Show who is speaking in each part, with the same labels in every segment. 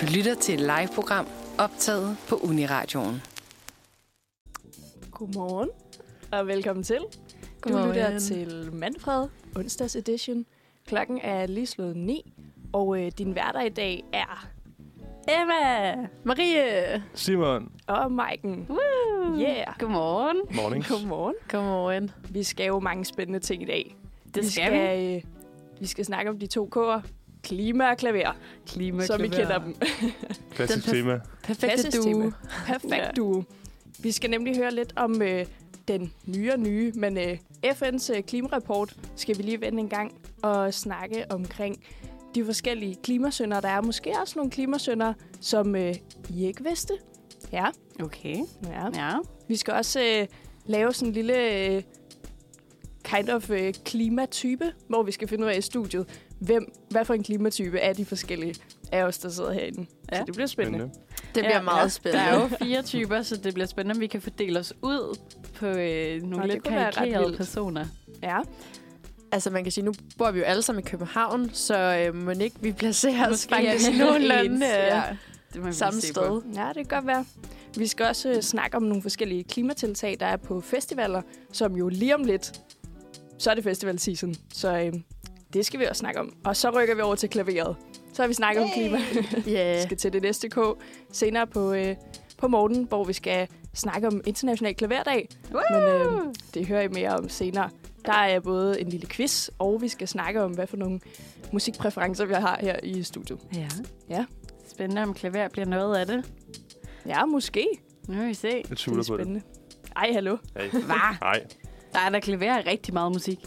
Speaker 1: Du lytter til et live-program optaget på Uniradioen.
Speaker 2: Godmorgen, og velkommen til. Du lytter til Manfred, onsdags edition. Klokken er lige slået 9, og øh, din hverdag i dag er Emma
Speaker 3: Marie.
Speaker 4: Simon.
Speaker 2: og Maiken.
Speaker 3: Woo.
Speaker 2: Yeah.
Speaker 3: Godmorgen.
Speaker 4: Morning.
Speaker 2: Godmorgen.
Speaker 3: Godmorgen.
Speaker 2: Vi skal jo mange spændende ting i dag.
Speaker 3: Det skal vi.
Speaker 2: vi. Øh, vi skal snakke om de to K'er. Klima og klaver,
Speaker 3: Klima,
Speaker 2: som vi kender dem.
Speaker 4: Klassisk
Speaker 3: Den perf-
Speaker 4: tema.
Speaker 3: Perfekte
Speaker 2: Klassisk
Speaker 3: du.
Speaker 2: tema. Perfekt du. Vi skal nemlig høre lidt om øh, den nye og nye, men øh, FN's øh, klimareport skal vi lige vende en gang og snakke omkring de forskellige klimasønder. Der er måske også nogle klimasønder, som øh, I ikke vidste. Ja,
Speaker 3: Okay.
Speaker 2: ja.
Speaker 3: Ja.
Speaker 2: Vi skal også øh, lave sådan en lille øh, kind of øh, klimatype, hvor vi skal finde ud af i studiet, hvem, hvad for en klimatype er de forskellige af os, der sidder herinde. Ja.
Speaker 3: Ja.
Speaker 2: Så det bliver spændende.
Speaker 4: Spændende.
Speaker 5: Det bliver
Speaker 3: ja,
Speaker 5: meget
Speaker 3: Der
Speaker 5: spændende.
Speaker 3: er jo fire typer, så det bliver spændende, om vi kan fordele os ud på øh, nogle
Speaker 2: Nå, det
Speaker 3: lidt
Speaker 2: kunne være ret
Speaker 3: karikerede
Speaker 2: vildt.
Speaker 3: personer.
Speaker 2: Ja.
Speaker 5: Altså man kan sige, nu bor vi jo alle sammen i København, så øh, må ikke vi placerer os
Speaker 3: Måske
Speaker 5: faktisk
Speaker 3: er vi ens,
Speaker 5: nogenlunde øh,
Speaker 3: ja. Det må vi
Speaker 5: samme
Speaker 3: se på.
Speaker 5: sted.
Speaker 2: Ja, det kan godt være. Vi skal også øh, snakke om nogle forskellige klimatiltag, der er på festivaler, som jo lige om lidt, så er det festival season. Så øh, det skal vi også snakke om. Og så rykker vi over til klaveret. Så har vi snakket hey. om klima. vi
Speaker 5: Yeah.
Speaker 2: skal til det næste K senere på, øh, på morgen, hvor vi skal snakke om International Klaverdag. Men
Speaker 3: øhm,
Speaker 2: øh, det hører I mere om senere. Der er både en lille quiz, og vi skal snakke om, hvad for nogle musikpræferencer vi har her i studiet.
Speaker 3: Ja.
Speaker 2: Ja.
Speaker 3: Spændende, om klaver bliver noget af det.
Speaker 2: Ja, måske.
Speaker 3: Nu vil vi se.
Speaker 4: Jeg
Speaker 2: Det er
Speaker 4: tvivler på det.
Speaker 2: spændende. Ej, hallo.
Speaker 4: Hey.
Speaker 3: Hvad?
Speaker 4: Nej,
Speaker 3: Der er der klaver er rigtig meget musik.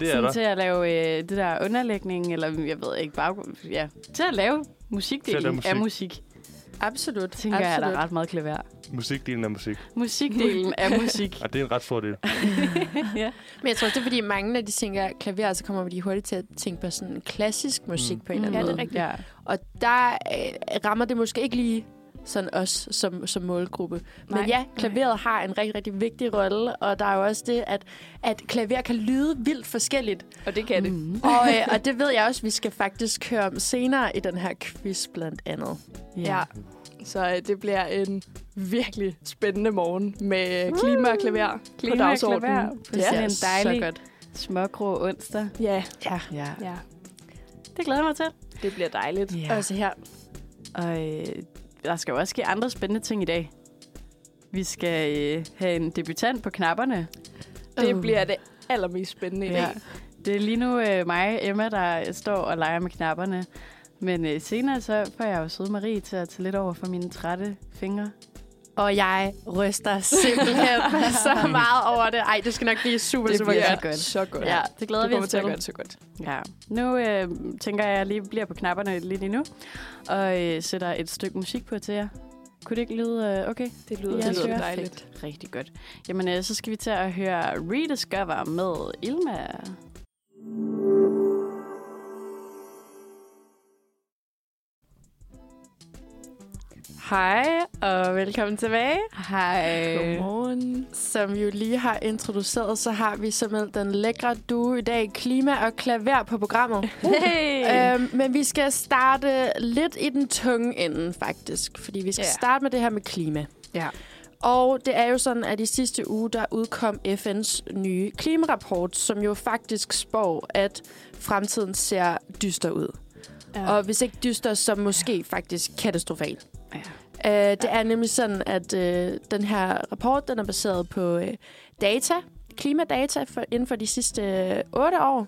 Speaker 4: det er
Speaker 3: Sådan
Speaker 4: der.
Speaker 3: til at lave øh, det der underlægning, eller jeg ved ikke, baggrund. Ja. Til at lave
Speaker 4: Til at
Speaker 3: musikdelen
Speaker 4: lave
Speaker 3: af musik,
Speaker 5: Absolut.
Speaker 3: tænker jeg, er
Speaker 5: Absolut.
Speaker 3: der ret meget klaver.
Speaker 4: Musikdelen af musik.
Speaker 3: Musikdelen af musik.
Speaker 4: Ah, det er en ret fordel.
Speaker 5: Men jeg tror også, det er fordi mange, når de tænker klaver, så kommer de hurtigt til at tænke på sådan klassisk musik
Speaker 4: Mm.
Speaker 5: mm. på en eller
Speaker 2: Ja,
Speaker 5: anden
Speaker 2: det er
Speaker 5: måde.
Speaker 2: rigtigt.
Speaker 3: Ja.
Speaker 5: Og der øh, rammer det måske ikke lige sådan os som, som målgruppe. Men
Speaker 2: Nej.
Speaker 5: ja, klaveret har en rigtig, rigtig vigtig rolle, og der er jo også det, at, at klaver kan lyde vildt forskelligt.
Speaker 2: Og det kan det.
Speaker 3: Mm.
Speaker 5: og, øh, og det ved jeg også, vi skal faktisk høre om senere i den her quiz blandt andet.
Speaker 2: Ja. Så øh, det bliver en virkelig spændende morgen med øh, klima og klaver klima på
Speaker 3: Klima og
Speaker 2: dagsordenen.
Speaker 3: klaver på
Speaker 2: ja.
Speaker 3: sådan en dejlig-
Speaker 5: så godt.
Speaker 3: Smågrå onsdag.
Speaker 2: Ja.
Speaker 5: Ja.
Speaker 3: Ja.
Speaker 2: ja,
Speaker 3: Det glæder jeg mig til.
Speaker 2: det bliver dejligt.
Speaker 3: Ja.
Speaker 5: Også her.
Speaker 3: Og øh, der skal jo også ske andre spændende ting i dag. Vi skal øh, have en debutant på knapperne.
Speaker 2: Det
Speaker 5: Uh.
Speaker 2: bliver det allermest spændende i dag.
Speaker 3: Ja. Det er lige nu øh, mig, Emma, der står og leger med knapperne. Men øh, senere så får jeg jo søde Marie til at tage lidt over for mine trætte fingre.
Speaker 5: Og jeg ryster simpelthen så meget over det. Ej, det skal nok blive super,
Speaker 3: Det
Speaker 5: super
Speaker 3: bliver
Speaker 5: godt.
Speaker 3: godt.
Speaker 2: Så godt.
Speaker 5: Ja,
Speaker 3: det glæder
Speaker 2: du
Speaker 3: vi
Speaker 2: kommer
Speaker 3: os
Speaker 2: til at
Speaker 3: til.
Speaker 2: gøre det så godt.
Speaker 3: Ja. Nu øh, tænker jeg, at jeg lige bliver på knapperne lidt endnu. Og øh, sætter et stykke musik på til jer. Kunne det ikke lyde øh, okay?
Speaker 2: Det lyder,
Speaker 3: Ja,
Speaker 2: det
Speaker 3: det
Speaker 2: lyder
Speaker 3: er
Speaker 2: dejligt.
Speaker 3: Rigtig godt. Jamen, øh, så skal vi til at høre Rediscover med Ilma.
Speaker 5: Hej, og velkommen tilbage.
Speaker 3: Hej.
Speaker 2: Godmorgen.
Speaker 5: Som vi jo lige har introduceret, så har vi simpelthen den lækre duo i dag, klima og klaver på programmet.
Speaker 3: Hey.
Speaker 5: Øhm, men vi skal starte lidt i den tunge ende, faktisk. Fordi vi skal
Speaker 2: Ja.
Speaker 5: yeah. starte med det her med klima.
Speaker 3: Ja.
Speaker 5: Og det er jo sådan, at i sidste uge, der udkom FN's nye klimarapport, som jo faktisk spår, at fremtiden ser dyster ud. Ja. Og hvis ikke dyster, så måske faktisk katastrofal.
Speaker 3: Ja.
Speaker 5: Øh, det er nemlig sådan, at øh, den her rapport, den er baseret på øh, data, klimadata for, inden for de sidste øh, 8 år.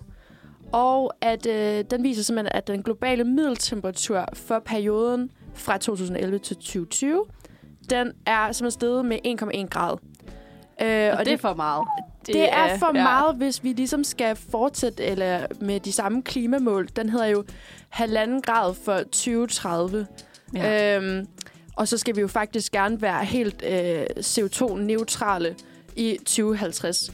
Speaker 5: Og at øh, den viser simpelthen, at den globale middeltemperatur for perioden fra 2011 til 2020, den er simpelthen steget med 1,1 grad. Øh,
Speaker 3: Og det er øh, for meget.
Speaker 5: det, det er for ja. meget, hvis vi ligesom skal fortsætte eller med de samme klimamål. Den hedder jo halvanden grad for 2030. Ja. Øhm, og så skal vi jo faktisk gerne være helt øh, CO2-neutrale i 2050.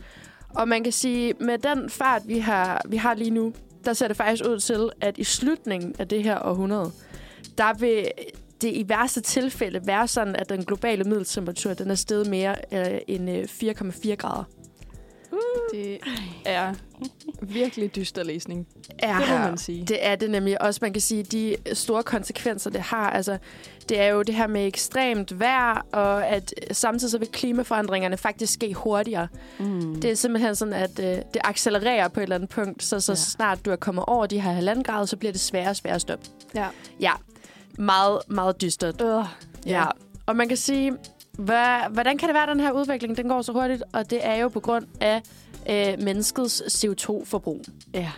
Speaker 5: Og man kan sige, med den fart, vi har, vi har lige nu, der ser det faktisk ud til, at i slutningen af det her århundrede, der vil det i værste tilfælde være sådan, at den globale middeltemperatur den er steget mere øh, end øh, 4,4 grader.
Speaker 2: Det er virkelig dyster læsning.
Speaker 5: Ja,
Speaker 2: Det må man sige.
Speaker 5: Det er det nemlig. Også man kan sige, de store konsekvenser, det har, altså, det er jo det her med ekstremt vejr, og at samtidig så vil klimaforandringerne faktisk ske hurtigere.
Speaker 3: Mm.
Speaker 5: Det er simpelthen sådan, at øh, det accelererer på et eller andet punkt, så, så
Speaker 3: Ja.
Speaker 5: ja. snart du er kommet over de her halvanden grad, så bliver det sværere og sværere at stoppe.
Speaker 2: Ja.
Speaker 5: Ja, meget, meget dystert.
Speaker 2: Øh,
Speaker 5: Ja. ja. Og man kan sige, hvad, hvordan kan det være, at den her udvikling den går så hurtigt? Og det er jo på grund af øh, menneskets CO2-forbrug.
Speaker 3: Ja.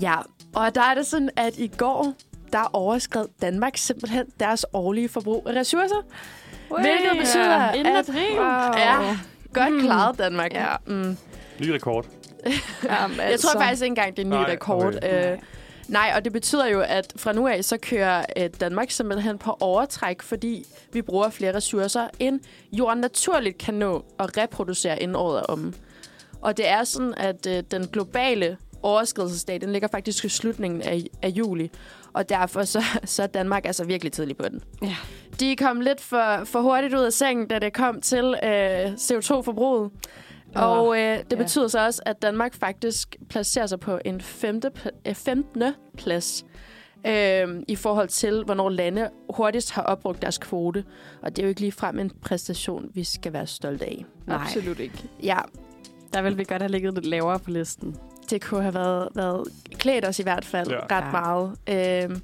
Speaker 5: Ja, og der er det sådan, at i går, der overskred Danmark simpelthen deres årlige forbrug af ressourcer. Hvilket betyder,
Speaker 3: ja. Inden
Speaker 5: at-
Speaker 3: april.
Speaker 2: Wow.
Speaker 5: Ja, godt
Speaker 2: Mm.
Speaker 5: klaret Danmark.
Speaker 2: Ja.
Speaker 5: Mm.
Speaker 4: Ny rekord.
Speaker 2: Jamen,
Speaker 5: Jeg
Speaker 3: Altså.
Speaker 5: tror faktisk ikke engang, det er en ny
Speaker 4: Nej,
Speaker 5: rekord.
Speaker 3: okay.
Speaker 5: Øh, nej, og det betyder jo, at fra nu af, så kører øh, Danmark simpelthen på overtræk, fordi vi bruger flere ressourcer, end jorden naturligt kan nå at reproducere inden året er omme. Og det er sådan, at øh, den globale overskridelsesdag, den ligger faktisk i slutningen af, af juli. Og derfor så, så er Danmark altså virkelig tidlig på den.
Speaker 3: Ja.
Speaker 5: De kom lidt for, for hurtigt ud af sengen, da det kom til øh, CO2-forbruget. Og øh, det
Speaker 3: ja.
Speaker 5: betyder så også, at Danmark faktisk placerer sig på en femte, pl- øh, 15. plads øh, i forhold til, hvornår lande hurtigst har opbrugt deres kvote. Og det er jo ikke ligefrem en præstation, vi skal være stolte af.
Speaker 2: Absolut ikke.
Speaker 5: Ja,
Speaker 3: Der ville vi godt have ligget lidt lavere på listen.
Speaker 5: det kunne have været, været klædt os i hvert fald
Speaker 4: Ja.
Speaker 5: ja. ret
Speaker 3: Ja.
Speaker 5: meget. Øhm,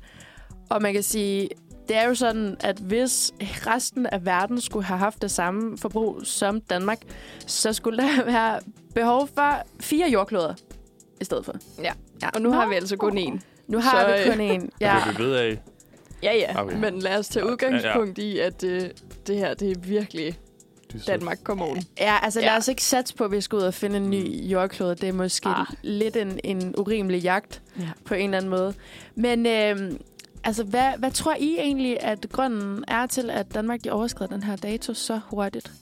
Speaker 5: og man kan sige, det er jo sådan, at hvis resten af verden skulle have haft det samme forbrug som Danmark, så skulle der være behov for fire jordkloder i stedet for.
Speaker 2: Og nu har vi altså kun én.
Speaker 5: Nu har
Speaker 2: Så,
Speaker 5: så, vi kun én.
Speaker 4: Ja.
Speaker 5: Ja.
Speaker 4: Det bliver ved af.
Speaker 2: Ja, ja.
Speaker 4: Okay.
Speaker 2: Men lad os tage
Speaker 4: Ja, ja.
Speaker 2: udgangspunkt i, at øh, det her, det er virkelig
Speaker 4: Dyster.
Speaker 2: Danmark, kom on.
Speaker 5: ja, altså lad
Speaker 2: Ja.
Speaker 5: os ikke satse på, at vi skal ud og finde en ny jordklode. Det er måske
Speaker 2: Ah.
Speaker 5: ah. lidt en, en urimelig jagt
Speaker 3: Ja.
Speaker 5: ja. på en eller anden måde. Men øhm, altså, hvad, hvad tror I egentlig, at grunden er til, at Danmark de overskrider den her dato så hurtigt?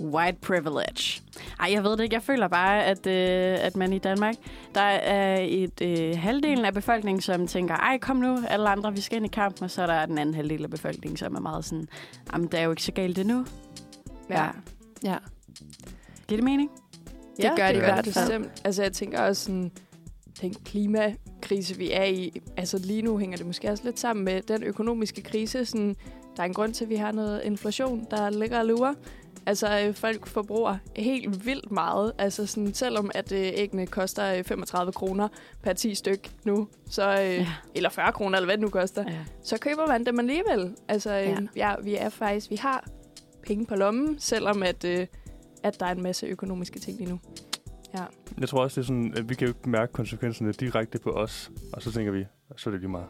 Speaker 3: White privilege. Ej, jeg ved det ikke. Jeg føler bare, at, øh, at man i Danmark, der er et øh, halvdelen af befolkningen, som tænker, ej, kom nu, alle andre, vi skal ind i kampen. Og så er der den anden halvdel af befolkningen, som er meget sådan, jamen, det er jo ikke så galt endnu.
Speaker 2: Ja.
Speaker 5: Ja.
Speaker 3: Giver det mening?
Speaker 5: Det gør det i hvert fald.
Speaker 2: bestemt. Altså, jeg tænker også sådan, den klimakrise, vi er i, altså lige nu hænger det måske også lidt sammen med den økonomiske krise. Sådan, der er en grund til, at vi har noget inflation, der ligger og lurer. Altså, øh, folk forbruger helt vildt meget. Altså, sådan, selvom at øh, æggene koster øh, 35 kroner per 10 styk nu, så, øh,
Speaker 3: Ja.
Speaker 2: ja. eller 40 kroner, eller hvad det nu koster,
Speaker 3: Ja.
Speaker 2: så køber man dem alligevel. Altså, ja. ja, vi er faktisk, vi har penge på lommen, selvom at, øh, at der er en masse økonomiske ting lige nu.
Speaker 4: Jeg tror også, det er sådan, at vi kan jo ikke mærke konsekvenserne direkte på os. Og så tænker vi, så er det lige meget.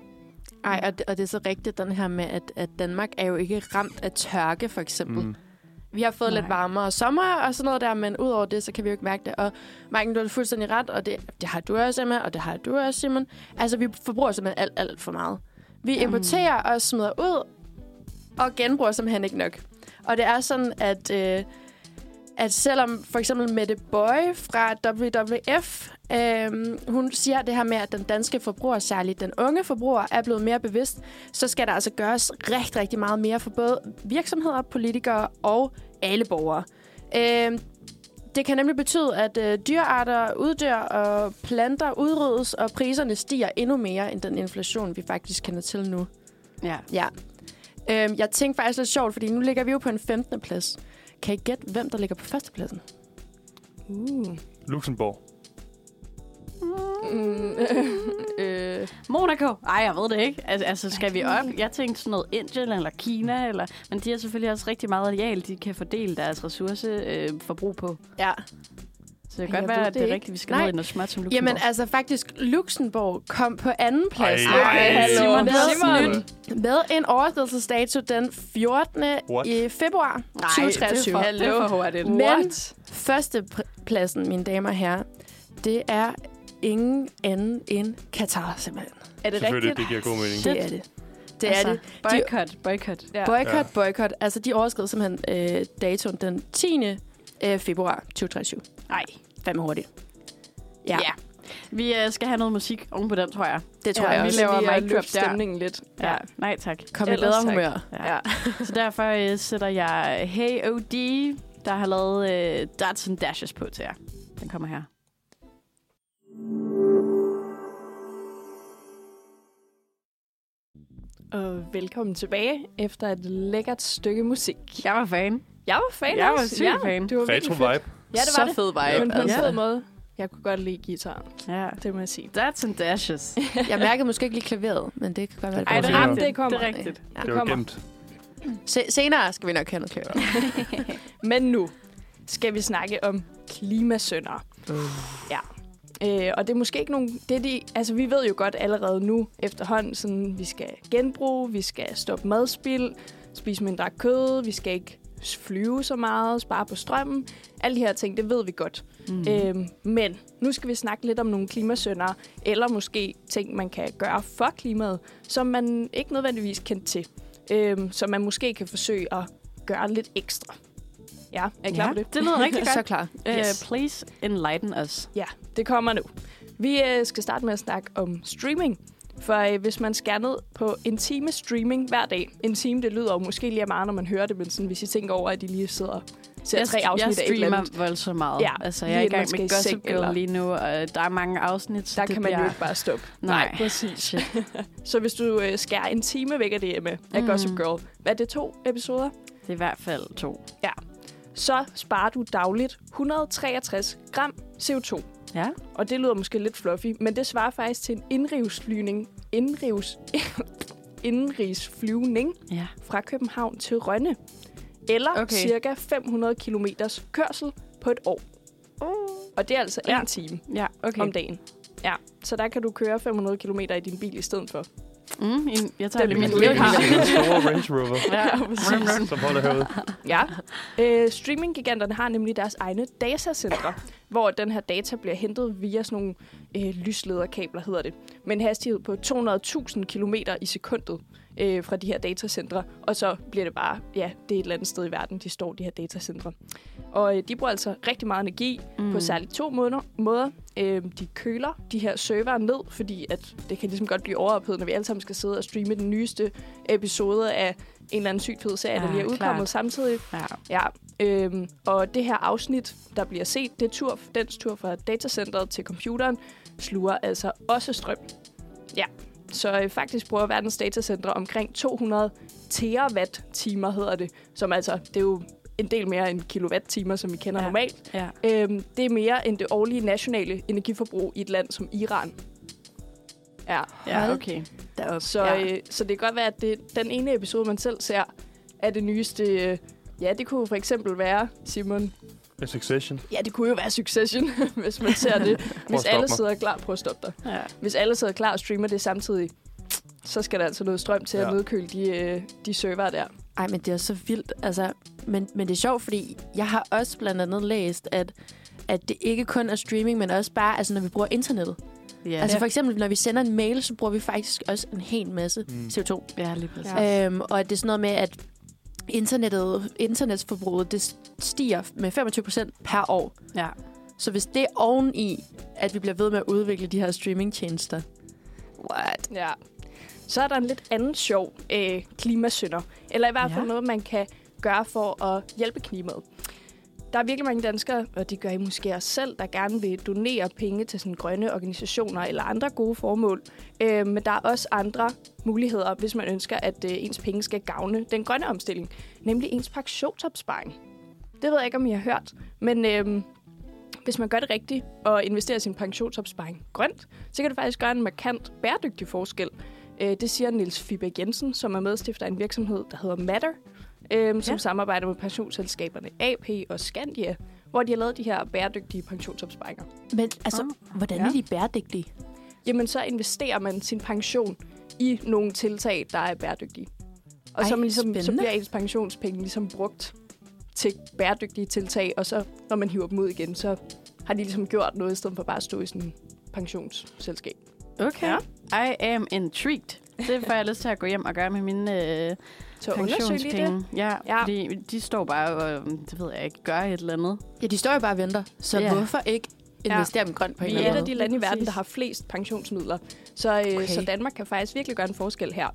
Speaker 5: Ej, og det, og det er så rigtigt, den her med, at, at Danmark er jo ikke ramt af tørke, for eksempel. Mm.
Speaker 4: Mm.
Speaker 5: Vi har fået Nej. lidt
Speaker 3: Nej.
Speaker 5: varmere sommer og sådan noget der, men udover det, så kan vi jo ikke mærke det. Og Marken, du har fuldstændig ret, og det, det har du også, Emma, og det har du også, Simon. Altså, vi forbruger simpelthen alt, alt for meget. Vi importerer og smider ud, og genbruger simpelthen ikke nok. Og det er sådan, at, øh, at selvom for eksempel Mette Boy fra WWF, øh, hun siger det her med, at den danske forbruger, særligt den unge forbruger, er blevet mere bevidst, så skal der altså gøres rigtig, rigtig meget mere for både virksomheder, politikere og alle borgere. Øh, det kan nemlig betyde, at øh, dyrearter uddør, og planter udryddes, og priserne stiger endnu mere end den inflation, vi faktisk kender til nu.
Speaker 3: Ja.
Speaker 5: Ja. Øhm, jeg tænkte faktisk lidt sjovt, fordi nu ligger vi jo på en 15. plads. Kan I gætte, hvem der ligger på førstepladsen?
Speaker 2: Uh.
Speaker 4: Luxembourg.
Speaker 2: Mm, øh,
Speaker 3: Monaco? Ej, jeg ved det ikke. Altså, altså skal vi op? Jeg tænkte sådan noget Indien eller Kina. Eller, men de er selvfølgelig også rigtig meget areal, de kan fordele deres ressourceforbrug øh, forbrug på.
Speaker 5: Ja.
Speaker 3: Så
Speaker 2: Jeg
Speaker 3: det kan godt
Speaker 2: ved
Speaker 3: være,
Speaker 2: det
Speaker 3: at det er
Speaker 2: ikke.
Speaker 3: rigtigt, vi skal
Speaker 5: Nej.
Speaker 3: ned i noget smart som Luxembourg.
Speaker 5: Jamen altså faktisk, Luxembourg kom på anden plads.
Speaker 4: Ej, Ej,
Speaker 5: hallo.
Speaker 3: Simon,
Speaker 5: med,
Speaker 3: Simon.
Speaker 5: med en overskridelsesdato den 14.
Speaker 4: What?
Speaker 5: i februar 2023.
Speaker 2: det er for- det er for hurtigt.
Speaker 5: Men-
Speaker 2: What?
Speaker 5: Førstepladsen, mine damer og herrer, det er ingen anden end Katar, simpelthen.
Speaker 2: Er det
Speaker 4: Selvfølgelig,
Speaker 2: rigtigt?
Speaker 4: det giver god mening.
Speaker 5: Det er det. Det
Speaker 3: altså,
Speaker 5: er det.
Speaker 3: Boykot, boykot.
Speaker 2: Ja.
Speaker 5: Boykot, boykot. Altså, de overskred simpelthen øh, datoen den 10. Øh, februar 2023.
Speaker 3: Nej.
Speaker 5: Fandme hurtigt. Ja, ja.
Speaker 3: Vi øh, skal have noget musik ovenpå den, tror jeg.
Speaker 5: det tror
Speaker 3: Ja,
Speaker 5: jeg
Speaker 2: vi
Speaker 5: også.
Speaker 2: laver
Speaker 3: lige at
Speaker 2: mic drop
Speaker 3: løfte
Speaker 2: stemningen lidt.
Speaker 3: Ja. Nej, tak.
Speaker 5: Kom i
Speaker 2: Ellers
Speaker 5: bedre
Speaker 2: tak.
Speaker 5: humør.
Speaker 3: Ja. ja. Så derfor øh, sætter jeg Hey OD, der har lavet øh, Darts and Dashes på til jer. Den Den kommer her.
Speaker 2: Og velkommen tilbage efter et lækkert stykke musik.
Speaker 3: Jeg var fan.
Speaker 2: Jeg var fan
Speaker 3: Jeg var
Speaker 2: også.
Speaker 3: syg
Speaker 2: ja,
Speaker 3: fan.
Speaker 2: Det var virkelig
Speaker 4: Retro
Speaker 2: fedt.
Speaker 4: vibe.
Speaker 2: Ja, det var
Speaker 5: så
Speaker 2: det.
Speaker 5: fed vibe.
Speaker 2: Men
Speaker 5: altså.
Speaker 2: på en
Speaker 3: Ja.
Speaker 2: fed måde. Jeg kunne godt lide gitaren,
Speaker 3: Ja.
Speaker 2: det må jeg sige.
Speaker 3: That's and dashes.
Speaker 5: Jeg mærkede måske ikke lige klaveret, men det kan godt være, det
Speaker 2: Ej,
Speaker 4: Ej,
Speaker 2: det,
Speaker 4: det
Speaker 2: ramte,
Speaker 4: kommer.
Speaker 2: det kommer.
Speaker 3: Det er rigtigt.
Speaker 5: Ja.
Speaker 4: Det var
Speaker 2: kommer.
Speaker 4: gemt.
Speaker 5: Se, senere skal vi nok have noget klaveret.
Speaker 2: Men nu skal vi snakke om klimasønder. Ja. Øh, og det er måske ikke nogen... Det er de, altså, vi ved jo godt allerede nu efterhånden, sådan, vi skal genbruge, vi skal stoppe madspild, spise mindre kød, vi skal ikke flyve så meget, spare på strømmen. Alle de her ting, det ved vi godt. Mm.
Speaker 3: Øh,
Speaker 2: Øhm, men nu skal vi snakke lidt om nogle klimasønder, eller måske ting, man kan gøre for klimaet, som man ikke nødvendigvis kendte til. Øhm, som man måske kan forsøge at gøre lidt ekstra. Ja, er I klar
Speaker 3: ja,
Speaker 2: på det?
Speaker 3: det lyder rigtig
Speaker 5: så
Speaker 3: godt.
Speaker 5: klar.
Speaker 2: Yes.
Speaker 3: Uh, please enlighten us.
Speaker 2: Ja, Øh, det kommer nu. Vi øh, skal starte med at snakke om streaming. For øh, hvis man skærer ned på en time streaming hver dag, en time, det lyder jo måske lige af meget, når man hører det, men sådan, hvis I tænker over, at I lige sidder og ser
Speaker 3: Jeg,
Speaker 2: tre
Speaker 3: jeg
Speaker 2: afsnit af et eller andet,
Speaker 3: streamer voldsomt meget.
Speaker 2: Ja,
Speaker 3: altså,
Speaker 2: lige
Speaker 3: jeg er i
Speaker 2: inden man
Speaker 3: gang
Speaker 2: skal i
Speaker 3: med
Speaker 2: seng,
Speaker 3: Gossip
Speaker 2: eller-
Speaker 3: Girl lige nu, og der er mange afsnit. så
Speaker 2: der
Speaker 3: det
Speaker 2: kan man jo
Speaker 3: bliver-
Speaker 2: ikke bare stoppe.
Speaker 3: Nej,
Speaker 2: præcis.
Speaker 3: Shit.
Speaker 2: Så hvis du øh, skærer en time væk af det med af
Speaker 3: Mm.
Speaker 2: Gossip Girl, hvad er det to episoder?
Speaker 3: Det er i hvert fald to.
Speaker 2: Så sparer du dagligt 163 gram CO2.
Speaker 3: Ja.
Speaker 2: Og det lyder måske lidt fluffy, men det svarer faktisk til en indrivsflyvning, indrivs, indrigsflyvning
Speaker 3: Ja.
Speaker 2: fra København til Rønne. Eller okay.
Speaker 3: Okay.
Speaker 2: cirka 500 km kørsel på et år. Og det er altså ja.
Speaker 3: Ja.
Speaker 2: en time
Speaker 3: Ja, okay.
Speaker 2: okay. om dagen. Ja, så der kan du køre 500 km i din bil i stedet for.
Speaker 3: Mm, en- jeg tager
Speaker 2: Det er
Speaker 3: lige
Speaker 2: min
Speaker 3: min lille
Speaker 2: lille
Speaker 3: bil.
Speaker 4: Den store Range Rover,
Speaker 3: Ja,
Speaker 2: præcis.
Speaker 4: som holder herude.
Speaker 2: Ja. Øh, streaminggiganterne har nemlig deres egne datacentre, hvor den her data bliver hentet via sådan nogle øh, lyslederkabler, hedder det, med en hastighed på 200.000 km i sekundet øh, fra de her datacentre. Og så bliver det bare, ja, det er et eller andet sted i verden, de står, de her datacentre. Og øh, de bruger altså rigtig meget energi mm. på særligt to måder. måder. Øh, de køler de her server ned, fordi at det kan ligesom godt blive overophedet, når vi alle sammen skal sidde og streame den nyeste episode af en eller anden sygt fed serie, ja, der
Speaker 3: Ja,
Speaker 2: lige er udkommet
Speaker 3: klart.
Speaker 2: samtidig.
Speaker 3: Ja.
Speaker 2: Ja, øhm, og det her afsnit, der bliver set, det er tur, dens tur fra datacenteret til computeren, sluger altså også strøm. Ja, så øh, faktisk bruger verdens datacentre omkring 200 terawatt-timer, hedder det, som altså, det er jo en del mere end kilowatt-timer, som vi kender ja.
Speaker 3: Ja.
Speaker 2: normalt.
Speaker 3: ja.
Speaker 2: Øhm, det er mere end det årlige nationale energiforbrug i et land som Iran. Ja,
Speaker 3: Ja, okay.
Speaker 5: Deroppe.
Speaker 2: så,
Speaker 3: Ja.
Speaker 2: ja. øh, så det kan godt være, at det, den ene episode, man selv ser, er det nyeste... Øh, ja, det kunne for eksempel være, Simon...
Speaker 4: A Succession.
Speaker 2: Ja, det kunne jo være Succession, hvis man ser det. hvis
Speaker 4: stoppe
Speaker 2: alle
Speaker 4: mig.
Speaker 2: sidder klar... Prøv at stoppe dig.
Speaker 3: Ja.
Speaker 2: Hvis alle sidder klar og streamer det samtidig, så skal der altså noget strøm til ja.
Speaker 4: Ja.
Speaker 2: at nedkøle de, øh, de server der.
Speaker 5: Ej, men det er så vildt. Altså, men, men det er sjovt, fordi jeg har også blandt andet læst, at, at det ikke kun er streaming, men også bare, altså, når vi bruger internettet.
Speaker 3: Ja.
Speaker 5: Ja. Altså for eksempel, når vi sender en mail, så bruger vi faktisk også en hel masse
Speaker 4: Mm.
Speaker 5: mm. CO2.
Speaker 3: ja, lige præcis.
Speaker 2: Ja.
Speaker 3: Ja.
Speaker 5: Øhm, og at det er sådan noget med, at internettet, internetsforbruget det stiger med 25 procent per år.
Speaker 3: ja.
Speaker 5: Så hvis det er oveni, at vi bliver ved med at udvikle de her streamingtjenester. What?
Speaker 2: Ja. Så er der en lidt anden sjov øh, klimasønder. Eller i hvert fald ja.
Speaker 3: Ja.
Speaker 2: noget, man kan gøre for at hjælpe klimaet. Der er virkelig mange danskere, og det gør I måske også selv, der gerne vil donere penge til sådan grønne organisationer eller andre gode formål. Øh, men der er også andre muligheder, hvis man ønsker, at øh, ens penge skal gavne den grønne omstilling. Nemlig ens pensionsopsparing. Det ved jeg ikke, om I har hørt, men øh, hvis man gør det rigtigt og investerer sin pensionsopsparing grønt, så kan det faktisk gøre en markant bæredygtig forskel. Øh, Det siger Niels Fibeck Jensen, som er medstifter af en virksomhed, der hedder Matter, øhm, som ja.
Speaker 3: Ja.
Speaker 2: samarbejder med pensionsselskaberne AP og Skandia, hvor de har lavet de her bæredygtige pensionsopsparinger.
Speaker 5: Men altså, hvordan
Speaker 3: ja.
Speaker 5: er de bæredygtige?
Speaker 2: Jamen, så investerer man sin pension i nogle tiltag, der er bæredygtige. Og Ej,
Speaker 5: Ej,
Speaker 2: så, er man ligesom, så
Speaker 5: spændende.
Speaker 2: bliver ens pensionspenge ligesom brugt til bæredygtige tiltag, og så når man hiver dem ud igen, så har de ligesom gjort noget, i stedet for bare at stå i sådan en pensionsselskab.
Speaker 3: Okay.
Speaker 2: Ja.
Speaker 3: Ja. I am intrigued. Det får jeg lyst til at gå hjem og gøre med mine øh,
Speaker 2: Så undersøg lige det.
Speaker 3: pensionspenge. Ja,
Speaker 2: Ja.
Speaker 3: ja, fordi de står bare og, øh, det ved jeg ikke, gør et eller andet.
Speaker 5: Ja, de står jo bare og venter. Så
Speaker 3: Ja.
Speaker 5: hvorfor ikke investere dem grønt på en
Speaker 2: Vi
Speaker 5: eller
Speaker 2: er et
Speaker 5: anden
Speaker 2: af
Speaker 5: måde.
Speaker 2: de lande i verden,
Speaker 3: Præcis.
Speaker 2: der har flest pensionsmidler. Så, øh,
Speaker 1: Okay.
Speaker 2: okay. så Danmark kan faktisk virkelig gøre en forskel her.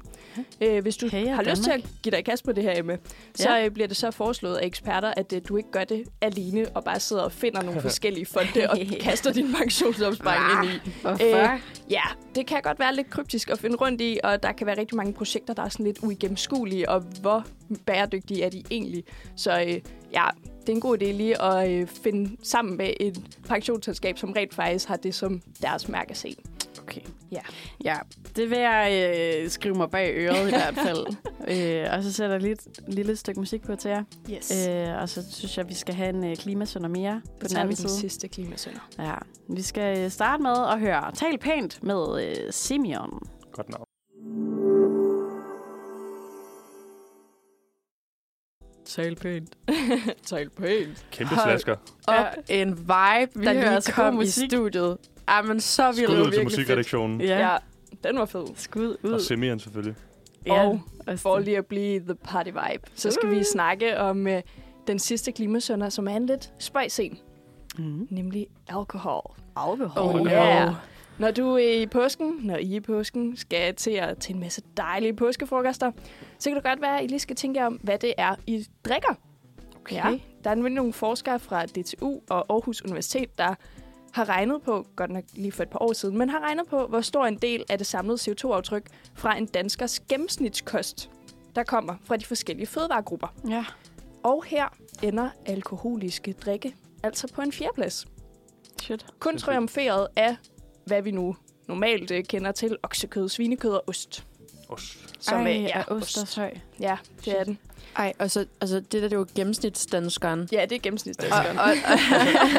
Speaker 2: Øh, hvis du
Speaker 3: Hey,
Speaker 2: hey,
Speaker 3: og
Speaker 2: har lyst til
Speaker 3: Danmark.
Speaker 2: at give dig i kast med det her, Emma, så øh, bliver det så foreslået af eksperter, at øh, du ikke gør det alene og bare sidder og finder nogle forskellige fonde og kaster din pensionsopsparing ind i.
Speaker 3: Hvorfor? Øh,
Speaker 2: Ja, det kan godt være lidt kryptisk at finde rundt i, og der kan være rigtig mange projekter, der er sådan lidt uigennemskuelige, og hvor bæredygtige er de egentlig? Så øh, ja, det er en god idé lige at øh, finde sammen med et pensionsselskab, som rent faktisk har det som deres mærkesag.
Speaker 3: okay.
Speaker 2: Ja.
Speaker 3: Ja, det vil jeg øh, skrive mig bag øret i hvert fald. øh, og så sætter jeg lige et lille stykke musik på til jer.
Speaker 2: Yes.
Speaker 3: Øh, og så synes jeg, vi skal have en øh, klimasønder mere på den anden
Speaker 2: den
Speaker 3: side.
Speaker 2: sidste klimasønder.
Speaker 3: Ja, vi skal øh, starte med at høre Tal pænt med øh, Simeon.
Speaker 4: Godt navn.
Speaker 3: Tal pænt.
Speaker 2: Tal pænt.
Speaker 4: Kæmpe
Speaker 5: Hold
Speaker 4: slasker.
Speaker 5: Op en vibe, vi
Speaker 3: Der
Speaker 5: der
Speaker 3: lyder
Speaker 5: lige
Speaker 3: altså god
Speaker 5: kom i
Speaker 3: musik.
Speaker 5: studiet. Ah, men så ville
Speaker 4: Skud
Speaker 5: det
Speaker 4: ud til
Speaker 5: virkelig fedt.
Speaker 4: musikredaktionen.
Speaker 3: Ja.
Speaker 2: Ja.
Speaker 3: ja.
Speaker 2: ja, den var fed.
Speaker 3: Skud
Speaker 4: Og
Speaker 3: ud.
Speaker 4: Semian selvfølgelig.
Speaker 3: Ja,
Speaker 2: Og
Speaker 3: også
Speaker 2: For
Speaker 3: det.
Speaker 2: lige at blive the party vibe, så skal vi snakke om øh, den sidste klimasønder, som er en lidt spøjs en,
Speaker 3: Mhm.
Speaker 2: nemlig alkohol.
Speaker 5: Oh,
Speaker 2: Oh,
Speaker 5: no.
Speaker 2: yeah. Når du er i påsken, når I er i påsken, skal til at til en masse dejlige påskefrokoster, så kan det godt være, at I lige skal tænke jer om, hvad det er, I drikker. Okay. Ja, der er nemlig nogle forskere fra DTU og Aarhus Universitet, der har regnet på, godt nok lige for et par år siden, men har regnet på, hvor stor en del af det samlede CO2-aftryk fra en danskers gennemsnitskost, der kommer fra de forskellige fødevaregrupper.
Speaker 3: Ja.
Speaker 2: Og her ender alkoholiske drikke altså på en fjerdeplads
Speaker 3: Shit.
Speaker 2: kun triumferet af, hvad vi nu normalt øh, kender til, oksekød, svinekød og ost.
Speaker 4: Ost.
Speaker 2: Som,
Speaker 3: Ej,
Speaker 2: øh,
Speaker 3: er ost også høj.
Speaker 2: Ja, det er den.
Speaker 5: Ej, og så, altså, det der, det er jo gennemsnitsdanskeren.
Speaker 2: Ja, det er gennemsnitsdanskeren.
Speaker 5: Og, og,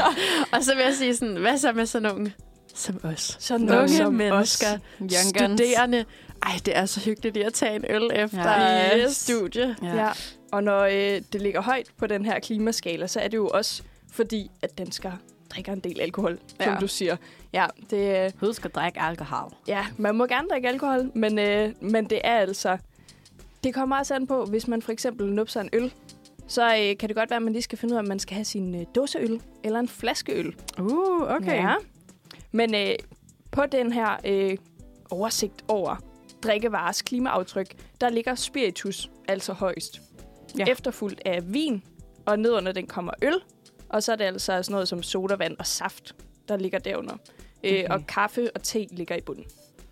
Speaker 5: og, og så vil jeg sige sådan, hvad så med sådan nogen som os?
Speaker 2: Sådan
Speaker 5: Unge
Speaker 2: noget som
Speaker 5: mennesker,
Speaker 2: os.
Speaker 3: Young Guns.
Speaker 5: studerende. Ej, det er så hyggeligt lige at tage en øl efter
Speaker 3: Ja.
Speaker 5: ja.
Speaker 2: Yes.
Speaker 5: studie.
Speaker 3: Ja.
Speaker 2: Ja. Og når øh, det ligger højt på den her klimaskala, så er det jo også fordi, at danskere drikker en del alkohol, ja. som
Speaker 3: Ja.
Speaker 2: du siger. Ja, det, øh,
Speaker 3: Husk at drikke alkohol.
Speaker 2: ja, man må gerne drikke alkohol, men, øh, men det er altså... Det kommer også an på, hvis man for eksempel nupser en øl, så øh, kan det godt være, at man lige skal finde ud af, om man skal have sin øh, dåseøl eller en flaskeøl.
Speaker 3: Uh, okay.
Speaker 2: Ja. Men øh, på den her øh, oversigt over drikkevares klimaaftryk, der ligger spiritus altså højst.
Speaker 3: Ja.
Speaker 2: Ja. Efterfuldt af vin, og nedunder den kommer øl, og så er det altså sådan noget som sodavand og saft, der ligger derunder. Okay. Øh,
Speaker 3: Okay.
Speaker 2: og kaffe og te ligger i bunden.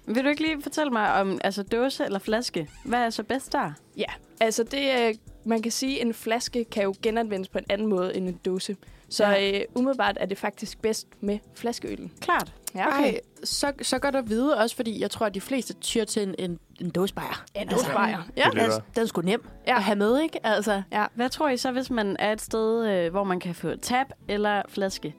Speaker 3: Vil du ikke lige fortælle mig om altså dåse eller flaske? Hvad er så bedst der?
Speaker 2: Ja, altså det, øh, man kan sige, at en flaske kan jo genanvendes på en anden måde end en dåse. Så
Speaker 3: Ja.
Speaker 2: ja. øh, umiddelbart er det faktisk bedst med flaskeøllen.
Speaker 3: Klart.
Speaker 2: Ja,
Speaker 5: Okay. Ej, så, så godt at vide også, fordi jeg tror, at de fleste tyr til en, en, en dåsebajer.
Speaker 2: En dåsebajer.
Speaker 5: Ja,
Speaker 4: Det er
Speaker 5: den,
Speaker 4: lettere.
Speaker 5: den er sgu nem
Speaker 2: Ja.
Speaker 5: ja. at have med, ikke? Altså,
Speaker 3: Hvad tror I så, hvis man er et sted, øh, hvor man kan få tab eller flaske?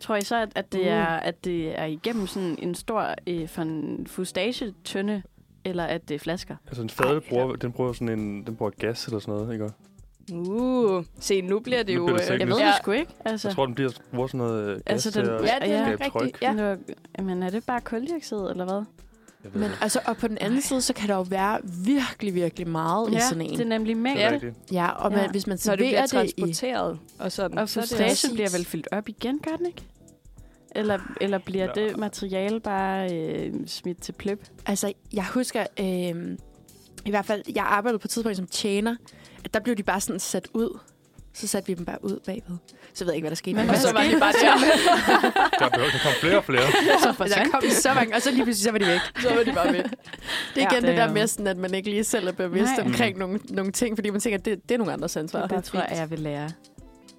Speaker 3: Tror I så, at, at, det,
Speaker 5: Uh.
Speaker 3: er, at det er igennem sådan en stor øh, for en fustagetønde, eller at det er flasker?
Speaker 4: Altså en fadel bruger, den bruger sådan en, den bruger gas eller sådan noget, ikke?
Speaker 2: Uh, se, nu bliver det
Speaker 4: Nu
Speaker 2: jo...
Speaker 4: bliver det
Speaker 2: øh,
Speaker 3: Jeg ved
Speaker 4: teknisk.
Speaker 3: det
Speaker 2: ja,
Speaker 3: sgu ikke. Altså,
Speaker 4: Jeg tror, den bliver bruger sådan noget øh, gas
Speaker 3: Altså, den-
Speaker 4: til at
Speaker 3: ja, det er
Speaker 4: skabe tryk.
Speaker 2: ja.
Speaker 3: ja. Jamen, er det bare koldioxid, eller hvad?
Speaker 4: Jeg ved
Speaker 5: men,
Speaker 4: det ikke.
Speaker 5: altså, og på den anden side, så kan der jo være virkelig, virkelig meget ja, i sådan en.
Speaker 3: det er nemlig
Speaker 4: Det er
Speaker 3: mængde.
Speaker 4: rigtigt.
Speaker 5: Ja, og man,
Speaker 3: Ja.
Speaker 5: ja. hvis man
Speaker 2: når det bliver
Speaker 5: serverer det i...
Speaker 2: transporteret og sådan.
Speaker 3: Og
Speaker 2: så er det
Speaker 3: fustagen
Speaker 5: også-
Speaker 3: bliver vel fyldt op igen, gør den ikke? Eller, eller bliver
Speaker 4: Nå.
Speaker 3: det materiale bare øh, smidt til pløb?
Speaker 5: Altså, jeg husker... Øh, I hvert fald, jeg arbejdede på et tidspunkt som tjener. At der blev de bare sådan sat ud. Så satte vi dem bare ud bagved. Så ved jeg ikke, hvad der skete.
Speaker 3: Men
Speaker 5: Men
Speaker 2: Og
Speaker 3: hvad
Speaker 2: så var
Speaker 3: skete
Speaker 2: det bare der.
Speaker 4: Der, behøver, der kom flere og flere.
Speaker 5: så der kom så mange, og så lige pludselig, så var de væk.
Speaker 2: Så var de bare med.
Speaker 5: Det er
Speaker 3: Ja,
Speaker 5: igen ja,
Speaker 3: det
Speaker 5: det
Speaker 3: er
Speaker 5: der
Speaker 3: jo-
Speaker 5: med, sådan, at man ikke lige selv er bevidst
Speaker 3: Nej.
Speaker 5: Nej. omkring nogle, nogle ting, fordi man tænker, at det, det er nogle andres ansvar.
Speaker 3: Det tror jeg, jeg vil lære.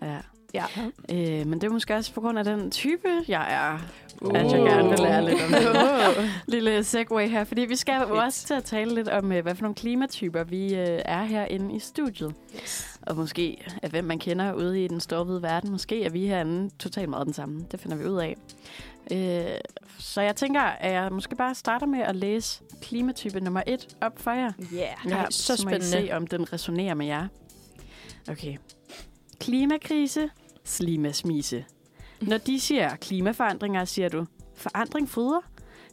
Speaker 3: Ja.
Speaker 2: Ja.
Speaker 3: Øh, men det er måske også på grund af den type, jeg er,
Speaker 2: Uh.
Speaker 3: at jeg gerne vil lære lidt om det.
Speaker 5: Uh.
Speaker 3: Lille segue her, fordi vi skal jo
Speaker 2: Fedt.
Speaker 3: også til at tale lidt om, øh, hvad for nogle klimatyper vi øh, er herinde i studiet.
Speaker 2: Yes.
Speaker 3: Og måske er hvem man kender ude i den store hvide verden. Måske er vi herinde totalt meget den samme. Det finder vi ud af. Øh, så jeg tænker, at jeg måske bare starter med at læse klimatype nummer et op for jer.
Speaker 2: Yeah.
Speaker 5: Nej, så
Speaker 3: må I se,
Speaker 5: spændende.
Speaker 3: om den resonerer med jer. Okay. Klimakrise, slimasmise. Når de siger klimaforandringer, siger du, forandring fryder?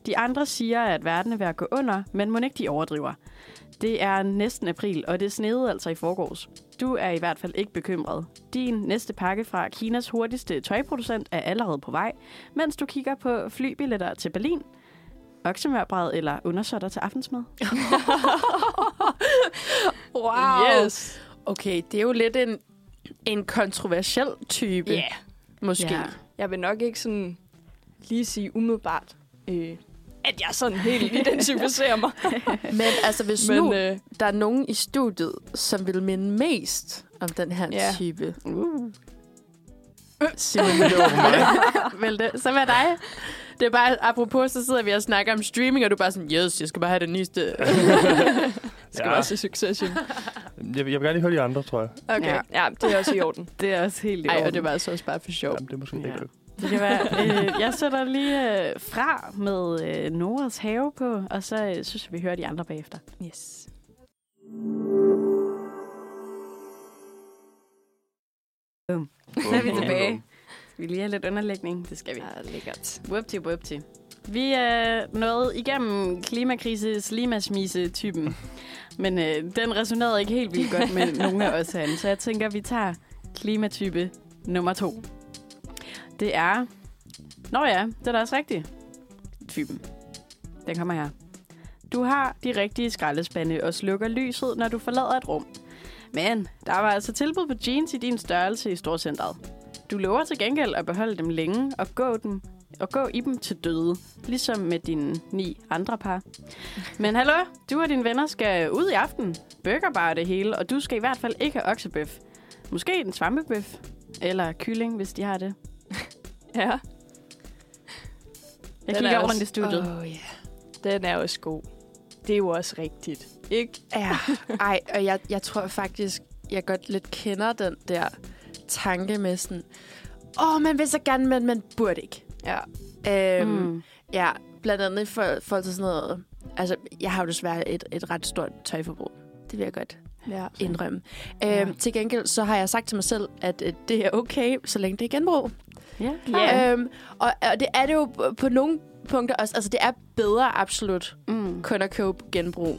Speaker 3: De andre siger, at verden er ved at gå under, men må ikke de overdriver. Det er næsten april, og det snede altså i forgårs. Du er i hvert fald ikke bekymret. Din næste pakke fra Kinas hurtigste tøjproducent er allerede på vej, mens du kigger på flybilletter til Berlin, oksemørbræd eller undersøtter til aftensmad.
Speaker 5: Wow. Yes. Okay, det er jo lidt en, en kontroversiel type,
Speaker 2: Ja,
Speaker 5: måske.
Speaker 3: Ja.
Speaker 2: jeg vil nok ikke sådan lige sige umiddelbart, øh, at jeg sådan helt identificerer mig.
Speaker 5: Men altså, hvis Men,
Speaker 2: Men
Speaker 5: nu øh...
Speaker 2: øh,
Speaker 5: der er nogen i studiet, som vil minde mest om den her
Speaker 2: Ja.
Speaker 5: type,
Speaker 3: Uh.
Speaker 5: Simon
Speaker 3: Vel det. Så hvad er dig?
Speaker 5: Det er bare, apropos, så sidder vi og snakker om streaming, og du er bare sådan, yes, jeg skal bare have det nyeste.
Speaker 2: skal ja. også i Succession.
Speaker 4: Jeg, vil- jeg vil gerne lige høre de andre, tror jeg.
Speaker 2: Okay, ja. ja, det er også i orden.
Speaker 3: Det er også helt i
Speaker 5: Ej, og
Speaker 3: orden.
Speaker 5: det var altså også bare for sjov.
Speaker 4: Jamen, det er måske
Speaker 3: Ja.
Speaker 4: ja. ikke.
Speaker 3: Det kan være, øh, jeg sætter lige øh, fra med øh, Noras have på, og så øh, synes jeg, vi hører de andre bagefter.
Speaker 2: Yes.
Speaker 3: Så er vi tilbage. Skal vi lige have lidt underlægning? Det skal vi.
Speaker 2: Ja, lækkert.
Speaker 3: Whoopty, whoopty. Vi er nået igennem klimakrise, slimasmise-typen. Men øh, den resonerede ikke helt vildt godt med nogen af os herinde, så jeg tænker, vi tager klimatype nummer to. Det er... Nå ja, det er da også rigtigt. Typen. Den kommer her. Du har de rigtige skraldespande og slukker lyset, når du forlader et rum. Men der var altså tilbud på jeans i din størrelse i Storcenteret. Du lover til gengæld at beholde dem længe og gå dem og gå i dem til døde, ligesom med dine ni andre par. Men hallo, du og dine venner skal ud i aften. Burgerbar er det hele, og du skal i hvert fald ikke have oksebøf. Måske en svampebøf. Eller kylling, hvis de har det.
Speaker 2: Ja.
Speaker 3: Jeg
Speaker 2: Den
Speaker 3: kigger
Speaker 2: er
Speaker 3: rundt
Speaker 2: også-
Speaker 3: i studiet.
Speaker 2: Åh, ja. Den er også god. Det er jo også rigtigt. Ikke?
Speaker 5: Ja, ej, og jeg, jeg tror faktisk, jeg godt lidt kender den der tanke med sådan, åh, oh, man vil så gerne, men man burde ikke.
Speaker 2: Ja.
Speaker 5: Øhm, mm.
Speaker 3: Mm.
Speaker 5: Ja, blandt andet i for- forhold til sådan noget, altså, jeg har jo desværre et, et ret stort tøjforbrug. Det vil jeg godt
Speaker 2: Ja.
Speaker 5: indrømme.
Speaker 3: Ja.
Speaker 5: Øhm, til gengæld så har jeg sagt til mig selv, at øh, det er okay, så længe det er genbrug.
Speaker 3: Ja.
Speaker 5: Ja. Øhm, og, og det er det jo på- på nogle punkter også. Altså, det er bedre absolut
Speaker 3: Mm.
Speaker 5: kun at købe genbrug.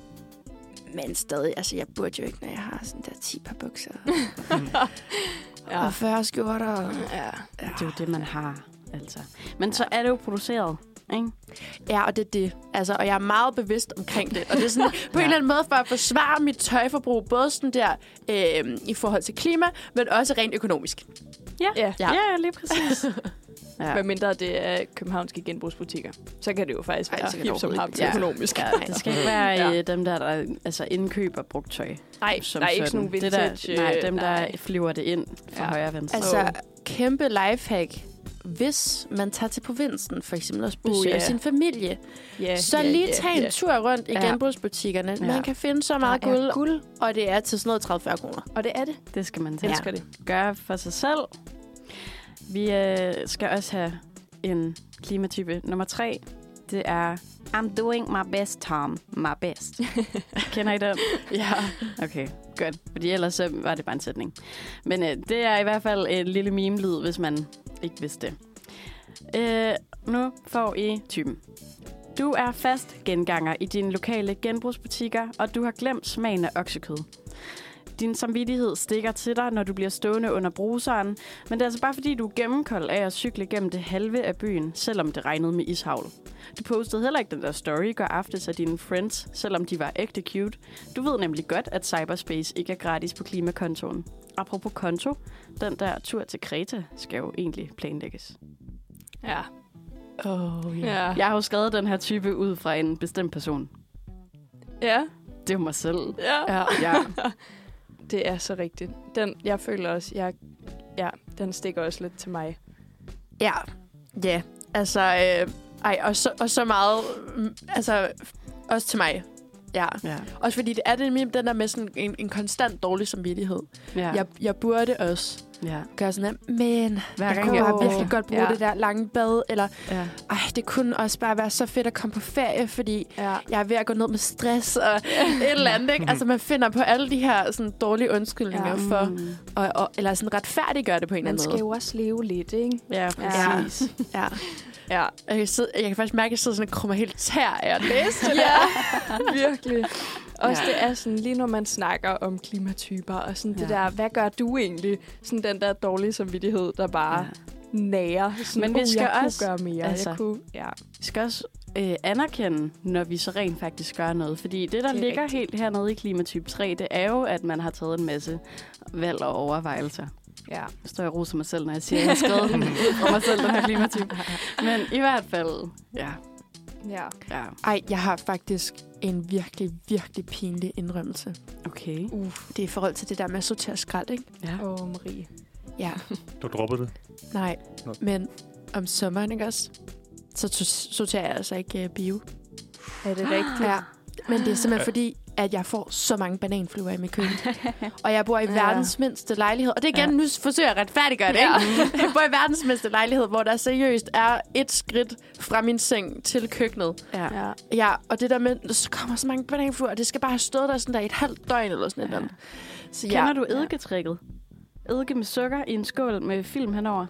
Speaker 5: Men stadig, altså jeg burde jo ikke, når jeg har sådan der 10 par bukser. ja. Og 40 skjorter.
Speaker 2: ja.
Speaker 3: Det er jo det, man har, altså. Men så er det jo produceret, ikke?
Speaker 5: Ja, og det er det. Altså, og jeg er meget bevidst omkring det. Og det er sådan, på en eller anden måde for at forsvare mit tøjforbrug, både sådan der øh, i forhold til klima, men også rent økonomisk.
Speaker 2: Ja.
Speaker 5: Ja.
Speaker 3: ja lige præcis. ja.
Speaker 2: Hvad mindre det er københavnske genbrugsbutikker. Så kan det jo faktisk
Speaker 5: Ej,
Speaker 2: være
Speaker 5: så kan det
Speaker 2: hip som
Speaker 5: overhovedet
Speaker 2: ham
Speaker 5: ikke.
Speaker 2: til
Speaker 5: Ja.
Speaker 2: økonomisk.
Speaker 3: Ja, det skal ikke være ja. dem der, der altså indkøber brugt tøj.
Speaker 2: Nej,
Speaker 3: som
Speaker 2: der er ikke sådan
Speaker 3: sådan.
Speaker 2: nogle
Speaker 3: Det
Speaker 2: vintage...
Speaker 3: Der, nej,
Speaker 2: øh,
Speaker 3: dem, der
Speaker 2: nej.
Speaker 3: nej. flyver det ind fra ja.
Speaker 2: Ja.
Speaker 3: højre og venstre.
Speaker 5: Altså,
Speaker 3: Altså,
Speaker 5: oh. kæmpe lifehack. Hvis man tager til provinsen, for eksempel og
Speaker 2: Uh,
Speaker 5: besøger
Speaker 2: ja.
Speaker 5: sin familie,
Speaker 2: Ja,
Speaker 5: Så
Speaker 2: ja,
Speaker 5: lige
Speaker 2: ja,
Speaker 5: tag en
Speaker 2: ja.
Speaker 5: tur rundt i
Speaker 3: Ja.
Speaker 5: genbrugsbutikkerne.
Speaker 3: Ja.
Speaker 5: Man kan finde så meget
Speaker 3: Der er
Speaker 5: guld, guld, og det er til sådan noget 30-40 kroner.
Speaker 2: Og det er det.
Speaker 3: det skal man
Speaker 2: Jeg
Speaker 3: tage.
Speaker 2: elsker det.
Speaker 3: gøre for sig selv. Vi øh, skal også have en klimatype nummer tre. Det er, I'm doing my best, Tom. My best. Kender I den?
Speaker 5: Ja.
Speaker 3: Okay, godt. Fordi ellers så var det bare en sætning. Men øh, det er i hvert fald en lille meme-lyd, hvis man ikke vidste det. Øh, nu får I typen. Du er fast genganger i dine lokale genbrugsbutikker, og du har glemt smagen af oksekød. Din samvittighed stikker til dig, når du bliver stående under bruseren, men det er altså bare fordi, du er gennemkold af at cykle gennem det halve af byen, selvom det regnede med ishavl. Du postede heller ikke den der story i går aftes af dine friends, selvom de var ægte cute. Du ved nemlig godt, at cyberspace ikke er gratis på klimakontoen. Apropos konto, den der tur til Kreta skal jo egentlig planlægges.
Speaker 2: Ja.
Speaker 5: Oh,
Speaker 2: Ja.
Speaker 3: Jeg har jo skrevet den her type ud fra en bestemt person.
Speaker 2: Ja.
Speaker 3: Det er jo mig selv.
Speaker 2: ja.
Speaker 5: Ja.
Speaker 3: Ja.
Speaker 2: Det er så rigtigt. Den, jeg føler også, jeg, ja, den stikker også lidt til mig.
Speaker 5: Ja. Ja. Altså, øh, ej, og så, og så meget, mm, altså, også til mig. Ja.
Speaker 3: ja.
Speaker 5: Også fordi det er det nemlig den der med sådan en, en konstant dårlig samvittighed.
Speaker 3: ja.
Speaker 5: Ja. Jeg, jeg burde også
Speaker 3: ja.
Speaker 5: gøre sådan her, men
Speaker 3: Hver
Speaker 5: jeg
Speaker 3: gang
Speaker 5: kunne
Speaker 3: jeg
Speaker 5: bare
Speaker 3: går-
Speaker 5: virkelig godt bruge
Speaker 2: Ja.
Speaker 5: ja. det der lange bad, eller
Speaker 3: Ja.
Speaker 5: ej, det kunne også bare være så fedt at komme på ferie, fordi
Speaker 2: Ja.
Speaker 5: jeg er ved at gå ned med stress og et eller andet. Ikke? Altså, man finder på alle de her sådan, dårlige undskyldninger ja.
Speaker 2: Ja.
Speaker 5: for,
Speaker 3: Mm.
Speaker 5: og, og, eller sådan retfærdiggør det på en
Speaker 2: Man
Speaker 5: eller anden
Speaker 2: skal
Speaker 5: måde.
Speaker 2: jo også leve lidt, ikke?
Speaker 3: Ja, præcis.
Speaker 5: Ja. Ja. Jeg kan, sidde, jeg kan faktisk mærke, at jeg sidder sådan og krummer helt tær af at læse det.
Speaker 2: ja, virkelig. Også ja. det er sådan, lige når man snakker om klimatyper, og sådan ja. det
Speaker 3: Ja.
Speaker 2: der, hvad gør du egentlig? Sådan den der dårlige samvittighed, der
Speaker 3: Ah.
Speaker 2: bare ja. nærer. Sådan,
Speaker 3: Men vi
Speaker 2: "Uh,
Speaker 3: skal
Speaker 2: jeg
Speaker 3: også-
Speaker 2: kunne gøre mere. Altså.
Speaker 3: altså-
Speaker 2: Jeg kunne, ja.
Speaker 3: Vi skal også øh, anerkende, når vi så rent faktisk gør noget. Fordi det, der
Speaker 2: Det
Speaker 3: det
Speaker 2: er
Speaker 3: ligger
Speaker 2: rigtigt.
Speaker 3: rigtigt. helt hernede i klimatype 3, det er jo, at man har taget en masse valg og overvejelser.
Speaker 2: ja.
Speaker 3: Nu står jeg og roser mig selv, når jeg siger, at jeg har skrevet den ud for mig selv, den her klimatype. Men i hvert fald, ja.
Speaker 2: ja.
Speaker 3: ja.
Speaker 5: Ej, jeg har faktisk en virkelig, virkelig pinlig indrømmelse.
Speaker 3: Okay.
Speaker 5: Uh. Det er i forhold til det der med at sortere skrald, ikke?
Speaker 3: Ja.
Speaker 2: Åh, oh, Marie.
Speaker 5: Ja.
Speaker 4: Du droppede det.
Speaker 5: Nej.
Speaker 4: Nå.
Speaker 5: Men om sommeren, ikke også? Så to- sorterer jeg altså ikke uh, bio.
Speaker 2: Er det
Speaker 3: Ah.
Speaker 2: rigtigt?
Speaker 5: Ja. Men det er simpelthen fordi, at jeg får så mange bananfluer i mit køkken. Og jeg bor i
Speaker 3: Ja.
Speaker 5: verdens mindste lejlighed. Og det er igen,
Speaker 3: Ja.
Speaker 5: ja. nu forsøger jeg at retfærdiggøre det, ikke? Jeg bor i verdens mindste lejlighed, hvor der seriøst er et skridt fra min seng til køkkenet.
Speaker 3: Ja.
Speaker 2: ja.
Speaker 5: Ja, og det der med, så kommer så mange bananfluer, og det skal bare have stået der sådan der i et halvt døgn eller sådan noget. Så
Speaker 3: Kender du eddiketrikket? Eddike med sukker i en skål med film henover.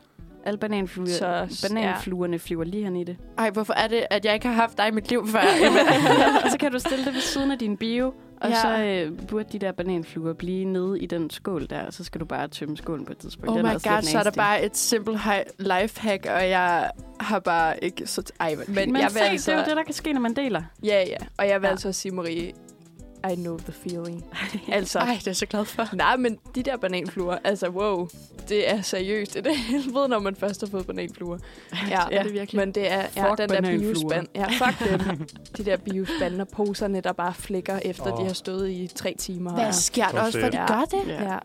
Speaker 3: Alle bananfluer,
Speaker 2: Så-
Speaker 3: så, bananfluerne ja. flyver lige hen i det.
Speaker 5: Ej, hvorfor er det, at jeg ikke har haft dig i mit liv før?
Speaker 3: så kan du stille det ved siden af din bio, og
Speaker 5: Ja.
Speaker 3: ja. så øh, burde de der bananfluer blive nede i den skål der, og så skal du bare tømme skålen på et tidspunkt.
Speaker 5: oh
Speaker 3: den
Speaker 5: my
Speaker 3: er også
Speaker 5: god,
Speaker 3: lidt
Speaker 5: så er der
Speaker 3: nasty.
Speaker 5: bare et simpelt lifehack, og jeg har bare ikke... Så Ej, hvor-
Speaker 2: Men,
Speaker 3: Men
Speaker 2: jeg
Speaker 3: se,
Speaker 2: vil altså...
Speaker 3: det er jo det, der kan ske, når man deler.
Speaker 2: Ja, ja. Og jeg vil
Speaker 3: Ja.
Speaker 2: ja. altså sige, Marie, I know the feeling. altså,
Speaker 5: Ej, det er jeg så glad for.
Speaker 2: nej, men de der bananfluer, altså wow, det er seriøst et helvede, når man først har fået bananfluer. Ja,
Speaker 5: er det virkelig.
Speaker 2: Men det er ja,
Speaker 3: Fuck
Speaker 2: den der
Speaker 3: bananfluer.
Speaker 2: biospand. Ja, fuck dem. De der biospanden og poserne, der bare flækker efter, oh. de
Speaker 4: Åh.
Speaker 2: har stået i tre timer.
Speaker 5: Hvad sker der
Speaker 4: Så
Speaker 5: også, for de
Speaker 2: sæt.
Speaker 5: gør det?
Speaker 2: Ja. Jeg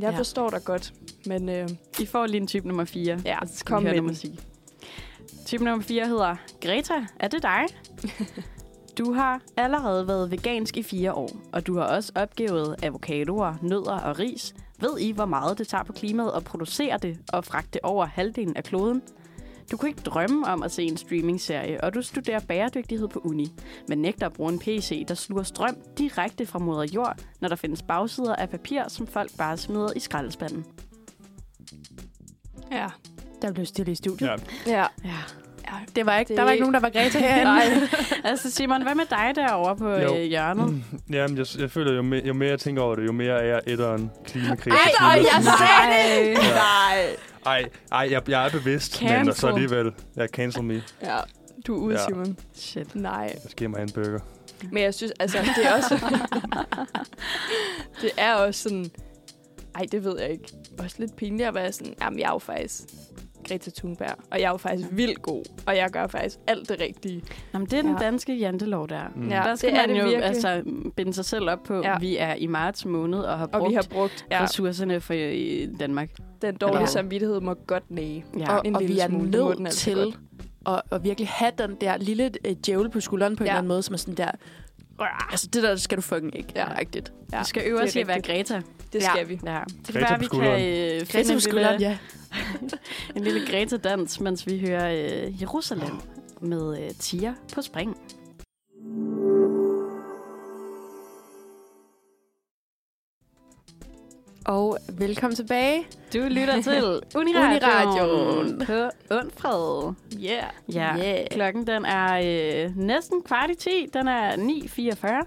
Speaker 3: Ja.
Speaker 2: forstår dig godt, men øh,
Speaker 3: I får lige en type nummer 4.
Speaker 2: Ja,
Speaker 3: og så skal
Speaker 2: kom
Speaker 3: vi høre
Speaker 2: med
Speaker 3: noget
Speaker 2: den.
Speaker 3: musik. Type nummer 4 hedder Greta, er det dig? Du har allerede været vegansk i fire år, og du har også opgivet avocadoer, nødder og ris. Ved I, hvor meget det tager på klimaet at producere det og fragte det over halvdelen af kloden? Du kunne ikke drømme om at se en streamingserie, og du studerer bæredygtighed på uni, men nægter at bruge en PC, der sluger strøm direkte fra moder jord, når der findes bagsider af papir, som folk bare smider i skraldespanden.
Speaker 2: ja.
Speaker 5: Der blev stille i studiet.
Speaker 4: Ja.
Speaker 2: ja.
Speaker 3: Ja.
Speaker 5: Det var ikke,
Speaker 2: Det-
Speaker 5: Der var ikke nogen, der var Greta herinde.
Speaker 2: Nej.
Speaker 3: Altså Simon, hvad med dig derovre på
Speaker 4: Jo.
Speaker 3: øh, hjørnet?
Speaker 4: Jamen, jeg, jeg føler, jo, me- jo mere jeg tænker over det, jo mere er jeg etteren klimakrise.
Speaker 5: Ej, og jeg sagde det!
Speaker 2: Nej.
Speaker 4: Ej, ej jeg, jeg er bevidst, men
Speaker 3: Cancel.
Speaker 4: så alligevel. Ja, cancel me.
Speaker 2: Ja. Du er ude, ja.
Speaker 4: Ja.
Speaker 2: Simon.
Speaker 3: Shit.
Speaker 2: Nej.
Speaker 4: Jeg skal give mig en burger.
Speaker 2: Men jeg synes, altså, det er også... det er også sådan... Ej, det ved jeg ikke. Også lidt pinligt at være sådan, jamen, jeg er jo faktisk Greta Thunberg, og jeg er jo faktisk vildt god, og jeg gør faktisk alt det rigtige.
Speaker 3: Nå, men det er den
Speaker 2: Ja.
Speaker 3: danske jantelov der.
Speaker 4: Mm.
Speaker 2: Ja.
Speaker 3: Der skal
Speaker 2: det er
Speaker 3: man
Speaker 2: det
Speaker 3: jo
Speaker 2: virkelig.
Speaker 3: altså, binde sig selv op på,
Speaker 2: Ja.
Speaker 3: ja. vi er i marts måned og har brugt,
Speaker 2: Og vi har brugt
Speaker 3: ja.
Speaker 2: ja,
Speaker 3: ressourcerne for øh, i Danmark.
Speaker 2: den dårlige
Speaker 3: Ja.
Speaker 2: samvittighed må godt næge.
Speaker 3: Ja.
Speaker 5: Og,
Speaker 2: en
Speaker 5: og
Speaker 2: lille
Speaker 5: vi er
Speaker 2: smule. Det må den
Speaker 5: nødt
Speaker 2: altså
Speaker 5: til
Speaker 2: godt.
Speaker 5: at, at virkelig have den der lille øh, djævel på skulderen på ja. en
Speaker 2: Ja.
Speaker 5: eller anden måde, som er sådan der... "Rrr, Altså, det der skal du fucking ikke.
Speaker 2: Ja.
Speaker 5: Rigtigt.
Speaker 2: Ja,
Speaker 3: vi skal øve
Speaker 2: det er
Speaker 3: os i at være
Speaker 2: rigtigt.
Speaker 3: Greta.
Speaker 2: Det
Speaker 5: Ja.
Speaker 2: skal vi.
Speaker 3: Ja. Det
Speaker 4: Greta
Speaker 3: vi
Speaker 4: på
Speaker 3: kan
Speaker 4: skulderen.
Speaker 3: øh,
Speaker 5: Greta
Speaker 3: finde
Speaker 5: på
Speaker 3: en
Speaker 5: skulderen,
Speaker 3: lille,
Speaker 5: ja.
Speaker 3: en lille Greta-dans, mens vi hører øh, Jerusalem med øh, Tia på spring.
Speaker 5: Og velkommen tilbage.
Speaker 3: Du lytter til
Speaker 5: Uniradioen.
Speaker 3: Uniradioen på Undfred.
Speaker 2: Yeah.
Speaker 3: Ja,
Speaker 5: Yeah.
Speaker 3: yeah. klokken den er øh, næsten kvart i 10. Den er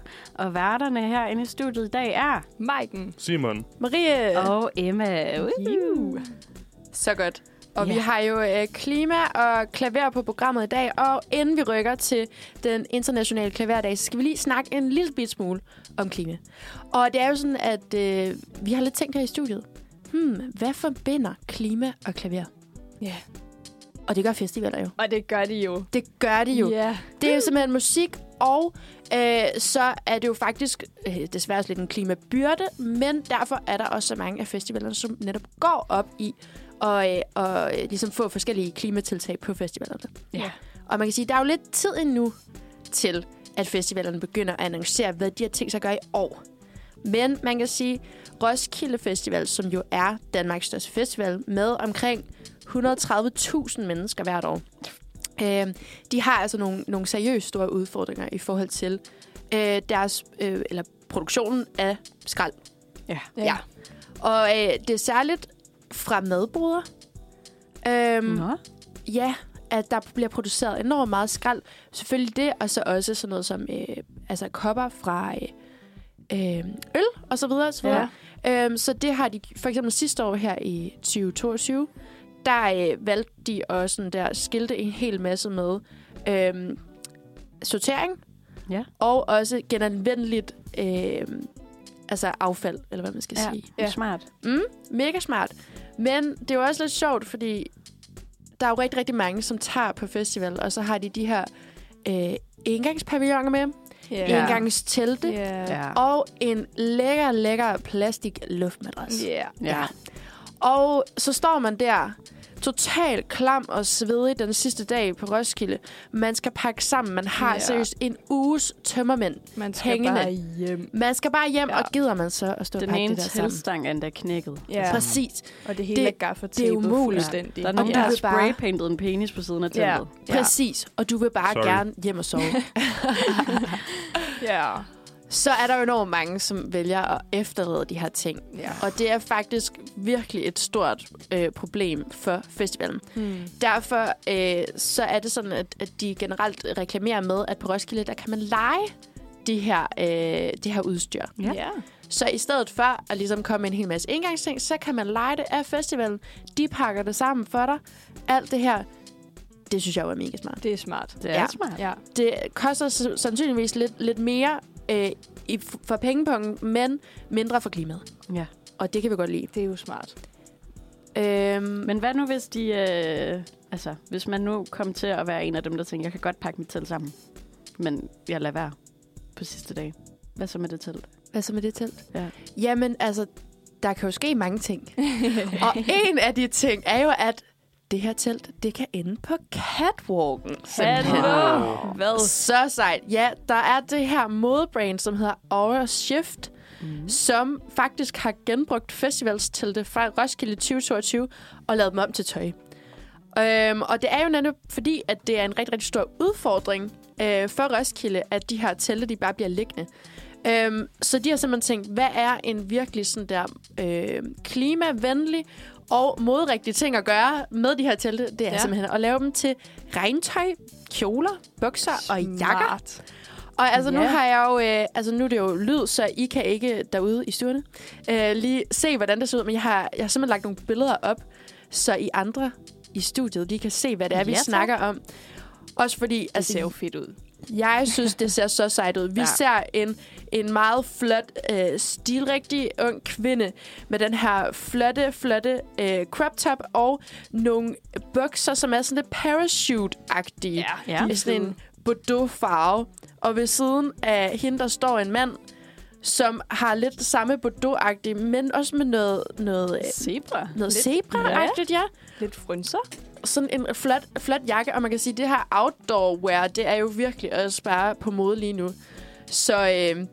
Speaker 3: 9.44. Og værterne herinde i studiet i dag er...
Speaker 2: Maiken.
Speaker 4: Simon,
Speaker 5: Marie.
Speaker 3: Og Emma.
Speaker 2: You.
Speaker 5: Så godt. Og
Speaker 3: Ja.
Speaker 5: vi har jo øh, klima og klaver på programmet i dag, og inden vi rykker til den internationale klaverdag, så skal vi lige snakke en lille bit smule om klima. Og det er jo sådan, at øh, vi har lidt tænkt her i studiet. Hmm, hvad forbinder klima og klaver?
Speaker 2: Ja.
Speaker 5: Og det gør festivaler jo.
Speaker 2: Og det gør de jo.
Speaker 5: Det gør de jo.
Speaker 2: Ja.
Speaker 5: Det er jo simpelthen musik, og øh, så er det jo faktisk øh, desværre også lidt en klimabyrde, men derfor er der også så mange af festivalerne, som netop går op i og, øh, og øh, ligesom få forskellige klimatiltag på festivalerne.
Speaker 2: Ja.
Speaker 5: Og man kan sige, at der er jo lidt tid endnu til, at festivalerne begynder at annoncere, hvad de har tænkt sig at gøre i år. Men man kan sige, Roskilde Festival, som jo er Danmarks største festival, med omkring 130.000 mennesker hvert år. Øh, de har altså nogle, nogle seriøst store udfordringer i forhold til øh, deres, øh, eller produktionen af skrald.
Speaker 3: Ja.
Speaker 5: ja. Og
Speaker 3: Mm.
Speaker 5: øh, det er særligt fra madboder. Øhm,
Speaker 3: Nå.
Speaker 5: Ja, at der bliver produceret enormt meget skrald. Selvfølgelig det, og så også sådan noget som øh, altså kopper fra øh, øh, øl og så videre. Og så, videre. Ja. Øhm, så det har de for eksempel sidste år her i 2022, der øh, valgte de også sådan der skilte en hel masse med øh, sortering
Speaker 3: Ja.
Speaker 5: og også genanvendeligt øh, altså affald, eller hvad man skal
Speaker 3: Ja.
Speaker 5: ja. sige.
Speaker 3: Ja. Smart.
Speaker 5: Mega smart. Men det er jo også lidt sjovt, fordi der er jo rigtig, rigtig mange, som tager på festival, og så har de de her øh, engangspavilloner med, ja. engangstelte, ja.
Speaker 2: Ja.
Speaker 5: og en lækker, lækker plastik luftmadras.
Speaker 2: Ja.
Speaker 3: Ja.
Speaker 5: Og så står man der, totalt klam og svedig den sidste dag på Roskilde. Man skal pakke sammen. Man har
Speaker 2: Ja.
Speaker 5: ja. seriøst en uges tømmermænd.
Speaker 2: Man skal
Speaker 5: Hængende.
Speaker 2: bare hjem.
Speaker 5: Man skal bare hjem,
Speaker 2: Ja.
Speaker 5: ja. og gider man så at stå og
Speaker 3: Den
Speaker 5: pakke
Speaker 3: ene
Speaker 5: det der sammen?
Speaker 3: tilstang er endda knækket.
Speaker 2: Ja.
Speaker 5: Præcis.
Speaker 2: Og det hele det,
Speaker 5: Det-
Speaker 2: er gaffatappet
Speaker 5: det er umuligt.
Speaker 2: fuldstændig.
Speaker 3: Der er nogen, der
Speaker 5: du
Speaker 3: har
Speaker 5: ved bare-
Speaker 3: spraypaintet en penis på siden af
Speaker 2: Ja.
Speaker 3: teltet.
Speaker 5: Ja. Præcis. Og du vil bare
Speaker 4: Sorry.
Speaker 5: Sorry. gerne hjem og sove.
Speaker 2: Ja.
Speaker 5: så er der jo enormt mange, som vælger at efterlade de her ting.
Speaker 2: ja.
Speaker 5: Og det er faktisk virkelig et stort øh, problem for festivalen.
Speaker 2: Hmm.
Speaker 5: Derfor øh, så er det sådan, at, at de generelt reklamerer med, at på Roskilde, der kan man lege det her, øh, det her udstyr.
Speaker 3: Ja.
Speaker 2: ja.
Speaker 5: Så i stedet for at ligesom komme med en hel masse engangsting, så kan man lege det af festivalen. De pakker det sammen for dig. Alt det her, det synes jeg var mega smart.
Speaker 2: Det er smart.
Speaker 3: Det er
Speaker 5: Ja.
Speaker 3: smart.
Speaker 2: Ja.
Speaker 5: Det koster s- sandsynligvis lidt, lidt mere øh, i, for pengepunkten, men mindre for klimaet.
Speaker 3: Ja.
Speaker 5: Og det kan vi godt lide.
Speaker 2: Det er jo smart.
Speaker 5: Øhm,
Speaker 3: Men hvad nu, hvis de... Øh, altså, hvis man nu kom til at være en af dem, der tænker, jeg kan godt pakke mit telt sammen, men jeg lader være på sidste dag. Hvad så med det telt?
Speaker 5: Hvad så med det telt?
Speaker 3: Ja.
Speaker 5: Jamen, altså, der kan jo ske mange ting. og en af de ting er jo, at det her telt, det kan ende på catwalken.
Speaker 2: Hallo! Hvad?
Speaker 5: Så sejt. Ja, der er det her modebrand, som hedder Aura Shift,
Speaker 3: Mm.
Speaker 5: som faktisk har genbrugt festivalstelte fra Roskilde 2022 og lavet dem om til tøj. Øhm, og det er jo netop fordi, at det er en rigtig, rigtig stor udfordring øh, for Roskilde, at de her telte, de bare bliver liggende. Øhm, så de har simpelthen tænkt, hvad er en virkelig sådan der øh, klimavenlig og modrigtig ting at gøre med de her telte? Det er
Speaker 2: Ja.
Speaker 5: ja. simpelthen at lave dem til regntøj, kjoler, bukser og jakker.
Speaker 2: Smart.
Speaker 5: Og altså, nu
Speaker 2: Ja.
Speaker 5: har jeg jo... Øh, altså, nu er det jo lyd, så I kan ikke derude i stuerne øh, lige se, hvordan det ser ud. Men jeg har, jeg har simpelthen lagt nogle billeder op, så I andre i studiet lige kan se, hvad det er, ja, vi
Speaker 3: Ja, tak.
Speaker 5: snakker om. Også fordi,
Speaker 2: Det ser jo
Speaker 5: altså,
Speaker 2: fedt ud.
Speaker 5: jeg synes, det ser så sejt ud.
Speaker 2: Ja.
Speaker 5: Vi ja. ser en, en meget flot, øh, stilrigtig ung kvinde med den her flotte, flotte øh, crop top og nogle bukser, som er sådan lidt parachute-agtige
Speaker 3: Ja.
Speaker 5: i sådan en bordeaux farve. Og ved siden af hende, der står en mand, som har lidt det samme bordeaux men også med noget, noget, øh,
Speaker 3: Zebra.
Speaker 5: noget
Speaker 2: lidt-
Speaker 5: zebra-agtigt, ja.
Speaker 2: Lidt frynser.
Speaker 5: Sådan en flot, flot jakke, og man kan sige, at det her outdoor-wear, det er jo virkelig også bare på mode lige nu. Så, øh,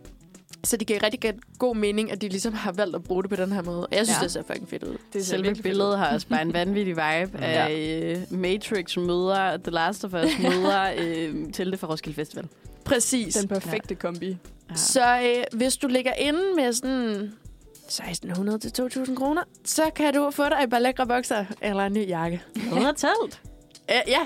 Speaker 5: så det giver rigtig god mening, at de ligesom har valgt at bruge det på den her måde. Og Jeg synes,
Speaker 3: Ja.
Speaker 5: ja. det ser fucking fedt ud.
Speaker 2: Det ser
Speaker 3: Selve
Speaker 2: virkelig fedt ud.
Speaker 3: billedet har også bare en vanvittig vibe af øh, Matrix møder The Last of Us møder øh, Telte fra Roskilde Festival. Ah,
Speaker 5: Præcis.
Speaker 2: Den perfekte kombi.
Speaker 3: Ja.
Speaker 5: Så øh, hvis du ligger inde med sådan 1.600 til 2.000 kroner, så kan du få dig et par lækre bukser eller en ny jakke.
Speaker 3: Noget telt.
Speaker 5: Æ, ja,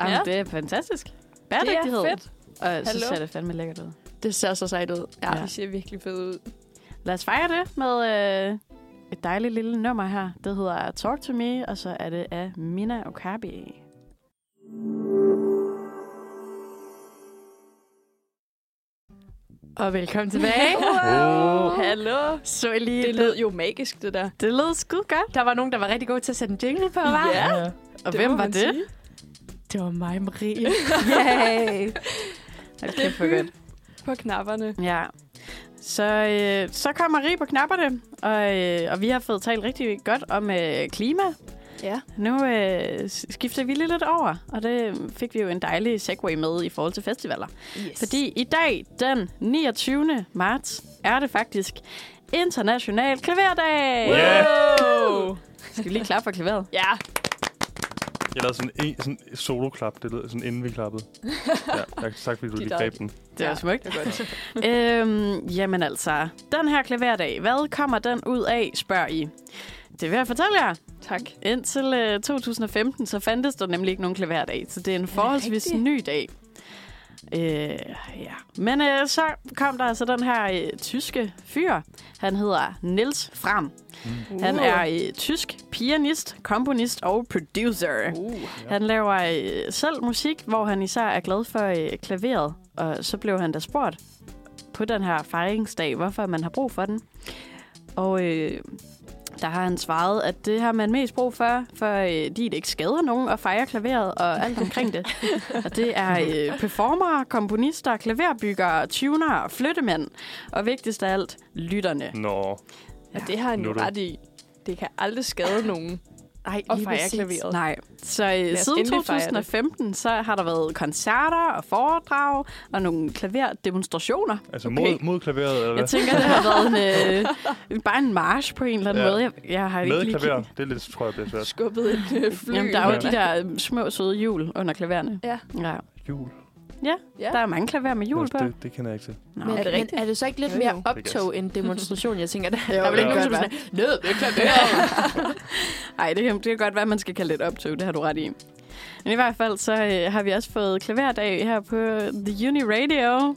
Speaker 3: Jamen,
Speaker 2: Ja.
Speaker 3: det er fantastisk. Bæredygtighed.
Speaker 2: Det er fedt.
Speaker 3: Og så
Speaker 2: Hallo.
Speaker 3: ser det fandme lækkert ud.
Speaker 5: det ser så sejt ud. Ja.
Speaker 3: Ja.
Speaker 5: ja.
Speaker 2: Det ser virkelig fedt ud.
Speaker 3: Lad os fejre det med øh, et dejligt lille nummer her. Det hedder Talk To Me, og så er det af Mina Okabe.
Speaker 5: Og velkommen tilbage.
Speaker 4: Wow.
Speaker 2: Hallo.
Speaker 3: Så lige
Speaker 2: Det lød jo magisk, det der.
Speaker 3: det lød skud godt.
Speaker 5: Der var nogen, der var rigtig gode til at sætte en jingle på,
Speaker 2: Ja.
Speaker 3: Og
Speaker 2: det
Speaker 3: hvem
Speaker 2: må
Speaker 3: var
Speaker 2: man
Speaker 3: det?
Speaker 2: sige.
Speaker 5: Det var mig, Marie.
Speaker 3: Yay! Hold
Speaker 2: Det
Speaker 3: kæft, hvor
Speaker 2: er
Speaker 3: godt.
Speaker 2: byt på knapperne.
Speaker 3: Ja. Så, øh, så kommer Rie på knapperne, og, øh, og vi har fået talt rigtig godt om øh, klima.
Speaker 2: Ja.
Speaker 3: Nu øh, s- skifter vi lige lidt over, og det fik vi jo en dejlig segway med i forhold til festivaler.
Speaker 2: Yes.
Speaker 3: Fordi i dag, den 29. marts, er det faktisk International Klaverdag!
Speaker 4: Yeah.
Speaker 2: Wow.
Speaker 3: Skal vi lige klappe for klaveret?
Speaker 2: Ja.
Speaker 4: Jeg lavede sådan en sådan et solo-klap, det lød sådan inden vi klappede. ja, jeg kan sagt, fordi du lige greb den.
Speaker 3: Det er
Speaker 2: Ja.
Speaker 3: ja. smukt.
Speaker 2: Det er godt.
Speaker 3: øhm, jamen altså, den her klaverdag, hvad kommer den ud af, spørger I? Det vil jeg fortælle jer.
Speaker 2: Tak.
Speaker 3: Indtil øh, 2015, så fandtes der nemlig ikke nogen klaverdag, så det er en forholdsvis
Speaker 2: rigtigt?
Speaker 3: ny dag. Øh, ja. Men øh, så kom der altså den her øh, tyske fyr. Han hedder Niels Fram.
Speaker 2: Uh.
Speaker 3: Han er øh, tysk pianist, komponist og producer.
Speaker 2: Uh.
Speaker 3: Han laver øh, selv musik, hvor han især er glad for øh, klaveret. Og så blev han da spurgt på den her fejringsdag, hvorfor man har brug for den. Og øh, der har han svaret, at det har man mest brug for, for øh, de ikke skader nogen og fejrer klaveret og alt omkring det. og det er øh, performere, komponister, klaverbyggere, tuner, flyttemænd og vigtigst af alt, lytterne.
Speaker 4: Nå,
Speaker 2: Og det har han jo
Speaker 4: Nuttet.
Speaker 2: ret i. Det kan aldrig skade nogen
Speaker 3: Nej,
Speaker 2: at fejre klaveret.
Speaker 3: Nej. Så
Speaker 2: Lad
Speaker 3: øh,
Speaker 2: os
Speaker 3: siden
Speaker 2: endelig fejre det.
Speaker 3: 2015, så har der været koncerter og foredrag og nogle klaverdemonstrationer.
Speaker 4: altså
Speaker 2: Okay.
Speaker 4: okay. mod, mod klaveret, eller hvad?
Speaker 3: Jeg tænker, det har været en, øh, bare en march på en eller anden ja.
Speaker 4: Ja.
Speaker 3: måde. Jeg, jeg har ikke
Speaker 4: Med
Speaker 3: lige
Speaker 4: klaver,
Speaker 3: kigget.
Speaker 4: det er lidt, tror jeg, det er svært.
Speaker 2: skubbet et øh, fly.
Speaker 3: Jamen, der er jo
Speaker 4: Ja.
Speaker 3: de der øh, små, søde hjul under klaverne.
Speaker 2: Ja.
Speaker 3: ja.
Speaker 4: Jul.
Speaker 2: Ja.
Speaker 3: Der er mange klaver med hjul på.
Speaker 4: Det, det kender jeg ikke til.
Speaker 3: Nå.
Speaker 5: Men,
Speaker 2: Er
Speaker 5: er,
Speaker 2: det
Speaker 5: det men
Speaker 2: rigtigt?
Speaker 5: er det så ikke lidt
Speaker 2: Jo, jo.
Speaker 5: mere optog end demonstration? Jeg tænker, der, der er
Speaker 4: det
Speaker 5: vel ikke
Speaker 4: kan
Speaker 5: nogen, som er
Speaker 3: godt
Speaker 5: sådan, nød, det er klaveret.
Speaker 3: Ej, det, kan- det kan godt være, man skal kalde det et optog. Det har du ret i. Men i hvert fald, så øh, har vi også fået klaverdag her på The Uni Radio.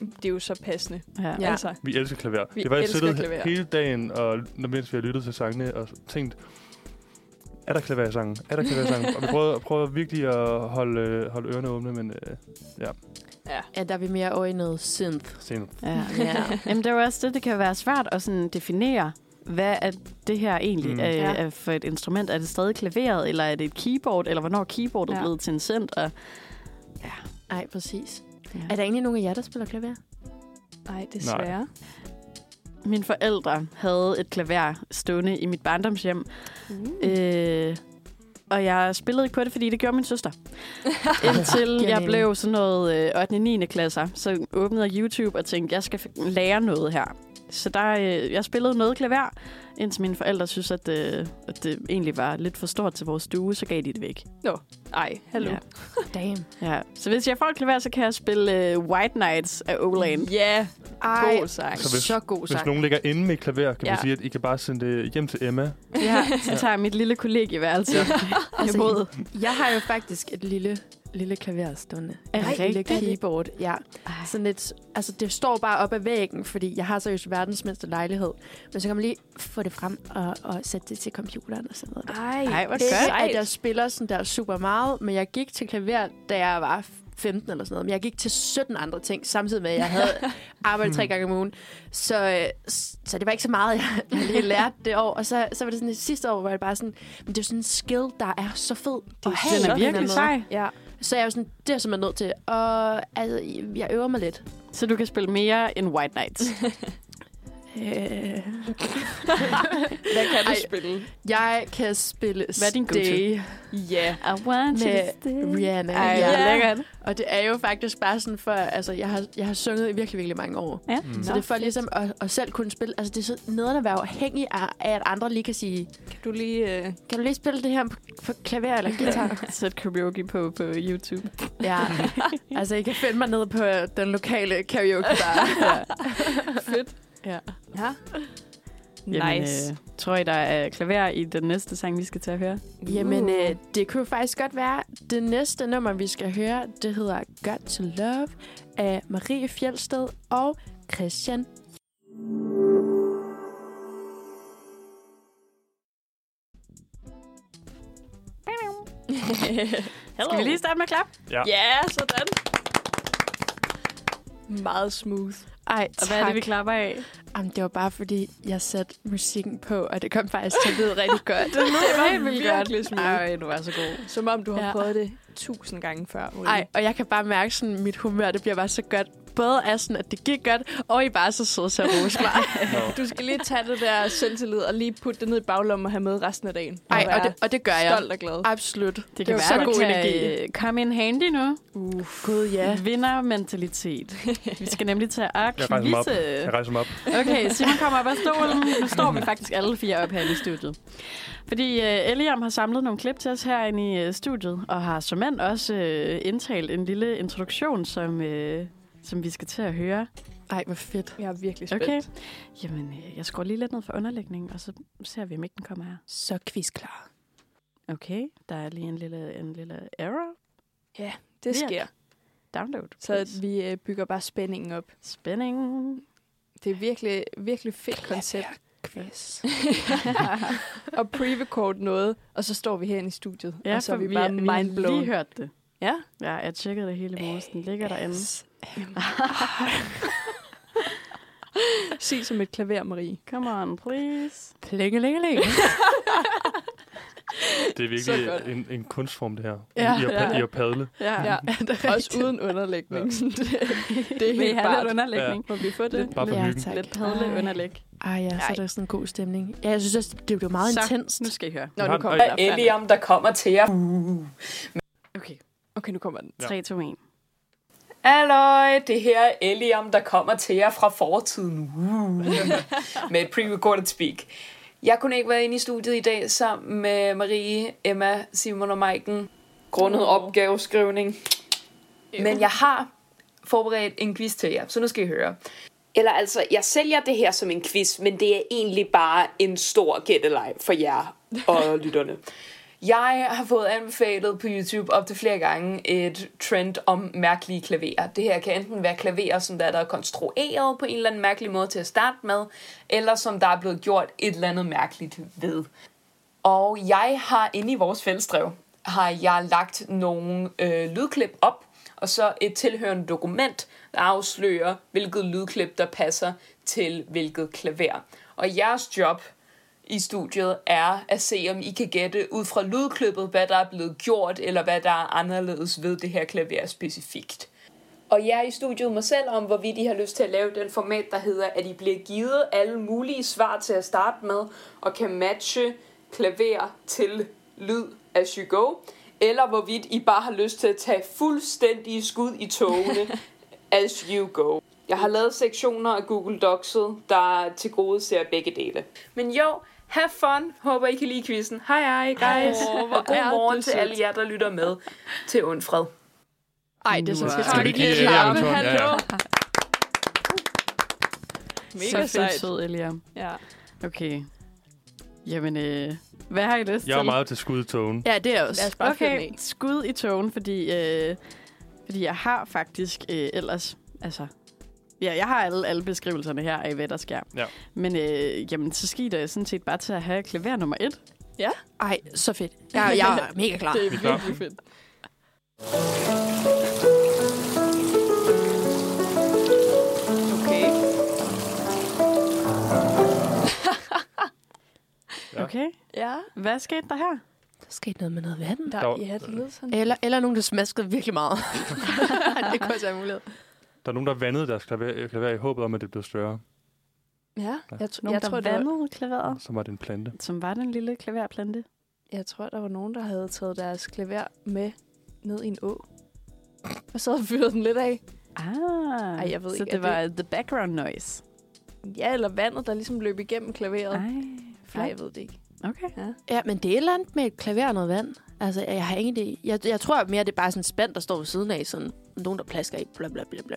Speaker 2: Det er jo så passende.
Speaker 3: Ja.
Speaker 5: Ja.
Speaker 2: Altså,
Speaker 4: Vi elsker klaver.
Speaker 2: Vi
Speaker 4: det var, jeg
Speaker 2: elsker
Speaker 4: siddet
Speaker 2: klaver.
Speaker 4: hele dagen, og når- mens vi har lyttet til sangene, og tænkt, er der klaver i sangen? Er der klaver i sangen? og vi prøvede, prøvede virkelig at holde, øh, holde ørerne åbne, men øh,
Speaker 2: ja.
Speaker 5: Ja, der er vi mere over i noget synth.
Speaker 4: senere.
Speaker 3: Ja.
Speaker 5: Ja.
Speaker 3: Jamen, det er jo også det, det kan være svært at sådan definere, hvad er det her egentlig mm.
Speaker 4: Mm.
Speaker 3: er,
Speaker 5: Ja.
Speaker 3: er for et instrument? Er det stadig klaveret, eller er det et keyboard, eller hvornår er keyboardet
Speaker 2: Ja.
Speaker 3: ja. blevet til en synth? Og...
Speaker 5: Ej, præcis.
Speaker 3: Ja.
Speaker 5: Er der egentlig nogen af jer, der spiller klaver?
Speaker 2: Nej, desværre.
Speaker 3: Mine forældre havde et klaver stående i mit barndomshjem,
Speaker 2: Uh.
Speaker 3: øh, og jeg spillede ikke på det, fordi det gjorde min søster. Indtil jeg
Speaker 5: Genial.
Speaker 3: blev sådan noget øh, 8. 9. klasser, så åbnede jeg YouTube og tænkte, jeg skal f- lære noget her. Så der, øh, jeg spillede noget klaver, indtil mine forældre synes, at, øh, at det egentlig var lidt for stort til vores stue, så gav de det væk.
Speaker 2: Ej, hallo.
Speaker 3: Ja.
Speaker 5: Damn.
Speaker 3: Ja. Så hvis jeg får et klaver, så kan jeg spille øh, White Nights af Olan.
Speaker 2: Ja,
Speaker 5: Ej,
Speaker 2: god sang.
Speaker 4: Så hvis-
Speaker 5: så god
Speaker 4: Hvis
Speaker 5: sang.
Speaker 4: nogen ligger inde med et klaver, kan ja.
Speaker 2: Ja.
Speaker 4: man sige, at I kan bare sende det hjem til Emma.
Speaker 3: Ja, så tager jeg mit lille kollegieværelse. Ja. Jeg
Speaker 5: Altså,
Speaker 3: boede.
Speaker 5: Jeg har jo faktisk et lille, lille klaver stående.
Speaker 3: Er det
Speaker 5: Et lille
Speaker 3: rigtigt?
Speaker 5: keyboard, ja. Sådan lidt, altså det står bare op ad væggen, fordi jeg har seriøst verdens mindste lejlighed. Men så kan man lige få det frem og, og sætte det til computeren og sådan noget.
Speaker 2: Ej,
Speaker 3: Ej, hvor
Speaker 5: Det er ikke,
Speaker 3: godt.
Speaker 5: at jeg spiller sådan der super meget, men jeg gik til klaver, da jeg var 15 eller sådan noget. Men jeg gik til 17 andre ting, samtidig med, at jeg havde arbejdet
Speaker 3: Mm.
Speaker 5: tre gange om ugen. Så, øh, s- så det var ikke så meget, jeg jeg lige lærte det år. Og så, så var det sådan det sidste år, hvor jeg bare sådan... Men det er jo sådan en skill, der er så fed at have.
Speaker 3: Den
Speaker 5: på
Speaker 3: er
Speaker 5: en eller anden
Speaker 3: virkelig
Speaker 5: måde.
Speaker 3: sej.
Speaker 2: Ja.
Speaker 5: Så jeg er jo sådan, det er jeg simpelthen nødt til. Og altså, jeg øver mig lidt.
Speaker 3: Så du kan spille mere end White Nights.
Speaker 5: Øh,
Speaker 2: Hvad kan du
Speaker 5: Ej.
Speaker 2: spille?
Speaker 5: jeg kan spille
Speaker 3: Hvad er din go-to?
Speaker 5: Stay
Speaker 2: Ja.
Speaker 3: I want
Speaker 5: med Rihanna.
Speaker 3: Ej,
Speaker 5: ja.
Speaker 3: ja. lækkert.
Speaker 5: Og det er jo faktisk bare sådan for, altså jeg har, jeg har sunget i virkelig, virkelig mange år.
Speaker 3: Ja.
Speaker 4: Mm.
Speaker 5: Så
Speaker 2: Nå,
Speaker 5: det er for
Speaker 2: fedt.
Speaker 5: ligesom at, at selv kunne spille. Altså det er så nederen at være afhængig af, af, at andre lige kan sige,
Speaker 2: Kan du lige... Øh,
Speaker 5: kan du lige spille det her på, på klaver eller guitar?
Speaker 3: Sæt karaoke på på YouTube.
Speaker 5: ja. Altså I kan finde mig nede på øh, den lokale karaoke bar.
Speaker 2: fedt.
Speaker 5: Ja.
Speaker 2: ja.
Speaker 3: Jamen,
Speaker 2: Nice.
Speaker 3: øh, tror I, der er klaver i den næste sang, vi skal til at høre?
Speaker 5: Jamen
Speaker 2: Uh.
Speaker 5: øh, det kunne jo faktisk godt være, det næste nummer vi skal høre, det hedder Got to Love af Marie Fjeldsted og Christian.
Speaker 2: Hello.
Speaker 3: Skal vi lige starte med klap?
Speaker 4: Ja.
Speaker 2: Ja, sådan. Meget smooth.
Speaker 5: Ej,
Speaker 3: Og hvad er det, vi klapper af?
Speaker 5: Jamen, det var bare fordi, jeg satte musikken på, og det kom faktisk til at lyde rigtig godt.
Speaker 2: Det
Speaker 3: var
Speaker 2: lyder
Speaker 3: helt vildt godt.
Speaker 2: virkelig smooth.
Speaker 3: Ej, du er så god.
Speaker 2: Som om du har
Speaker 5: Ja.
Speaker 2: ja. prøvet det tusind gange før. Ole.
Speaker 5: Ej, og jeg kan bare mærke, sådan, mit humør det bliver bare så godt. Både af sådan, at det gik godt, og I er bare så søde til at rose mig.
Speaker 2: Du skal lige tage det der selvtillid og lige putte det ned i baglommen og have med resten af dagen.
Speaker 5: Ej, og det, og det gør jeg.
Speaker 2: stolt og glad.
Speaker 5: Absolut.
Speaker 3: Det kan
Speaker 5: var
Speaker 3: være,
Speaker 5: så
Speaker 3: så
Speaker 5: god
Speaker 3: god kan
Speaker 5: energi.
Speaker 3: energi. komme in handy nu.
Speaker 5: Gud, ja.
Speaker 3: Ja. Vindermentalitet. Vi skal nemlig til at
Speaker 4: Jeg rejser mig op.
Speaker 3: kvise.
Speaker 4: Jeg rejser mig op.
Speaker 3: Okay, Simon kommer op af stolen. Nu står vi faktisk alle fire op her i studiet. Fordi uh, Eliam har samlet nogle klip til os herinde i uh, studiet, og har som øh, mand også uh, indtalt en lille introduktion, som, uh, som vi øh, skal til at høre.
Speaker 5: Ej, hvor fedt.
Speaker 2: Jeg er virkelig spændt.
Speaker 3: Okay. Jamen, øh, jeg skruer lige lidt ned for underlægningen, og så ser vi, om ikke den kommer her.
Speaker 5: Så quiz klar.
Speaker 3: Okay, der er lige en lille, en lille error.
Speaker 2: Det
Speaker 3: Virk.
Speaker 2: sker.
Speaker 3: Download.
Speaker 2: Så
Speaker 3: please.
Speaker 2: vi øh, bygger bare spændingen op.
Speaker 3: Spænding.
Speaker 2: Det er virkelig, virkelig fedt koncept.
Speaker 5: Quiz.
Speaker 2: og pre-record noget, og så står vi herinde i studiet.
Speaker 3: Ja,
Speaker 2: og så
Speaker 3: for
Speaker 2: er Altså, vi, bare
Speaker 3: vi
Speaker 2: mindblown.
Speaker 3: lige hørt det.
Speaker 2: Ja.
Speaker 3: Ja, jeg tjekkede det hele i morges. Den ligger derinde.
Speaker 2: Se som et klaver, Marie.
Speaker 3: Come on, please.
Speaker 5: Plinge, længe, længe.
Speaker 4: Det er
Speaker 2: Så godt.
Speaker 4: virkelig en, en kunstform, det her.
Speaker 3: Ja,
Speaker 4: I, at, pa-
Speaker 3: ja.
Speaker 4: I at padle.
Speaker 3: Ja.
Speaker 2: Ja,
Speaker 5: det er
Speaker 2: også uden underlægning. Ja. det, det er
Speaker 3: Vil
Speaker 2: helt
Speaker 3: I have lidt
Speaker 2: bare.
Speaker 3: underlægning?
Speaker 2: Må vi få det?
Speaker 4: Bare for
Speaker 5: Ja,
Speaker 4: hyggen.
Speaker 5: tak.
Speaker 3: Lidt padle
Speaker 5: Ej.
Speaker 3: underlæg.
Speaker 5: Ej, ja, så er der sådan en god stemning. Ja, jeg synes også, det blev meget
Speaker 3: Så,
Speaker 5: intenst.
Speaker 3: Nu skal I høre.
Speaker 2: Nå,
Speaker 4: Vi har
Speaker 2: nu
Speaker 4: den.
Speaker 2: kommer
Speaker 4: Ej.
Speaker 2: den.
Speaker 6: Jeg er enige om, der kommer til jer.
Speaker 3: Okay.
Speaker 2: Okay, nu kommer den.
Speaker 4: Ja.
Speaker 3: 3, 2, 1.
Speaker 6: Halløj, det her er Eliam, der kommer til jer fra fortiden. Uh. med et pre-recorded speak. Jeg kunne ikke være inde i studiet i dag sammen med Marie, Emma, Simon og Maiken. Grundet opgaveskrivning. Men jeg har forberedt en quiz til jer, så nu skal I høre. Eller altså, jeg sælger det her som en quiz, men det er egentlig bare en stor gætteleg for jer og lytterne. Jeg har fået anbefalet på YouTube op til flere gange et trend om mærkelige klaverer. Det her kan enten være klaverer, som der er der er konstrueret på en eller anden mærkelig måde til at starte med, eller som der er blevet gjort et eller andet mærkeligt ved. Og jeg har inde i vores fællesdrev, har jeg lagt nogle øh, lydklip op, og så et tilhørende dokument, der afslører, hvilket lydklip, der passer til hvilket klaver. Og jeres job i studiet er at se, om I kan gætte ud fra lydklippet, hvad der er blevet gjort, eller hvad der er anderledes ved det her klaver specifikt. Og jer i studiet må selv om, hvorvidt I har lyst til at lave den format, der hedder, at I bliver givet alle mulige svar til at starte med, og kan matche klaver til lyd as you go, eller hvorvidt I bare har lyst til at tage fuldstændige skud i togene as you go. Jeg har lavet sektioner af Google Docs'et, der til gode ser begge dele. Men jo, have fun. Håber, I kan lide quizzen. Hej hej, guys. Oh, og god morgen til alle jer, der lytter med til Undfred.
Speaker 5: Ej, det er så
Speaker 3: Wow.
Speaker 5: fedt.
Speaker 4: Skal vi
Speaker 2: Tak,
Speaker 4: ikke lige
Speaker 2: Eliam.
Speaker 4: klappe? Ja, ja.
Speaker 2: Hallo.
Speaker 3: Så
Speaker 2: Mega
Speaker 3: fedt,
Speaker 2: sejt.
Speaker 3: sød Eliam.
Speaker 2: Ja.
Speaker 3: Okay. Jamen, øh, hvad har I lyst
Speaker 4: Jeg er
Speaker 3: til?
Speaker 4: meget til skudtogen.
Speaker 5: Ja, det er også.
Speaker 2: Lad os bare okay.
Speaker 3: Okay, skud i togen, fordi, øh, fordi jeg har faktisk øh, ellers... Altså, ja, jeg har alle, alle beskrivelserne her af, hvad der sker.
Speaker 4: Ja.
Speaker 3: Men øh, jamen, så skal I da sådan set bare til at have klaver nummer et.
Speaker 5: Ej, så fedt. Jeg, jeg er mega klar.
Speaker 2: Det er
Speaker 4: Vi er klar.
Speaker 2: virkelig fedt. Okay.
Speaker 4: Ja.
Speaker 3: Okay?
Speaker 2: Ja.
Speaker 3: Hvad skete der her?
Speaker 5: Der skete noget med noget vand.
Speaker 2: Der,
Speaker 4: Der-
Speaker 2: ja, det lyder sådan.
Speaker 5: Eller, eller nogen, der smaskede virkelig meget. det kunne også være en mulighed.
Speaker 4: Der er nogen, der vandede deres klaver, øh, klaver i håbet om, at det blev større.
Speaker 2: Ja,
Speaker 4: Ja.
Speaker 2: jeg, tr-
Speaker 3: Nogen,
Speaker 2: jeg,
Speaker 3: der
Speaker 2: tror, der var,
Speaker 3: vandede klaveret,
Speaker 4: Så var det en plante.
Speaker 3: som var den lille klaverplante.
Speaker 2: jeg tror, der var nogen, der havde taget deres klaver med ned i en å. Og så havde fyret den lidt af.
Speaker 3: Ah,
Speaker 2: Ej, jeg ved
Speaker 3: så
Speaker 2: ikke,
Speaker 3: det
Speaker 2: er
Speaker 3: var det... the background noise.
Speaker 2: Ja, eller vandet, der ligesom løb igennem klaveret.
Speaker 3: Ej,
Speaker 2: Nej,
Speaker 3: flot.
Speaker 2: jeg ved det ikke.
Speaker 3: Okay.
Speaker 5: Ja, men det er et eller andet med et klaver og noget vand. Altså, jeg har ingen idé. Jeg, jeg tror mere, det er bare sådan en spand, der står ved siden af. Sådan nogen, der plasker i. Bla, bla, bla, bla.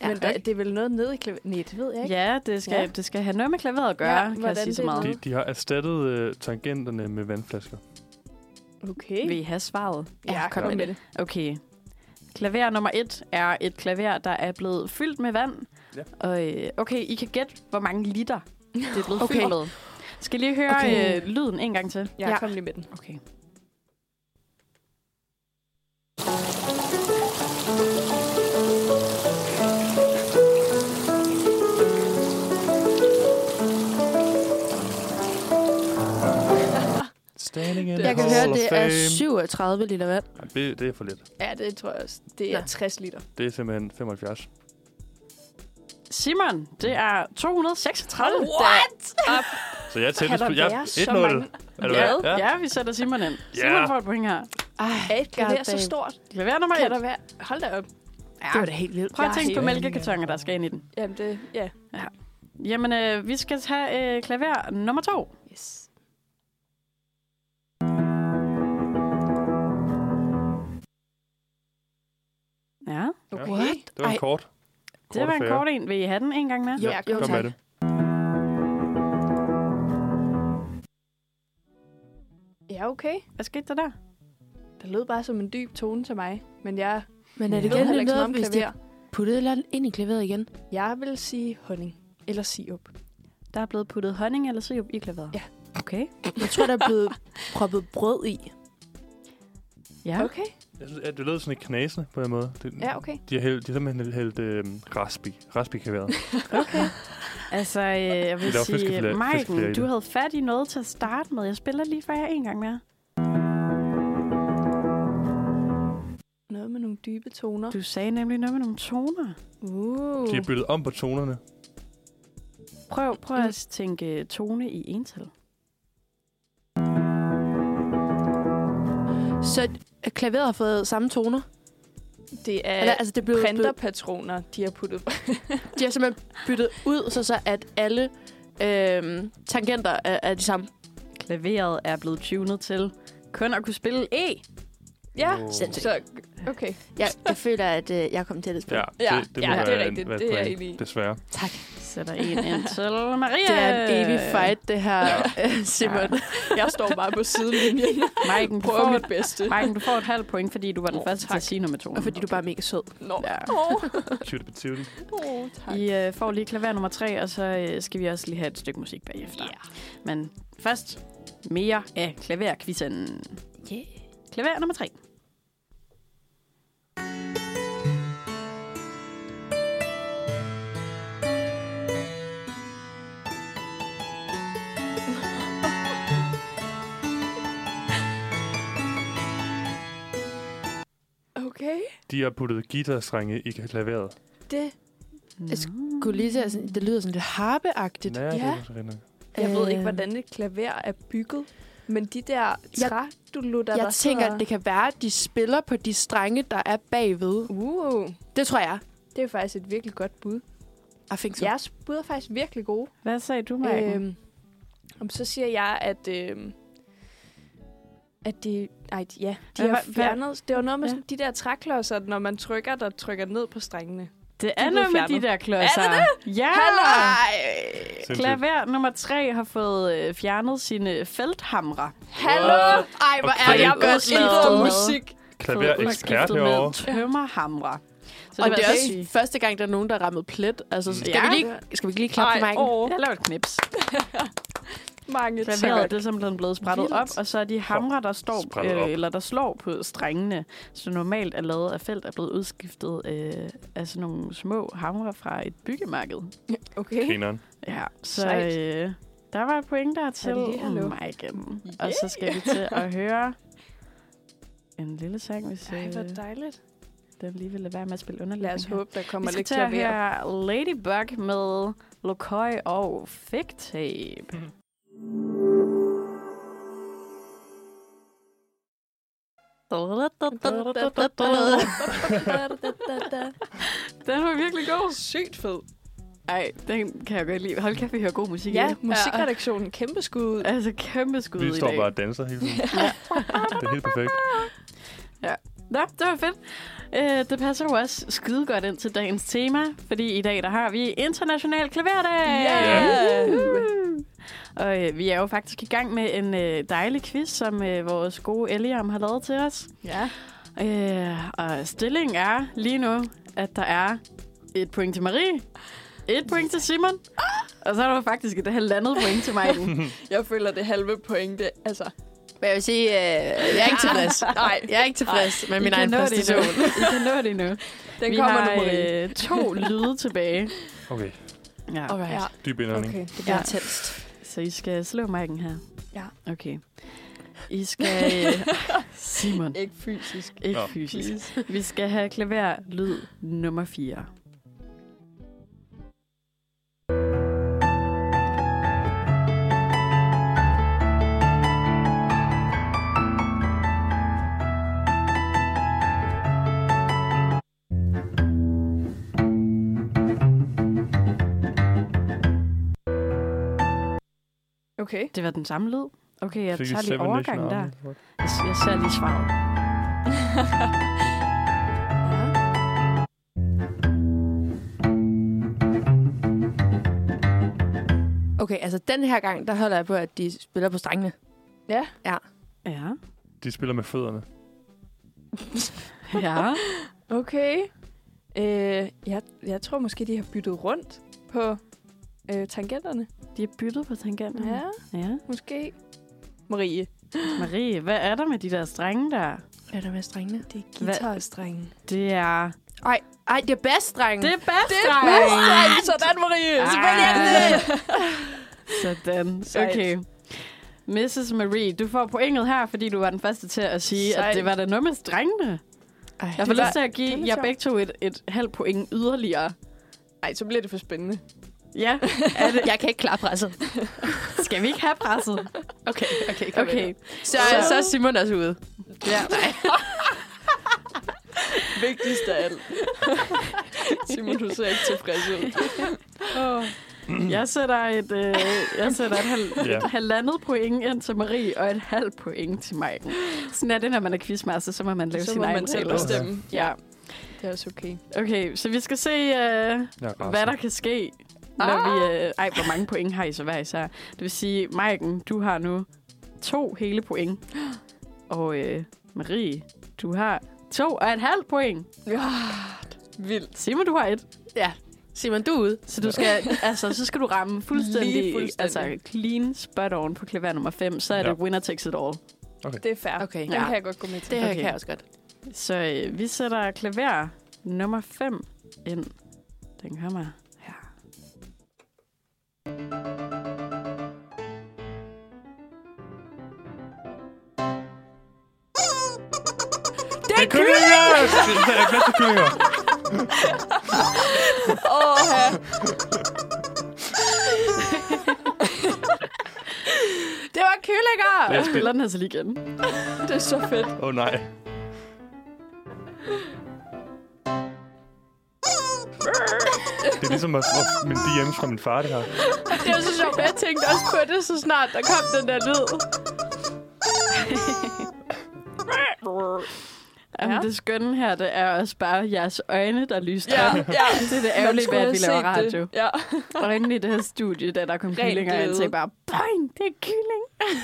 Speaker 2: Ja, Men der, det er vel noget nede i klaveret? Nej, det ved jeg ikke.
Speaker 3: Ja, det skal,
Speaker 2: Ja.
Speaker 3: ja. det skal have noget med klaveret at gøre,
Speaker 2: Ja,
Speaker 3: ja, kan jeg
Speaker 2: hvordan
Speaker 3: sige så
Speaker 2: det
Speaker 3: meget.
Speaker 4: De,
Speaker 2: lyder.
Speaker 4: de har erstattet øh, tangenterne med vandflasker.
Speaker 2: Okay.
Speaker 3: Vil I have svaret?
Speaker 5: Ja, kom med
Speaker 2: det.
Speaker 3: Okay. Klaver nummer et er et klaver, der er blevet fyldt med vand.
Speaker 4: Ja.
Speaker 3: Og, øh, okay, I kan gætte, hvor mange liter det er blevet
Speaker 5: Okay.
Speaker 3: okay. fyldt med. Skal I lige høre
Speaker 5: Okay.
Speaker 3: okay. øh, lyden en gang til?
Speaker 2: Jeg
Speaker 5: Ja.
Speaker 2: ja. kom lige med den.
Speaker 3: Okay.
Speaker 4: Standing in
Speaker 5: Jeg
Speaker 4: the
Speaker 5: kan
Speaker 4: hall
Speaker 5: høre,
Speaker 4: of
Speaker 5: det
Speaker 4: fame.
Speaker 5: er 37 liter vand.
Speaker 4: Ej, Det, det er for lidt.
Speaker 2: Ja, det tror jeg også. Det er
Speaker 5: Nå.
Speaker 2: 60 liter.
Speaker 4: Det er simpelthen 75.
Speaker 3: Simon, det er 236.
Speaker 4: Så jeg er
Speaker 2: Kan
Speaker 4: tættest
Speaker 2: der
Speaker 4: på... Jeg,
Speaker 2: være så
Speaker 4: 1-0.
Speaker 2: mange-
Speaker 4: Er det
Speaker 3: Ja.
Speaker 4: hvad?
Speaker 3: ja. vi sætter Simon ind.
Speaker 4: Ja.
Speaker 3: Simon får et point her.
Speaker 2: Er et klaver så
Speaker 5: goddamn.
Speaker 2: stort?
Speaker 3: Klaver nummer
Speaker 2: Kan der
Speaker 3: et.
Speaker 2: være? Hold da op.
Speaker 5: Det var da helt vildt.
Speaker 3: Prøv at
Speaker 2: Jeg er
Speaker 3: tænke på
Speaker 2: helt-
Speaker 3: mælkekartoner, der skal ind i den.
Speaker 2: Jamen det, ja.
Speaker 3: Jamen, øh, vi skal tage øh, klaver nummer to.
Speaker 2: Yes.
Speaker 3: Ja.
Speaker 4: Ja.
Speaker 2: Okay.
Speaker 4: Det var en
Speaker 5: Ej.
Speaker 4: kort.
Speaker 3: Det var en kort en. Vil I have den en gang mere?
Speaker 5: Jo,
Speaker 2: Ja,
Speaker 5: jo
Speaker 4: Kom med
Speaker 5: tak.
Speaker 4: det.
Speaker 2: Ja, okay.
Speaker 3: Hvad skete der der?
Speaker 2: Det lød bare som en dyb tone til mig, men jeg
Speaker 5: Men er det
Speaker 2: ved
Speaker 5: igen
Speaker 2: heller
Speaker 5: lidt
Speaker 2: ikke så meget
Speaker 5: noget,
Speaker 2: om
Speaker 5: hvis de
Speaker 2: klaver.
Speaker 5: puttede et eller andet ind i klaveret igen?
Speaker 2: Jeg vil sige honning. Eller sirup.
Speaker 3: Der er blevet puttet honning eller sirup i klaveret.
Speaker 2: Ja.
Speaker 3: Okay.
Speaker 5: Jeg tror, der er blevet proppet brød i.
Speaker 3: Ja.
Speaker 2: Okay.
Speaker 4: Jeg synes, at det lød sådan lidt knasende på en måde. Det,
Speaker 2: Ja, okay.
Speaker 4: De har, hældt, de har simpelthen hældt øh, raspi. Raspi kan være.
Speaker 3: Altså, øh, jeg vil
Speaker 4: Det var
Speaker 3: sige,
Speaker 4: fiskefilet- fiskefilet i
Speaker 3: Maiken,
Speaker 4: det.
Speaker 3: du havde fat i noget til at starte med. Jeg spiller lige for jer en gang mere.
Speaker 2: Noget med nogle dybe toner.
Speaker 3: Du sagde nemlig noget med nogle toner.
Speaker 2: Uh.
Speaker 4: De har byttet om på tonerne.
Speaker 3: Prøv, prøv at tænke øh, tone i ental.
Speaker 5: Så øh, klaveret har fået samme toner.
Speaker 2: Det er
Speaker 5: Eller, altså, det er blevet, blevet,
Speaker 2: printerpatroner, de har puttet på.
Speaker 5: de har simpelthen byttet ud, så, så at alle øhm, tangenter er, er de samme.
Speaker 3: Klaveret er blevet tunet til kun at kunne spille E.
Speaker 2: Ja,
Speaker 4: Åh.
Speaker 2: så okay.
Speaker 5: Jeg, jeg føler, at øh, jeg kom til at
Speaker 4: Ja,
Speaker 2: Ja,
Speaker 4: det, det
Speaker 2: ja,
Speaker 4: må
Speaker 2: det er
Speaker 4: være, en-
Speaker 2: rigtigt.
Speaker 4: være et
Speaker 2: Det er jeg
Speaker 4: point,
Speaker 2: enig i.
Speaker 4: Desværre.
Speaker 3: Sætter en ind til Maria.
Speaker 5: Det er en evig fight, det her, øh, Simon. Ja.
Speaker 2: Jeg står bare på sidelinjen
Speaker 3: Maiken,
Speaker 2: og
Speaker 3: du
Speaker 2: prøver
Speaker 3: får,
Speaker 2: mit bedste.
Speaker 3: Maiken, du får et halvt point, fordi du var den første til at sige noget med tonen.
Speaker 5: Og fordi du bare er mega sød.
Speaker 2: Nå.
Speaker 3: Ja.
Speaker 2: Åh,
Speaker 4: Tyvde på tyvde.
Speaker 2: oh, tak.
Speaker 3: I øh, får lige klaver nummer tre, og så øh, skal vi også lige have et stykke musik bagefter.
Speaker 2: Ja.
Speaker 3: Men først mere af klaverkvissen.
Speaker 5: Yeah.
Speaker 3: Klaver nummer tre.
Speaker 2: Okay.
Speaker 4: De har puttet guitarstrenge i klaveret.
Speaker 5: Det Jeg skulle lige til at sådan, det lyder sådan lidt harpeagtigt.
Speaker 4: ja, det
Speaker 2: ja.
Speaker 4: er så rigtig nok.
Speaker 2: Jeg ved ikke,
Speaker 5: Øhm.
Speaker 2: hvordan et klaver er bygget, men de der trædulutter,
Speaker 5: Jeg
Speaker 2: der
Speaker 5: tænker,
Speaker 2: sidder...
Speaker 5: at det kan være, at de spiller på de strenge, der er bagved.
Speaker 2: Uh,
Speaker 5: Det tror jeg.
Speaker 2: det er faktisk et virkelig godt bud.
Speaker 5: I think so.
Speaker 2: Jeres bud er faktisk virkelig gode.
Speaker 3: Hvad sagde du, Maiken?
Speaker 2: Øhm, om så siger jeg, at... Øhm, at de, ej, de- ja, de
Speaker 3: Hvad
Speaker 2: har
Speaker 3: var- hvad-
Speaker 2: fjernet... Det var noget med
Speaker 3: Ja.
Speaker 2: sådan, de der træklodser, når man trykker, der trykker ned på strengene.
Speaker 3: det
Speaker 2: er
Speaker 3: er
Speaker 2: blevet
Speaker 3: noget med de
Speaker 2: fjernet.
Speaker 3: der klodser. Er det det? Ja!
Speaker 4: Sindssygt.
Speaker 3: Klaver nummer tre har fået øh, fjernet sine felthamre.
Speaker 2: Hallo!
Speaker 5: Ej, hvor er
Speaker 4: Okay.
Speaker 5: jeg
Speaker 4: Ej,
Speaker 5: godt
Speaker 2: Intet om
Speaker 5: lavet.
Speaker 2: musik.
Speaker 4: Klaverekspert
Speaker 3: herovre.
Speaker 4: herovre.
Speaker 3: Tømmerhamre. Så altså
Speaker 5: Og det er
Speaker 3: var
Speaker 5: også
Speaker 3: sige-
Speaker 5: første gang, der er nogen, der rammer plet. Altså, skal,
Speaker 3: Ja.
Speaker 5: ja. vi lige, skal vi lige klappe
Speaker 2: Ej,
Speaker 5: for Maiken?
Speaker 2: åh,
Speaker 3: Jeg laver et knips.
Speaker 2: mange
Speaker 3: Klaveret
Speaker 2: tak.
Speaker 3: det er simpelthen blevet sprættet
Speaker 5: Vildt.
Speaker 3: op, og så er de hamre, der, står,
Speaker 4: Sprættet op.
Speaker 3: øh, eller der slår på strengene, som normalt er lavet af felt, er blevet udskiftet øh, af sådan nogle små hamre fra et byggemarked.
Speaker 2: Okay.
Speaker 4: Grineren.
Speaker 3: Ja, så
Speaker 2: Sejt.
Speaker 3: øh, der var et point der til
Speaker 2: Halli, hallo.
Speaker 3: mig igen. Og så skal vi til at høre en lille sang, hvis
Speaker 2: Ej,
Speaker 3: øh,
Speaker 2: hvor dejligt.
Speaker 3: den lige vil lade være med at spille
Speaker 2: Lad
Speaker 3: underlægning.
Speaker 2: os håbe, der
Speaker 3: Vi
Speaker 2: kommer
Speaker 3: skal
Speaker 2: lidt
Speaker 3: til at
Speaker 2: klaver.
Speaker 3: høre Ladybug med Lokøj og Fake Tape. Den var virkelig god.
Speaker 2: Sygt fed.
Speaker 3: Ej, den kan jeg godt lide. Hold kæft, vi hører god musik.
Speaker 2: Ja,
Speaker 3: ikke?
Speaker 2: musikredaktionen. Kæmpe skud ud.
Speaker 3: Altså, kæmpe skud
Speaker 4: Vi
Speaker 3: i
Speaker 4: står
Speaker 3: dag.
Speaker 4: bare og danser hele tiden. det er helt perfekt.
Speaker 3: Nå, det var fedt. Øh, det passer jo også skide godt ind til dagens tema, fordi i dag der har vi International Klaverdag!
Speaker 2: Ja!
Speaker 3: Woohoo! Og øh, vi er jo faktisk i gang med en øh, dejlig quiz, som øh, vores gode Eliam har lavet til os.
Speaker 2: Ja.
Speaker 3: Øh, og stillingen er lige nu, at der er et point til Marie, et point til Simon, og så er der faktisk et halvandet point til mig.
Speaker 2: Jeg føler det halve point. Det, altså,
Speaker 5: Men jeg vil sige, øh, jeg er ikke tilfreds.
Speaker 2: nej,
Speaker 5: Jeg er ikke tilfreds med min egen præstation.
Speaker 3: I kan nå det nu.
Speaker 2: den
Speaker 3: vi
Speaker 2: kommer
Speaker 3: har
Speaker 2: nu, Marie.
Speaker 3: øh, to lyde tilbage.
Speaker 4: Okay,
Speaker 3: Ja.
Speaker 5: Alright.
Speaker 2: Ja.
Speaker 5: øh, Ja.
Speaker 4: dyb indånding.
Speaker 2: Okay.
Speaker 5: Det bliver
Speaker 3: Ja.
Speaker 5: tændst.
Speaker 3: Så I skal slå mærken her?
Speaker 2: Ja.
Speaker 3: Okay. I skal... øh, Simon.
Speaker 2: Ikke fysisk.
Speaker 3: Ikke
Speaker 4: Nå.
Speaker 3: fysisk. Vi skal have klaver lyd nummer 4.
Speaker 2: Okay.
Speaker 3: Det var den samme lyd. Okay, jeg
Speaker 4: Fik I
Speaker 3: tager lige
Speaker 4: Seven Nation
Speaker 3: overgangen der.
Speaker 4: Army?
Speaker 3: Jeg, jeg ser lige svaret.
Speaker 5: Ja. Okay, altså den her gang, der holder jeg på, at de spiller på strengene.
Speaker 2: Ja.
Speaker 3: Ja.
Speaker 4: De spiller med fødderne.
Speaker 3: Ja.
Speaker 2: Okay. Øh, jeg, jeg tror måske, de har byttet rundt på øh, tangenterne.
Speaker 3: De er byttet på tangenterne.
Speaker 2: Ja,
Speaker 3: ja.
Speaker 2: måske. Marie.
Speaker 3: Marie, hvad er der med de der strenge der?
Speaker 5: Hvad er der med strengene?
Speaker 2: Det er
Speaker 3: Hvad-
Speaker 2: guitarstrengen.
Speaker 3: Det er...
Speaker 5: Ej, det er bedst, drenge.
Speaker 3: Det er
Speaker 5: bedst,
Speaker 3: bassdreng!
Speaker 5: drenge.
Speaker 2: Sådan, Marie!
Speaker 3: Ah.
Speaker 5: Selvfølgelig er det det.
Speaker 3: Sådan.
Speaker 2: Sejt.
Speaker 3: Okay. Mrs. Marie, du får pointet her, fordi du var den første til at sige, Sejt. at
Speaker 2: Sejt.
Speaker 3: det var da noget med strengene.
Speaker 5: Ej,
Speaker 3: Jeg får
Speaker 2: Det var
Speaker 3: lyst til at give
Speaker 2: kæmpe
Speaker 3: jer
Speaker 2: sjovt.
Speaker 3: begge to et, et halvt point yderligere.
Speaker 2: Nej, så bliver det for spændende.
Speaker 3: Ja,
Speaker 5: er det. Jeg kan ikke klare presset.
Speaker 3: skal vi ikke have presset?
Speaker 5: Okay, okay, kom
Speaker 3: Okay.
Speaker 5: Så, så, så er Simon også ude.
Speaker 3: Ja.
Speaker 2: Vigtigst af alt. Simon, du ser ikke tilfreds ud.
Speaker 3: Jeg sætter et, øh, jeg sætter et, hal-
Speaker 4: Ja.
Speaker 3: et halvandet point ind til Marie, og et halvt point til mig. Sådan er det, når man er quizmaster, så må man lave
Speaker 2: Så
Speaker 3: sin
Speaker 2: må
Speaker 3: egen
Speaker 2: man selv
Speaker 3: regler.
Speaker 2: bestemme.
Speaker 3: Ja.
Speaker 2: Det er også okay.
Speaker 3: Okay, så vi skal se, øh,
Speaker 4: Jeg er
Speaker 3: hvad
Speaker 4: rasende.
Speaker 3: der kan ske, når vi...
Speaker 2: Ah!
Speaker 3: Øh, ej, hvor mange point har I så hver især? Det vil sige, Maiken, du har nu to hele point. Og øh, Marie, du har to og et halvt point.
Speaker 2: Ja, vildt.
Speaker 3: Simon, du har et.
Speaker 5: Simon, du er ude.
Speaker 3: Så du skal, altså, så skal du ramme fuldstændig,
Speaker 2: Lige fuldstændig.
Speaker 3: altså clean spot on på klaver nummer 5, så er ja.
Speaker 4: Ja.
Speaker 3: det winner takes it all.
Speaker 2: Det er fair.
Speaker 5: Okay.
Speaker 2: Den
Speaker 3: Ja.
Speaker 2: ja. kan jeg godt gå med til.
Speaker 5: Det her
Speaker 3: Okay.
Speaker 5: kan jeg også godt.
Speaker 3: Så øh, vi sætter klaver nummer 5 ind. Den kommer her.
Speaker 4: Det er kyllinger! Det er plads til kyllinger.
Speaker 2: Åh, ja.
Speaker 5: Det var kyllinger!
Speaker 4: Det er
Speaker 3: Jeg
Speaker 4: spil.
Speaker 3: spiller den altså lige igen.
Speaker 2: det er så fedt.
Speaker 4: Åh oh, nej. Det er ligesom at, at min DM's fra min far, det her.
Speaker 5: Det var så sjovt, jeg tænkte også på det, så snart der kom den der lyd.
Speaker 3: Jamen,
Speaker 2: Ja.
Speaker 3: det skønne her, det er også bare jeres øjne, der lyser.
Speaker 2: Ja, ja.
Speaker 3: Det er det
Speaker 2: Man
Speaker 3: ærgerlige ved,
Speaker 2: skulle
Speaker 3: at
Speaker 2: have
Speaker 3: vi laver
Speaker 2: set det.
Speaker 3: radio.
Speaker 2: Ja.
Speaker 3: Øjnene i det her studie, da der kom
Speaker 2: Ren
Speaker 3: kyllinger ind, så
Speaker 2: glæde.
Speaker 3: er I bare, boing, det er kylling.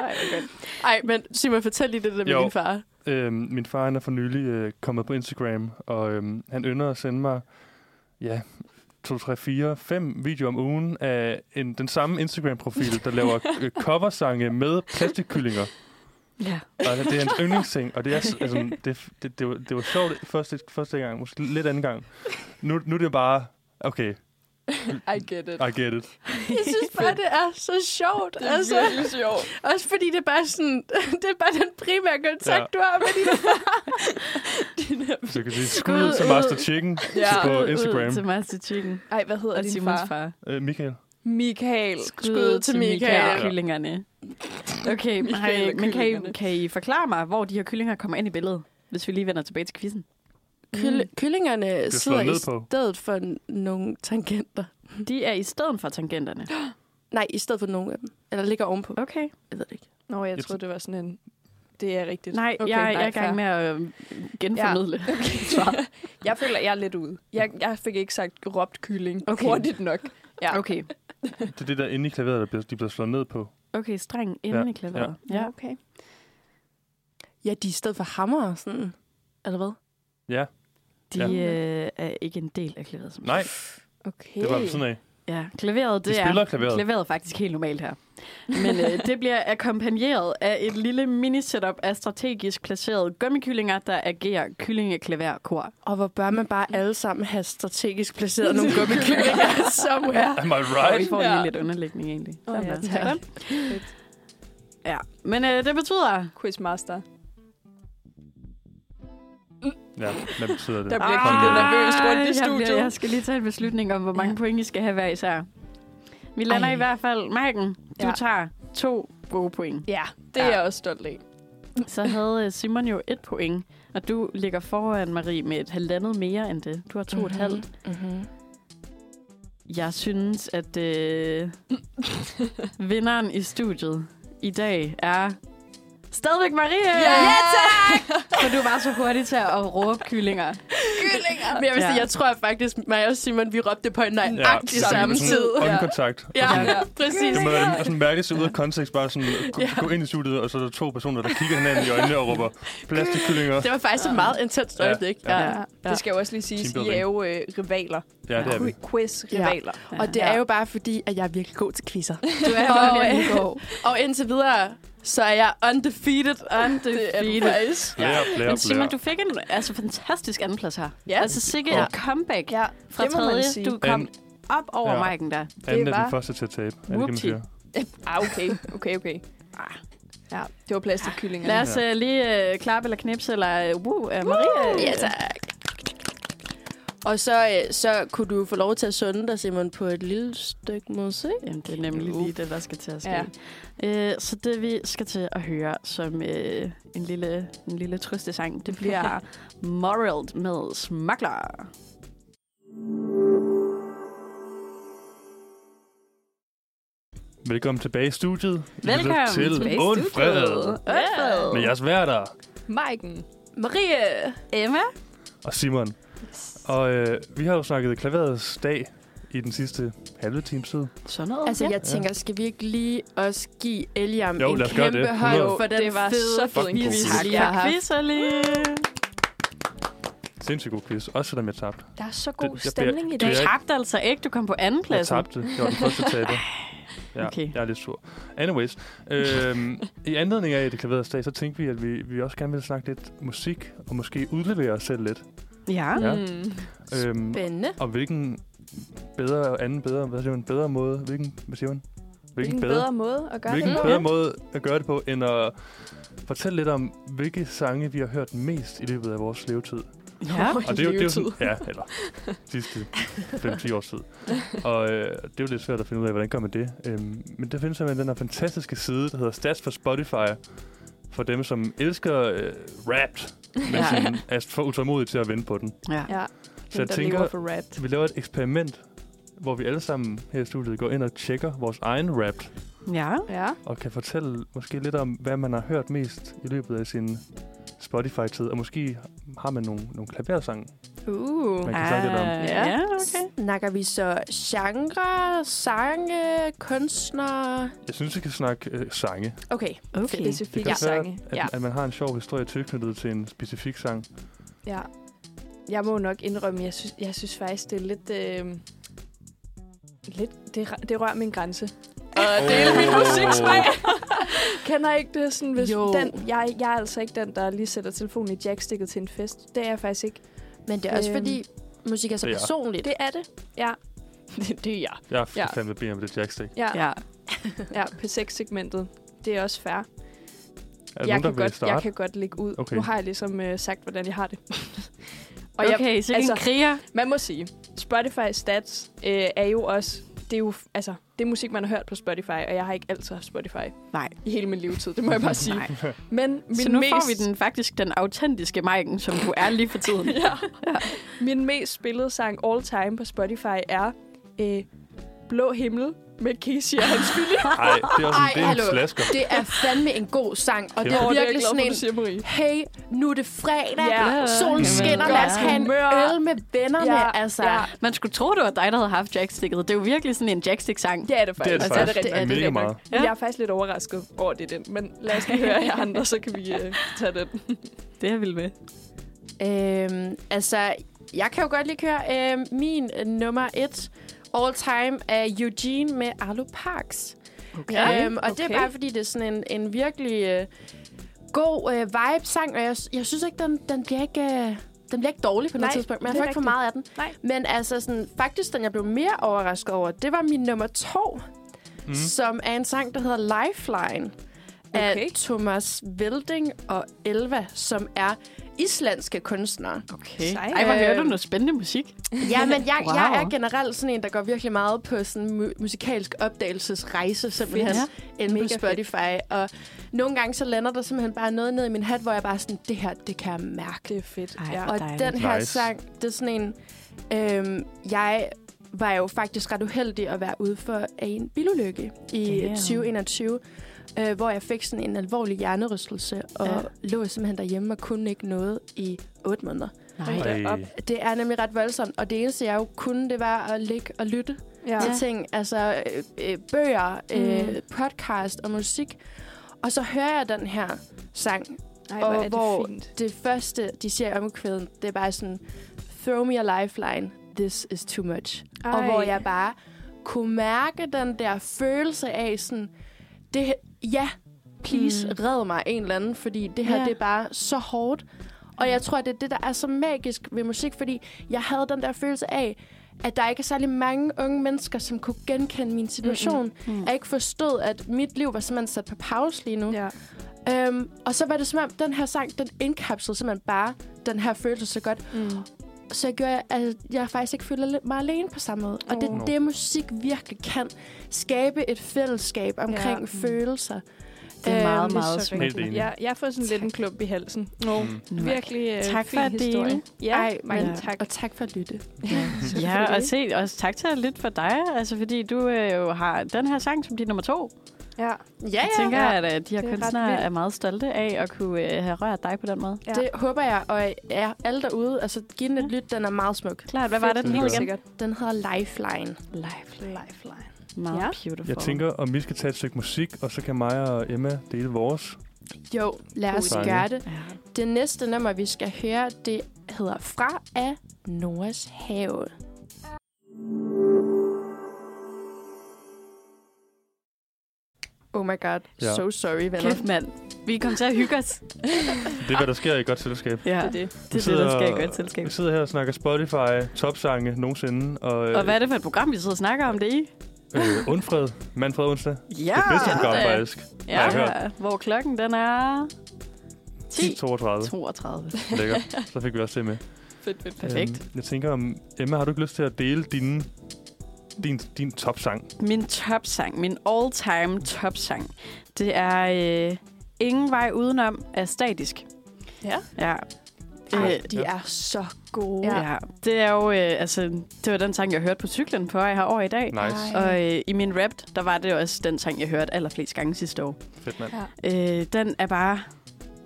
Speaker 3: Ej, hvor godt.
Speaker 5: Ej, men Simon, fortæl lige det der med
Speaker 4: Jo.
Speaker 5: din far.
Speaker 4: Øhm, min far han er for nylig øh, kommet på Instagram, og øhm, han ynder at sende mig ja, 2, 3, 4, 5 videoer om ugen af en, den samme Instagram-profil, der laver øh, coversange med plastikkyllinger.
Speaker 3: Ja.
Speaker 4: Og det er hans yndlingsting, og det, er, s- altså, det, det, det, var, det var sjovt første, første gang, måske lidt anden gang. Nu, nu er det bare, okay,
Speaker 2: I get it.
Speaker 4: I get it.
Speaker 5: Jeg synes bare, det er så sjovt.
Speaker 2: Det er
Speaker 5: altså,
Speaker 2: virkelig sjovt.
Speaker 5: også fordi det er bare sådan, det er bare den primære kontakt,
Speaker 4: Ja.
Speaker 5: du har med din
Speaker 4: Så kan sige, skud ud til Master Chicken
Speaker 2: Ja.
Speaker 4: ja, på
Speaker 3: Ud
Speaker 4: Instagram.
Speaker 3: Til Master Chicken.
Speaker 2: Ej, hvad hedder
Speaker 3: Og
Speaker 2: din
Speaker 3: Simons
Speaker 2: far?
Speaker 3: far.
Speaker 4: Øh, Michael.
Speaker 2: Michael.
Speaker 3: Skud til Michael.
Speaker 4: Michael.
Speaker 3: Kyllingerne. Okay, men, har
Speaker 2: Michael
Speaker 3: I,
Speaker 2: og
Speaker 3: men kan, I,
Speaker 2: kyllingerne.
Speaker 3: kan I forklare mig, hvor de her kyllinger kommer ind i billedet? Hvis vi lige vender tilbage til quizzen. Mm.
Speaker 5: Kyl-
Speaker 4: slår
Speaker 5: kyllingerne sidder i
Speaker 4: ned på.
Speaker 5: stedet for n- nogle tangenter.
Speaker 3: De er i stedet for tangenterne.
Speaker 5: Nej, i stedet for nogle af dem. Eller ligger ovenpå.
Speaker 3: Okay.
Speaker 5: Jeg ved det ikke.
Speaker 2: Nå, jeg
Speaker 4: Jeg
Speaker 2: troede, det var sådan en... Det er rigtigt.
Speaker 3: Nej, okay, jeg, jeg er i gang med at øh, genformidle. Ja.
Speaker 2: Okay. jeg føler, jeg er lidt ude. Jeg, jeg fik ikke sagt råbt kylling
Speaker 3: Okay.
Speaker 2: okay. hurtigt nok. Ja.
Speaker 3: Okay.
Speaker 4: Det er det der inde i klaveret, der bliver, de bliver slået ned på.
Speaker 3: Okay, streng inden ja.
Speaker 4: Ja,
Speaker 3: i klaveret. Ja.
Speaker 2: Ja,
Speaker 3: ja.
Speaker 2: okay.
Speaker 5: Ja, de er i stedet for hammer og sådan. Eller hvad?
Speaker 4: Ja,
Speaker 3: De ja. Øh, er ikke en del af klaveret. Som
Speaker 4: nej,
Speaker 2: Okay.
Speaker 4: det var ved siden af.
Speaker 3: Ja, klaveret, det
Speaker 4: De
Speaker 3: er
Speaker 4: spiller klaveret.
Speaker 3: klaveret er faktisk helt normalt her. Men øh, det bliver akkompagneret af et lille mini-setup af strategisk placerede gummikyllinger, der agerer kyllingeklaverkor.
Speaker 5: Og hvor bør man bare alle sammen have strategisk placeret nogle gummikyllinger somewhere.
Speaker 4: Am I
Speaker 3: Og vi
Speaker 4: right?
Speaker 3: får lige
Speaker 2: Ja.
Speaker 3: lidt underlægning egentlig.
Speaker 2: Åh, ja,
Speaker 3: der.
Speaker 2: tak.
Speaker 3: Sådan. Ja, men øh, det betyder...
Speaker 2: Quizmaster.
Speaker 4: Ja, hvad betyder det?
Speaker 2: Der bliver kigget
Speaker 4: Kom.
Speaker 2: nervøst rundt i
Speaker 3: Ej, jeg,
Speaker 2: studiet.
Speaker 3: bliver, jeg skal lige tage en beslutning om, hvor mange
Speaker 5: Ja.
Speaker 3: point I skal have hver især. Vi lander Ej.
Speaker 5: Ej.
Speaker 3: i hvert fald... Maiken, du ja.
Speaker 2: Ja.
Speaker 3: tager to gode point.
Speaker 2: Ja, det
Speaker 3: Ja.
Speaker 2: er jeg også stolt af.
Speaker 3: Så havde øh, Simon jo et point, og du ligger foran Marie med et halvandet mere end det. Du har to og et
Speaker 5: Mhm.
Speaker 3: halvt.
Speaker 5: Mm-hmm.
Speaker 3: Jeg synes, at øh, vinderen i studiet i dag er Stadigvæk Marie! Yeah. Ja, tak! For du var så hurtig til at råbe kyllinger.
Speaker 5: Men jeg, vil sige,
Speaker 3: Ja.
Speaker 5: jeg tror faktisk, mig og Simon, vi råbte på en nøjagtig ja, samme tid. Ja.
Speaker 4: Øjenkontakt. Ja.
Speaker 5: Ja,
Speaker 4: Og sådan,
Speaker 5: ja, præcis.
Speaker 4: det må være sådan mærkeligt ud af kontekst, bare sådan gå, ja. gå ind i studiet, og så er der to personer, der kigger hinanden i øjnene og råber plastikkyllinger.
Speaker 5: Det var faktisk et meget intenst
Speaker 4: Ja,
Speaker 5: øjeblik.
Speaker 4: ja.
Speaker 5: Ja.
Speaker 2: Ja. Det skal jo også lige siges, I
Speaker 4: Teambuilding.
Speaker 2: er jo øh, rivaler.
Speaker 4: Ja, det er vi.
Speaker 2: Quiz-rivaler.
Speaker 5: Og det er jo bare fordi, at jeg er virkelig god til quizzer.
Speaker 3: Du er
Speaker 5: Og,
Speaker 3: virkelig
Speaker 5: øh, og indtil videre, så er jeg undefeated. Undefeated.
Speaker 4: Lærer, lærer,
Speaker 3: Men Simon,
Speaker 4: lærer.
Speaker 3: du fik en altså, fantastisk andenplads her.
Speaker 2: Ja.
Speaker 3: Altså sikkert
Speaker 4: Ja.
Speaker 3: et comeback
Speaker 2: Ja,
Speaker 3: fra
Speaker 2: det må man
Speaker 3: tredje. Ah,
Speaker 2: sige.
Speaker 3: Du kom
Speaker 4: An-
Speaker 3: op over
Speaker 4: Ja.
Speaker 3: ja. mic'en der.
Speaker 4: Anden er
Speaker 2: var-
Speaker 4: den første til at tabe. Er det ikke, man
Speaker 3: Whoopty.
Speaker 4: siger?
Speaker 2: Ah, okay, okay, okay. Ja, det var plastikkyllinger.
Speaker 3: Lad os uh, lige uh, klappe eller knipse, eller uh, woo, uh, Marie.
Speaker 5: Ja, tak. Og så, øh, så kunne du få lov til at sunde dig, Simon, på et lille stykke musik.
Speaker 3: Jamen, det er nemlig lige det, der skal til at ske.
Speaker 2: Ja.
Speaker 3: Ja. Øh, så det, vi skal til at høre som øh, en lille, en lille trøstesang, det bliver Morald med Smuggler.
Speaker 4: Velkommen tilbage i studiet. I lytter
Speaker 3: Velkommen tilbage i
Speaker 4: til
Speaker 3: studiet.
Speaker 4: Undfred.
Speaker 3: Undfred.
Speaker 4: Med jeres værter
Speaker 2: Maiken.
Speaker 5: Marie!
Speaker 3: Emma.
Speaker 4: og Simon. Og øh, vi har jo snakket klaverets dag i den sidste halve times tid.
Speaker 3: Sådan noget.
Speaker 5: Altså, jeg tænker, skal vi ikke lige også give Eliam
Speaker 4: Jo,
Speaker 5: en
Speaker 4: lad os gøre det.
Speaker 5: kæmpe hånd
Speaker 4: 100.
Speaker 5: for den
Speaker 3: det var
Speaker 5: fede
Speaker 3: så fed
Speaker 4: Fucking
Speaker 3: en
Speaker 4: god
Speaker 3: quiz,
Speaker 4: quiz.
Speaker 3: vi
Speaker 5: Tak,
Speaker 3: lige har
Speaker 5: tak.
Speaker 3: haft. lige.
Speaker 4: Sindssygt god quiz. Også selvom jeg tabte.
Speaker 2: Der er så
Speaker 4: Det-
Speaker 2: god
Speaker 4: jeg bliver-
Speaker 2: stemning i
Speaker 4: det
Speaker 2: dag.
Speaker 4: er
Speaker 3: Du
Speaker 4: jeg-
Speaker 3: tabte altså ikke, du kom på anden
Speaker 4: Jeg
Speaker 3: plads.
Speaker 4: tabte. Jeg var den første taber.
Speaker 3: Okay.
Speaker 4: Ja, okay. jeg er lidt sur. Anyways, øhm, i anledning af det klaverets dag, så tænkte vi, at vi, vi også gerne ville snakke lidt musik, og måske udlevere os selv lidt.
Speaker 3: Ja.
Speaker 4: Ja.
Speaker 2: Mm.
Speaker 4: Øhm,
Speaker 5: Spændende.
Speaker 4: og hvilken bedre, anden bedre, hvad siger man, bedre måde, hvilken, hvad siger man?
Speaker 2: Hvilken bedre, måde at gøre
Speaker 4: Hvilken
Speaker 2: det på?
Speaker 4: bedre måde at gøre det på, end at fortælle lidt om, hvilke sange vi har hørt mest i løbet af vores levetid.
Speaker 3: ja.
Speaker 4: Og det er jo, det er jo sådan, ja, eller sidste 5-10 års tid. Og øh, det er jo lidt svært at finde ud af, hvordan gør man det. Øhm, men der findes simpelthen den her fantastiske side, der hedder Stats for Spotify, for dem, som elsker øh, rap, men
Speaker 3: Ja.
Speaker 4: ja. sådan, er for utålmodige til at vente på den.
Speaker 3: ja.
Speaker 2: Ja.
Speaker 4: Så jeg
Speaker 2: der
Speaker 4: tænker-
Speaker 2: lever for rap.
Speaker 4: Vi laver et eksperiment, hvor vi alle sammen her i studiet går ind og tjekker vores egen rap,
Speaker 3: ja.
Speaker 2: Ja.
Speaker 4: og kan fortælle måske lidt om, hvad man har hørt mest i løbet af sin Spotify-tid, og måske har man nogle, nogle klaversange,
Speaker 2: Uh.
Speaker 4: man kan snakke lidt om.
Speaker 3: ja. Ah, ja, okay.
Speaker 5: Snakker vi så genre, sange, kunstnere?
Speaker 4: Jeg synes, vi kan snakke øh, sange.
Speaker 5: Okay,
Speaker 3: okay.
Speaker 4: Det
Speaker 2: Specifikke
Speaker 4: kan også være,
Speaker 2: sange.
Speaker 4: At,
Speaker 2: Ja.
Speaker 4: at man har en sjov historie tilknyttet til en specifik sang.
Speaker 2: ja. Jeg må nok indrømme, jeg synes, jeg synes faktisk, det er lidt... Øh, lidt det, ra- det rører min grænse. Og det er min musiksmag. Kender I ikke det sådan, hvis
Speaker 5: Jo.
Speaker 2: den, jeg, jeg er altså ikke den, der lige sætter telefonen i jackstikket til en fest. Det er jeg faktisk ikke.
Speaker 5: men det er også
Speaker 2: Øhm,
Speaker 5: fordi, musik er så
Speaker 4: det er-
Speaker 5: personligt.
Speaker 2: Det er det. Ja. det, det er jeg.
Speaker 4: Jeg er
Speaker 2: Ja.
Speaker 4: ja. fandme ben med det jackstick.
Speaker 2: Ja, ja.
Speaker 3: Ja.
Speaker 2: ja P6-segmentet. Det er også fair.
Speaker 4: Er der
Speaker 2: jeg,
Speaker 4: nogen, der
Speaker 2: kan
Speaker 4: vil
Speaker 2: godt,
Speaker 4: starte?
Speaker 2: jeg kan godt lægge ud. Okay.
Speaker 4: Okay.
Speaker 2: Nu har jeg ligesom øh, sagt, hvordan jeg har det. og okay. jeg,
Speaker 3: Okay, så altså,
Speaker 2: altså-
Speaker 3: en kriger.
Speaker 2: man må sige, Spotify Stats øh, er jo også... Det er jo f- altså, det er musik, man har hørt på Spotify, og jeg har ikke altid haft Spotify
Speaker 3: Nej.
Speaker 2: i hele min levetid. Det må jeg bare sige.
Speaker 3: Nej.
Speaker 2: Men min
Speaker 3: Så nu
Speaker 2: mest,
Speaker 3: får vi den faktisk den autentiske Maiken, som du er lige for tiden.
Speaker 2: min mest spillede sang all time på Spotify er øh, Blå Himmel med Casey og hans film.
Speaker 4: Nej, det er også en,
Speaker 5: Ej,
Speaker 4: det er en
Speaker 5: hallo.
Speaker 4: flasker.
Speaker 5: Det er fandme en god sang, og det
Speaker 4: Kæmpe.
Speaker 5: er
Speaker 2: Åh, det er jeg
Speaker 5: virkelig
Speaker 2: glad for,
Speaker 5: sådan en,
Speaker 2: du siger, Marie.
Speaker 5: hey, nu er det fredag,
Speaker 2: Ja.
Speaker 5: yeah. solen
Speaker 3: Ja.
Speaker 5: skinner, lad os
Speaker 2: Godt
Speaker 5: have en
Speaker 2: humør.
Speaker 5: øl med vennerne,
Speaker 2: Ja,
Speaker 5: altså.
Speaker 2: ja.
Speaker 3: Man skulle tro, det var dig, der havde haft jacksticket. Det er jo virkelig sådan en jackstick-sang.
Speaker 2: Det er det
Speaker 4: Det er
Speaker 2: faktisk.
Speaker 4: det
Speaker 2: Altså,
Speaker 4: faktisk.
Speaker 2: rigtig
Speaker 4: Det er
Speaker 2: nok.
Speaker 4: mega
Speaker 2: rigtig nok. Ja.
Speaker 4: meget.
Speaker 2: Jeg er faktisk lidt overrasket over, at det er den. Men lad os lige høre jer andre, så kan vi øh, tage den.
Speaker 3: Det er jeg vild med.
Speaker 5: Øhm, altså, jeg kan jo godt lige køre øhm, min øh, nummer et all time er Eugene med Arlo Parks.
Speaker 2: Okay,
Speaker 5: Øhm, og det
Speaker 2: okay.
Speaker 5: er bare, fordi det er sådan en, en virkelig øh, god øh, vibe-sang, og jeg, jeg synes ikke, den, den bliver ikke... Øh, den bliver ikke dårlig på
Speaker 2: Nej,
Speaker 5: noget tidspunkt, men jeg
Speaker 2: det er
Speaker 5: får ikke for
Speaker 2: rigtigt.
Speaker 5: meget af den.
Speaker 2: Nej.
Speaker 5: Men altså, sådan, faktisk den, jeg blev mere overrasket over, det var min nummer to,
Speaker 2: Mhm.
Speaker 5: mm. som er en sang, der hedder Lifeline
Speaker 2: Okay.
Speaker 5: af Thomas Velding og Elva, som er islandske kunstnere.
Speaker 3: Okay.
Speaker 2: Sej.
Speaker 3: Ej, hvor hører du
Speaker 5: Øh,
Speaker 3: noget spændende musik.
Speaker 5: Ja, men jeg, wow. jeg
Speaker 3: Wow.
Speaker 5: er generelt sådan en, der går virkelig meget på sådan mu- musikalsk opdagelsesrejse, simpelthen,
Speaker 3: Fedt.
Speaker 5: ja. inde på
Speaker 2: Mega fedt.
Speaker 5: Spotify. Og nogle gange så lander der simpelthen bare noget ned i min hat, hvor jeg bare sådan, det her, det kan jeg mærke.
Speaker 2: Det er fedt.
Speaker 3: Ej,
Speaker 2: ja.
Speaker 3: hvor
Speaker 5: Og
Speaker 3: dejligt.
Speaker 5: den her
Speaker 4: Nice.
Speaker 5: sang, det er sådan en, øhm, jeg var jeg jo faktisk ret uheldig at være ude for af en bilulykke i
Speaker 3: Damn.
Speaker 5: 2021, øh, hvor jeg fik sådan en alvorlig hjernerystelse og
Speaker 3: Ja.
Speaker 5: lå simpelthen derhjemme og kunne ikke noget i 8 måneder.
Speaker 3: Nej.
Speaker 2: da op.
Speaker 5: Det er nemlig ret voldsomt, og det eneste jeg jo kunne, det var at ligge og lytte
Speaker 2: Ja.
Speaker 5: til ting. Altså øh, øh, bøger, øh, podcast og musik. Og så hører jeg den her sang,
Speaker 2: Ej,
Speaker 5: og
Speaker 2: hvor er
Speaker 5: hvor-
Speaker 2: det fint.
Speaker 5: det første, de siger i omkvæden, det er bare sådan, throw me a lifeline, this is too much. Ej. Og hvor jeg bare kunne mærke den der følelse af sådan, det, ja, please
Speaker 3: Mm.
Speaker 5: mm. red mig en eller anden, fordi det her,
Speaker 3: Ja.
Speaker 5: ja. det er bare så hårdt. Og jeg tror, det er det, der er så magisk ved musik, fordi jeg havde den der følelse af, at der ikke er særlig mange unge mennesker, som kunne genkende min situation. Mm-hmm.
Speaker 3: Mm.
Speaker 5: Jeg ikke forstod, at mit liv var simpelthen sat på pause lige nu.
Speaker 2: Ja.
Speaker 5: Øhm, og så var det som om, den her sang, den indkapslede simpelthen bare den her følelse så godt.
Speaker 2: Mm.
Speaker 5: Så jeg gjorde, at jeg faktisk ikke føler lidt- mig alene på samme måde. Og det er
Speaker 4: Åh.
Speaker 5: det, musik virkelig kan. Skabe et fællesskab
Speaker 2: Ja.
Speaker 5: omkring
Speaker 2: Mm.
Speaker 5: ja. følelser.
Speaker 3: Det er meget,
Speaker 5: Øhm,
Speaker 3: meget
Speaker 2: så
Speaker 3: smukt.
Speaker 4: Helt enig.
Speaker 2: Jeg, jeg får sådan lidt en klump i halsen. No.
Speaker 4: Mm.
Speaker 2: Virkelig øh,
Speaker 3: Tak
Speaker 2: fin
Speaker 3: for at
Speaker 2: historie.
Speaker 3: dele.
Speaker 2: Ja,
Speaker 5: Ej,
Speaker 2: mange
Speaker 5: men-
Speaker 2: tak.
Speaker 5: Og tak for at lytte.
Speaker 3: Ja, og
Speaker 2: Selvfølgelig.
Speaker 3: se, også tak til at lytte for dig, altså fordi du øh, jo har den her sang som din nummer to.
Speaker 2: Ja,
Speaker 5: Ja,
Speaker 3: Jeg tænker, at øh, de her
Speaker 2: Det er ret
Speaker 3: kunstnere
Speaker 2: vildt.
Speaker 3: er meget stolte af at kunne øh, have rørt dig på den måde.
Speaker 2: ja.
Speaker 5: Det håber jeg, og er alle derude. Altså, giv den et lyt, den er meget smuk.
Speaker 3: Klart, hvad var det, den hed
Speaker 4: Helt
Speaker 3: igen?
Speaker 2: sikkert.
Speaker 5: Den hedder Lifeline.
Speaker 3: Lifeline.
Speaker 2: Lifeline.
Speaker 3: Meget
Speaker 2: Ja.
Speaker 3: beautiful.
Speaker 4: Jeg tænker, om vi skal tage et stykke musik, og så kan mig og Emma dele vores.
Speaker 5: Jo, lad os
Speaker 4: Dejligt.
Speaker 5: gøre det.
Speaker 3: Ja.
Speaker 5: Det næste nummer, vi skal høre, det hedder Fra af Noras Have. Oh my god.
Speaker 4: Ja.
Speaker 5: Ja. So sorry, venner.
Speaker 3: Kæft, mand. Vi kommer til at hygge os.
Speaker 4: Det er, hvad der sker i et godt selskab.
Speaker 3: Ja,
Speaker 2: Det er det.
Speaker 3: det, er det, der sker i godt selskab.
Speaker 4: Vi sidder her og snakker Spotify, topsange nogensinde, og, øh,
Speaker 3: Og hvad er det for et program, vi sidder og snakker om det i?
Speaker 4: øh, Undfred, Manfred Onsdag.
Speaker 3: Ah, Ja,
Speaker 4: Det bedste program,
Speaker 3: da.
Speaker 4: faktisk.
Speaker 3: Ja,
Speaker 4: har jeg
Speaker 3: hvor klokken den er 10.
Speaker 4: 32.
Speaker 3: 32.
Speaker 4: Lækker. Så fik vi også det med.
Speaker 2: Fedt, fedt.
Speaker 3: Perfekt.
Speaker 4: Øhm, jeg tænker, om Emma, har du ikke lyst til at dele dine, din, din topsang?
Speaker 3: Min topsang, min all-time topsang, det er øh, Ingen vej udenom af Statisk.
Speaker 2: Ja.
Speaker 3: Ja.
Speaker 5: Ej,
Speaker 3: Øh,
Speaker 5: de er så gode.
Speaker 3: ja. ja. Det er jo, øh, altså, det var den sang, jeg hørte på cyklen på vej herover i dag.
Speaker 4: Nice.
Speaker 5: Ej.
Speaker 3: Og øh, i min rap, der var det også den sang, jeg hørte allerflest gange sidste år.
Speaker 4: Fedt, mand.
Speaker 3: Øh, den er bare...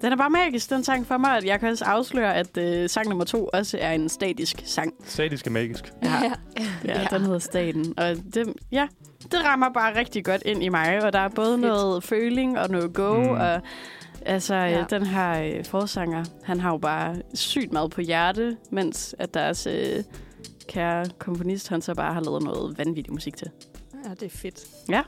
Speaker 3: Den er bare magisk, den sang for mig. og Jeg kan også afsløre, at øh, sang nummer to også er en statisk sang.
Speaker 4: Sadisk er magisk.
Speaker 3: Ja, ja, ja. den hedder Staten. Og det, ja, det rammer bare rigtig godt ind i mig, og der er både Fedt.
Speaker 2: Fedt.
Speaker 3: noget føling og noget go, mm.
Speaker 4: Mm.
Speaker 3: og altså, ja.
Speaker 2: Ja.
Speaker 3: den her øh, forsanger, han har jo bare sygt meget på hjerte, mens at deres øh, kære komponist, han så bare har lavet noget vanvittig musik til.
Speaker 2: Ja, det er fedt.
Speaker 3: Ja.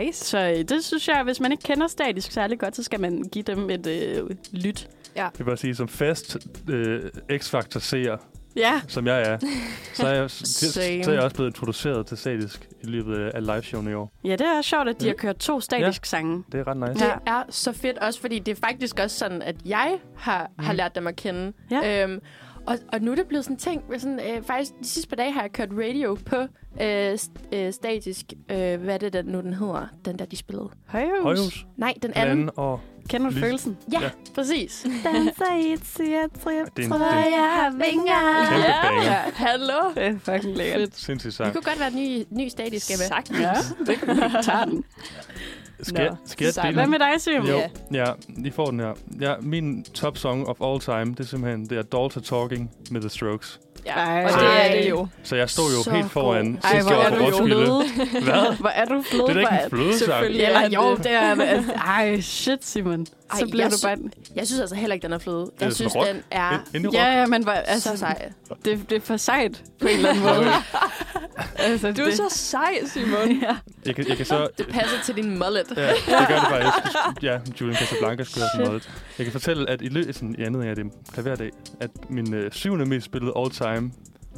Speaker 2: Nice.
Speaker 3: Så øh, det synes jeg, hvis man ikke kender statisk særlig godt, så skal man give dem et øh, lyt.
Speaker 4: Jeg vil bare sige, som fast øh, X-Factor seer,
Speaker 3: Ja,
Speaker 4: som jeg er, så er jeg,
Speaker 5: Same.
Speaker 4: så er jeg også blevet introduceret til sadisk i løbet af liveshowene i år.
Speaker 3: ja det er sjovt, at de
Speaker 4: Ja.
Speaker 3: har kørt to statisk ja. sange.
Speaker 4: Det er ret nice.
Speaker 5: Det
Speaker 3: Ja.
Speaker 5: er så fedt også, fordi det er faktisk også sådan, at jeg har, har lært dem at kende.
Speaker 3: Mm. Ja.
Speaker 5: Øhm, og, og nu er det blevet sådan en ting, hvor sådan, øh, faktisk de sidste par dage har jeg kørt radio på øh, st- øh, statisk, øh, hvad er det den nu den hedder, den der de spillede.
Speaker 3: Højhus.
Speaker 4: Højhus,
Speaker 5: Nej, den anden.
Speaker 4: anden og...
Speaker 3: Kender du
Speaker 4: Lys.
Speaker 3: følelsen?
Speaker 5: Ja,
Speaker 4: Ja.
Speaker 5: ja, præcis.
Speaker 3: Danser i et psykiatrip,
Speaker 4: Det er en-
Speaker 3: tror
Speaker 4: det er en
Speaker 3: jeg har vinger.
Speaker 4: kæmpe
Speaker 3: Ja.
Speaker 4: banger.
Speaker 5: Hallo.
Speaker 3: Det er fucking lækkert.
Speaker 4: Sindssygt
Speaker 5: Det
Speaker 4: sang.
Speaker 5: kunne godt være en ny, ny statisk, Emma.
Speaker 3: Ja, det kan vi tage den.
Speaker 4: Skal, jeg- skal jeg
Speaker 2: Sejt.
Speaker 4: dele
Speaker 3: Hvad
Speaker 4: den?
Speaker 3: med dig, Sim?
Speaker 4: Jo, ja, I får den her. Ja, min top song of all time, det er simpelthen det er Dolta Talking med The Strokes.
Speaker 2: Ja.
Speaker 3: Ej.
Speaker 2: Og det er det jo.
Speaker 4: Så jeg stod jo
Speaker 5: Så
Speaker 4: helt foran
Speaker 5: god.
Speaker 3: Ej,
Speaker 4: sidste
Speaker 3: hvor
Speaker 4: år
Speaker 3: er
Speaker 4: på
Speaker 3: du jo
Speaker 4: Roskilde.
Speaker 3: fløde.
Speaker 4: Hvad?
Speaker 3: Hvor er du fløde?
Speaker 4: Det er da ikke
Speaker 3: Hvor
Speaker 4: en flødesang.
Speaker 2: Selvfølgelig.
Speaker 3: Eller
Speaker 2: Ja,
Speaker 3: jo,
Speaker 2: det-
Speaker 3: det er det. Altså, Ej, shit, Simon. Så
Speaker 5: Ej,
Speaker 3: bliver
Speaker 5: jeg
Speaker 3: du
Speaker 5: sy-
Speaker 3: bare...
Speaker 5: Jeg synes altså heller ikke, den er fløde. Jeg
Speaker 4: sådan
Speaker 5: synes,
Speaker 4: rock.
Speaker 5: den er
Speaker 4: Ind- Indie
Speaker 3: Ja,
Speaker 4: rock.
Speaker 3: ja, men hvor- altså,
Speaker 5: så sej.
Speaker 3: det, det er for sejt på en eller anden måde. altså,
Speaker 2: Du er så sej, Simon.
Speaker 3: Ja.
Speaker 4: Jeg kan, jeg kan så...
Speaker 5: Det passer til din mullet.
Speaker 4: Ja, det gør det faktisk. Ja, Julian Casablanca skulle have sådan noget. Jeg kan fortælle, at i løbet sådan, i anledning af det klaverdag, at min øh, syvende mest spillede all time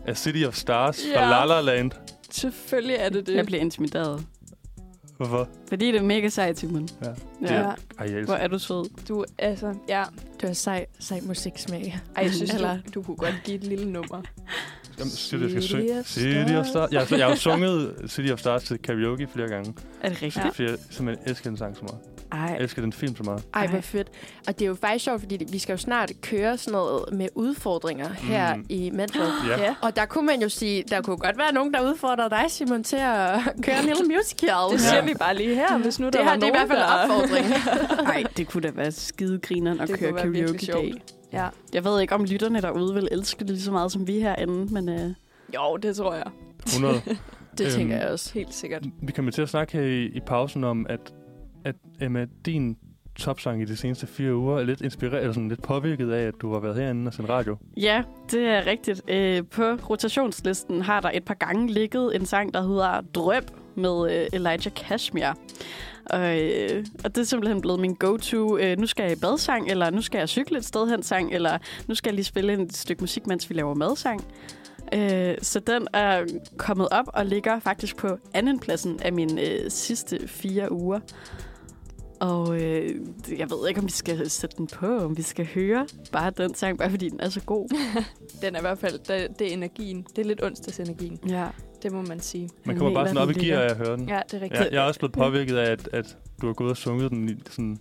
Speaker 4: er City of Stars yeah.
Speaker 2: Ja.
Speaker 4: fra La La Land.
Speaker 2: Selvfølgelig er det det.
Speaker 3: Jeg bliver intimideret.
Speaker 4: Hvorfor?
Speaker 3: Fordi det er mega sejt, Simon.
Speaker 4: Ja.
Speaker 3: ja.
Speaker 2: Ja.
Speaker 4: Ej, jeg
Speaker 3: Hvor
Speaker 4: elsker.
Speaker 3: er du sød.
Speaker 2: Du, altså, ja.
Speaker 5: Det var sej, sej musiksmag.
Speaker 2: Ej, jeg synes,
Speaker 5: Eller-
Speaker 2: du, du kunne godt give et lille nummer.
Speaker 4: Jamen, siger du, jeg skal
Speaker 2: City
Speaker 4: synge?
Speaker 2: of
Speaker 4: City of Stars. Jeg, jeg har jo sunget City of Stars til karaoke flere gange,
Speaker 3: Er det rigtigt?
Speaker 4: ja. fordi jeg simpelthen elsker den sang så meget.
Speaker 3: Ej,
Speaker 4: Jeg elsker den film så meget.
Speaker 5: Ej, hvor
Speaker 3: Ej.
Speaker 5: fedt. Og det er jo faktisk sjovt, fordi vi skal jo snart køre sådan noget med udfordringer her
Speaker 4: Mm.
Speaker 5: i Mental.
Speaker 4: Ja.
Speaker 3: Ja.
Speaker 5: Og der kunne man jo sige, der kunne godt være nogen, der udfordrer dig, Simon, til at køre en lille musical.
Speaker 2: Det siger vi bare lige her, hvis nu der
Speaker 5: det her
Speaker 2: var
Speaker 5: det er i hvert fald en
Speaker 2: nogen,
Speaker 5: opfordring.
Speaker 3: Ej, det kunne da være skidegrineren at
Speaker 2: Det
Speaker 3: køre
Speaker 2: kunne være
Speaker 3: karaoke
Speaker 2: virkelig
Speaker 3: dag.
Speaker 2: Ja.
Speaker 3: Jeg ved ikke, om lytterne derude vil elske det lige så meget, som vi herinde, men øh,
Speaker 2: der... Jo, det tror jeg.
Speaker 4: 100.
Speaker 5: Det
Speaker 4: Øhm,
Speaker 5: tænker jeg også.
Speaker 2: Helt sikkert.
Speaker 4: Vi kommer til at snakke her i, i pausen om, at, at Emma, din topsang i de seneste fire uger er lidt inspireret, eller sådan lidt påvirket af, at du har været herinde og sendt radio.
Speaker 3: ja, det er rigtigt. Øh, på rotationslisten har der et par gange ligget en sang, der hedder Drøb med øh, Elijah Kashmir. Og, øh, og det er simpelthen blevet min go-to. Øh, nu skal jeg i badsang, eller nu skal jeg cykle et sted hen sang, eller nu skal jeg lige spille et stykke musik, mens vi laver madsang. Øh, så den er kommet op og ligger faktisk på andenpladsen af mine øh, sidste fire uger. Og øh, jeg ved ikke, om vi skal sætte den på, om vi skal høre bare den sang, bare fordi den er så god.
Speaker 2: Den er i hvert fald, det, det er energien. Det er lidt onsdagsenergien.
Speaker 3: Ja.
Speaker 2: Det må man sige.
Speaker 4: Man
Speaker 3: Han
Speaker 4: kommer bare
Speaker 3: mener,
Speaker 4: sådan op i
Speaker 3: den
Speaker 4: gear af
Speaker 3: ligger.
Speaker 4: at høre den. Ja.
Speaker 2: Ja, det er rigtigt.
Speaker 4: Ja, jeg er også blevet påvirket af, at, at du har gået og sunget den i sådan,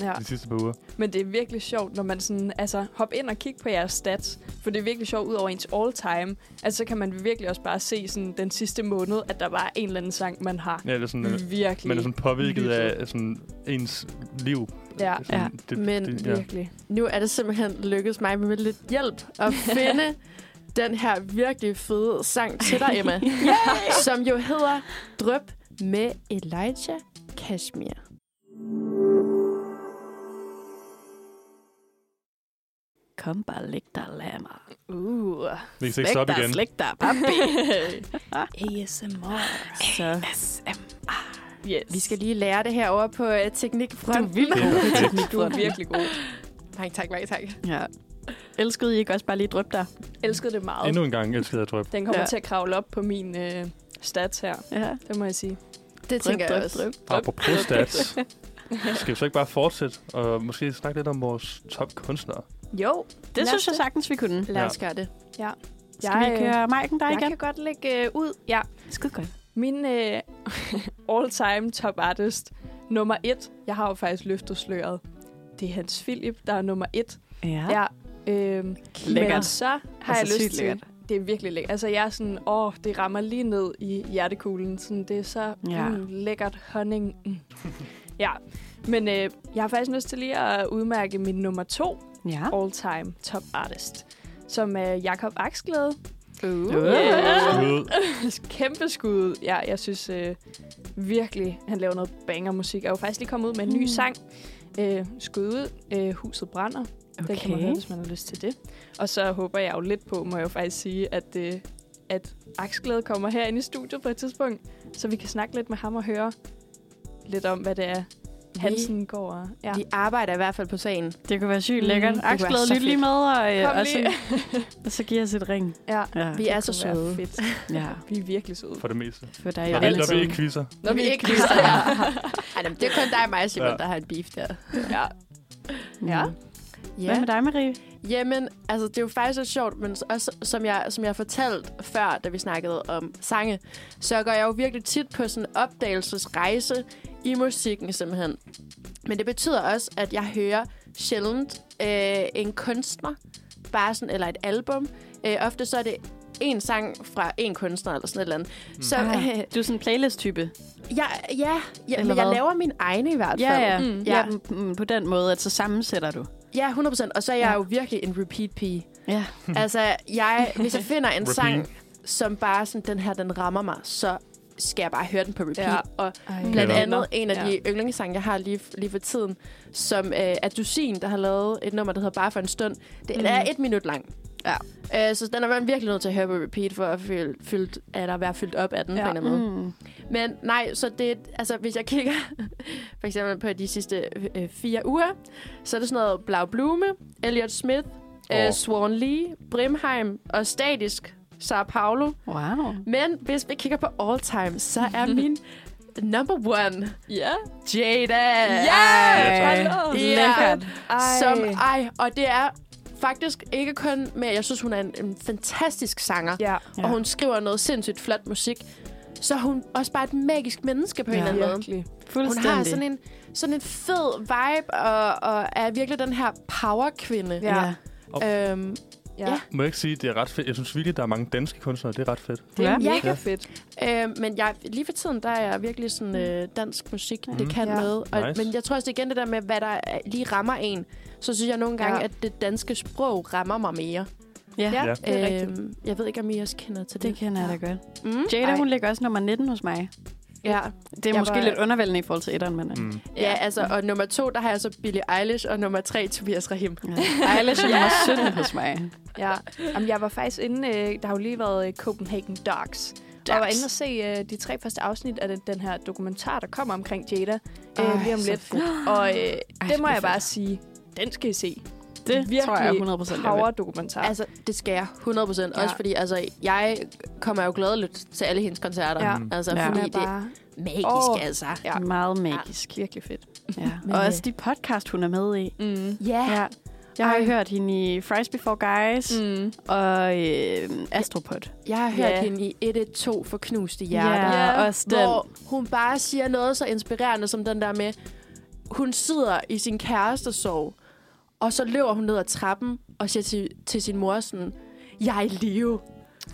Speaker 2: Ja.
Speaker 4: de sidste par uger.
Speaker 2: Men det er virkelig sjovt, når man sådan, altså, hopper ind og kigger på jeres stats. For det er virkelig sjovt ud over ens all time. Altså, så kan man virkelig også bare se sådan, den sidste måned, at der var en eller anden sang, man har.
Speaker 4: Ja, eller sådan, øh,
Speaker 2: Virkelig.
Speaker 4: man er sådan påvirket
Speaker 2: lyttet.
Speaker 4: af af sådan, ens liv.
Speaker 2: Ja,
Speaker 4: sådan,
Speaker 3: ja.
Speaker 4: Det,
Speaker 5: Men
Speaker 4: det, ja.
Speaker 2: Virkelig.
Speaker 5: Nu er det simpelthen lykkedes mig med lidt hjælp at finde den her virkelig fede sang til dig, Emma. som jo hedder Drøb med Elijah Kashmir.
Speaker 3: Kom bare, læg dig, lad mig.
Speaker 2: Uh.
Speaker 4: Vi kan ikke stoppe igen.
Speaker 3: slæg dig, papi.
Speaker 2: ASMR.
Speaker 3: så
Speaker 2: Yes.
Speaker 5: Vi skal lige lære det her over på uh, teknikfronten. Du
Speaker 4: Det er fedt.
Speaker 2: Du er virkelig god.
Speaker 5: Tak, tak, tak, tak.
Speaker 3: ja. Elskede I ikke også bare lige drøb dig?
Speaker 2: Elskede det meget.
Speaker 4: Endnu en gang elskede jeg drøb.
Speaker 2: Den kommer
Speaker 3: Ja.
Speaker 2: ja. til at kravle op på min øh, stats her.
Speaker 3: Ja.
Speaker 2: Det må jeg sige.
Speaker 5: Det tænker jeg også.
Speaker 4: Apropos stats. Skal vi så ikke bare fortsætte og måske snakke lidt om vores topkunstnere?
Speaker 2: Jo,
Speaker 3: Det synes jeg
Speaker 2: sagt.
Speaker 3: sagtens, vi kunne.
Speaker 5: Lad os gøre det.
Speaker 3: Skal jeg, vi køre Majken der
Speaker 2: jeg øh,
Speaker 3: igen?
Speaker 2: kan godt lægge øh, ud. Ja,
Speaker 3: Skide godt.
Speaker 2: min øh, all-time top artist nummer et. Jeg har jo faktisk løftet sløret. Det er Hans Philip, der er nummer et.
Speaker 3: Ja.
Speaker 2: Ja. Øhm, Men
Speaker 3: Lækkert.
Speaker 2: så har
Speaker 3: Altså,
Speaker 2: jeg
Speaker 3: sygt
Speaker 2: lyst til...
Speaker 3: lækkert.
Speaker 2: Det er virkelig lækkert. Altså, jeg er sådan, åh, det rammer lige ned i hjertekuglen. Sådan, det er så
Speaker 3: Ja.
Speaker 2: ja. mm, lækkert honning. Mm. ja, men øh, jeg har faktisk lyst til lige at udmærke min nummer to
Speaker 3: Ja.
Speaker 2: all-time top artist, som er Jakob Aksglæde.
Speaker 5: Uh.
Speaker 2: Yeah.
Speaker 4: Skud.
Speaker 2: Kæmpe skud. Ja, jeg synes øh, virkelig, han laver noget bangermusik. Jeg er jo faktisk lige kommet ud med en ny
Speaker 3: Mm.
Speaker 2: sang. Øh, skud ud. Øh, Huset brænder. Den kan man høre,
Speaker 3: Okay.
Speaker 2: hvis man har lyst til det. Og så håber jeg jo lidt på, må jeg jo faktisk sige, at, øh, at Aksglæde kommer herinde i studiet på et tidspunkt, så vi kan snakke lidt med ham og høre lidt om, hvad det er, han
Speaker 5: Vi,
Speaker 2: sådan går og... Ja.
Speaker 5: vi arbejder i hvert fald på sagen.
Speaker 3: Det kunne være sygt
Speaker 5: Mm,
Speaker 3: lækkert.
Speaker 5: det
Speaker 3: Mm,
Speaker 5: kunne
Speaker 3: Axel,
Speaker 5: være så
Speaker 3: lyt lige
Speaker 5: fedt.
Speaker 3: med, og, øh,
Speaker 2: Kom
Speaker 3: og, så,
Speaker 2: lige.
Speaker 3: og så giver os et ring.
Speaker 2: ja.
Speaker 3: Ja.
Speaker 5: Vi er så
Speaker 2: kunne være
Speaker 5: søde.
Speaker 2: Fedt.
Speaker 3: ja.
Speaker 2: Vi er virkelig søde.
Speaker 4: For det meste.
Speaker 3: For dig
Speaker 4: Når
Speaker 3: er
Speaker 4: vi,
Speaker 3: alle
Speaker 4: når vi ikke
Speaker 3: sammen.
Speaker 4: quizzer.
Speaker 5: Når vi ikke lyster her. Ej, jamen, det er kun dig og mig, Simon,
Speaker 4: Ja.
Speaker 5: der har et beef der.
Speaker 2: Ja. Ja.
Speaker 3: Mm. Hvad med dig, Marie?
Speaker 5: Jamen, altså, det er jo faktisk så sjovt, men også som jeg, som jeg fortalte før, da vi snakkede om sange, så går jeg jo virkelig tit på sådan en opdagelsesrejse i musikken simpelthen. Men det betyder også, at jeg hører sjældent øh, en kunstner, bare sådan, eller et album. Øh, ofte så er det en sang fra en kunstner, eller sådan et eller andet. Mm. Så øh,
Speaker 3: Du er sådan en playlist-type.
Speaker 5: jeg, ja, ja
Speaker 3: Ah. Eller
Speaker 5: men jeg
Speaker 3: hvad?
Speaker 5: laver min egne i hvert fald.
Speaker 3: Ja, ja. Mm.
Speaker 5: Ja.
Speaker 3: ja. mm, På den måde, at så sammensætter du.
Speaker 5: ja 100%. Og så er jeg jo virkelig en repeat-pige.
Speaker 3: Ja.
Speaker 5: Altså, jeg, hvis jeg finder en
Speaker 4: Repeat.
Speaker 5: sang, som bare sådan, den her, den rammer mig, så skal jeg bare høre den på repeat. Ja. Og
Speaker 2: Ej,
Speaker 5: blandt
Speaker 4: Eller-
Speaker 5: andet en af
Speaker 2: Ja.
Speaker 5: de yndlingssange, jeg har lige, lige for tiden, som øh, er Dusin, der har lavet et nummer, der hedder Bare for en stund. Det mm. er et minut lang.
Speaker 3: Ja.
Speaker 5: Øh, så den er man virkelig nødt til at høre på repeat, for at, fylde, fyldt, eller være fyldt op af den ja. på
Speaker 2: Ja.
Speaker 5: en eller anden måde.
Speaker 3: Mm.
Speaker 5: Men nej, så det, altså hvis jeg kigger for eksempel på de sidste øh, fire uger, så er det sådan noget Blau Blume, Elliot Smith, oh.
Speaker 4: Åh.
Speaker 5: øh, Swan Lee, Brimheim og Statisk, Sao Paulo.
Speaker 3: Wow.
Speaker 5: Men hvis vi kigger på all time, så er min number one
Speaker 2: Ja.
Speaker 5: Jada.
Speaker 2: Ja!
Speaker 4: Ej.
Speaker 2: Hallo!
Speaker 5: Ja.
Speaker 3: Lækkert.
Speaker 5: Som, ej, og det er Faktisk ikke kun med, at jeg synes, hun er en, en fantastisk sanger,
Speaker 2: Ja.
Speaker 5: ja. og hun skriver noget sindssygt flot musik, så er hun også bare et magisk menneske på ja. en
Speaker 3: Ja.
Speaker 5: eller anden måde.
Speaker 2: Virkelig.
Speaker 5: Hun
Speaker 3: Fuldstændig.
Speaker 5: har sådan en, sådan en fed vibe, og, og er virkelig den her power-kvinde.
Speaker 2: Ja.
Speaker 3: Ja.
Speaker 5: Øhm,
Speaker 2: Ja.
Speaker 4: Må jeg ikke sige, at det er ret fedt? Jeg synes virkelig, der er mange danske kunstnere. Det er ret fedt.
Speaker 2: Det er
Speaker 3: Ja.
Speaker 2: mega
Speaker 4: Ja.
Speaker 2: fedt.
Speaker 5: øhm, men jeg, lige for tiden, der er jeg virkelig sådan øh, dansk musik, mm.
Speaker 4: Mhm.
Speaker 5: det kan
Speaker 2: Ja.
Speaker 5: ja. noget. Og,
Speaker 4: Nice.
Speaker 5: Men jeg tror også, det er igen det der med, hvad der øh, lige rammer en. Så synes jeg nogle gange,
Speaker 2: Ja.
Speaker 5: ja. at det danske sprog rammer mig mere. Øhm,
Speaker 3: Ja,
Speaker 4: Ja.
Speaker 2: det er rigtigt.
Speaker 5: jeg ved ikke, om I også kender til
Speaker 3: det
Speaker 5: det.
Speaker 3: kender jeg da godt.
Speaker 5: Mm.
Speaker 3: Jada,
Speaker 5: Ej.
Speaker 3: hun ligger også nummer 19 hos mig.
Speaker 5: Ja.
Speaker 3: Det er
Speaker 5: Jeg
Speaker 3: måske
Speaker 5: var-
Speaker 3: lidt undervældende i forhold til etteren, men... Mm.
Speaker 4: Mm.
Speaker 5: ja, altså, og nummer to, der har jeg så Billie Eilish, og nummer tre, Tobias Rahim.
Speaker 3: Ja. Eilish er nummer 17 hos mig.
Speaker 2: Ja. Jamen, jeg var faktisk inde, øh, der har jo lige været øh, Copenhagen Dogs. Jeg var inde og se øh, de tre første afsnit af den, den her dokumentar, der kommer omkring Jada øh,
Speaker 5: Ej,
Speaker 2: lige om
Speaker 5: så
Speaker 2: lidt. Og øh, det
Speaker 3: det
Speaker 2: må
Speaker 3: bliver
Speaker 2: jeg bare sige, den skal I se.
Speaker 3: Det tror jeg
Speaker 2: virkelig
Speaker 3: 100% jeg vil.
Speaker 2: Power-dokumentar.
Speaker 5: Altså, det skal jeg 100 procent.
Speaker 2: Ja.
Speaker 5: Ja. Også fordi, altså, jeg kommer jo glædeligt til alle hendes koncerter.
Speaker 2: Ja.
Speaker 5: Ja. Altså,
Speaker 3: Ja.
Speaker 5: ja.
Speaker 2: Hun
Speaker 5: fordi
Speaker 2: er
Speaker 5: det er
Speaker 2: bare
Speaker 5: magisk,
Speaker 2: Åh.
Speaker 5: oh. altså.
Speaker 2: Ja.
Speaker 3: Meget magisk.
Speaker 2: virkelig fedt.
Speaker 3: Ja.
Speaker 5: Men,
Speaker 3: Og
Speaker 5: øh,
Speaker 3: også de podcast, hun er med i.
Speaker 2: Mm.
Speaker 5: Ja.
Speaker 3: Ja. Jeg har
Speaker 5: Ej.
Speaker 3: hørt hende i Fries Before Guys
Speaker 2: Mm.
Speaker 3: og øh, Astropod.
Speaker 5: Jeg har hørt
Speaker 2: Ja.
Speaker 5: yeah. hende i 112 for knuste hjerter.
Speaker 2: Ja.
Speaker 5: Yeah.
Speaker 3: også den.
Speaker 5: Hvor hun bare siger noget så inspirerende som den der med, hun sidder i sin kærestesorg, og så løber hun ned ad trappen og siger til, til sin mor sådan, jeg er i live.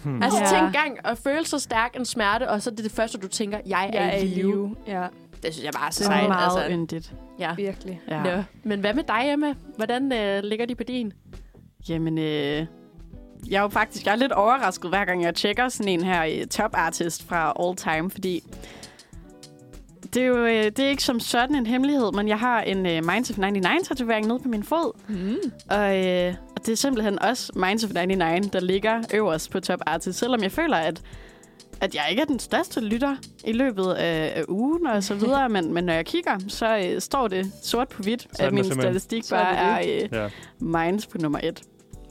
Speaker 5: Hmm. Altså
Speaker 3: Ja.
Speaker 5: yeah. tænk gang at føle så stærk en smerte, og så er det det første, du tænker, jeg er,
Speaker 2: Jeg er i
Speaker 5: live.
Speaker 2: live. Ja,
Speaker 5: Det synes jeg bare er så
Speaker 3: Det er
Speaker 5: sejt.
Speaker 3: meget
Speaker 5: Altså.
Speaker 3: yndigt.
Speaker 5: Ja.
Speaker 2: virkelig.
Speaker 3: Ja.
Speaker 5: Nå. Men hvad med dig, Emma? Hvordan øh, ligger de på din?
Speaker 3: Jamen, øh, jeg er jo faktisk jeg er lidt overrasket, hver gang jeg tjekker sådan en her øh, topartist fra All Time, fordi det er jo øh, det er ikke som sådan en hemmelighed, men jeg har en øh, Minds of 99-tatovering nede på min fod,
Speaker 2: Mm.
Speaker 3: og, øh, og det er simpelthen også Minds of 99, der ligger øverst på Top Artist, selvom jeg føler, at at jeg ikke er den største lytter i løbet af, af ugen og så videre, men, men når jeg kigger, så øh, står det sort på hvidt,
Speaker 4: er
Speaker 3: at
Speaker 4: den
Speaker 3: min
Speaker 4: simpelthen.
Speaker 3: statistik
Speaker 2: Så er
Speaker 3: bare
Speaker 2: det
Speaker 3: er øh,
Speaker 4: Ja,
Speaker 3: Minds på nummer et.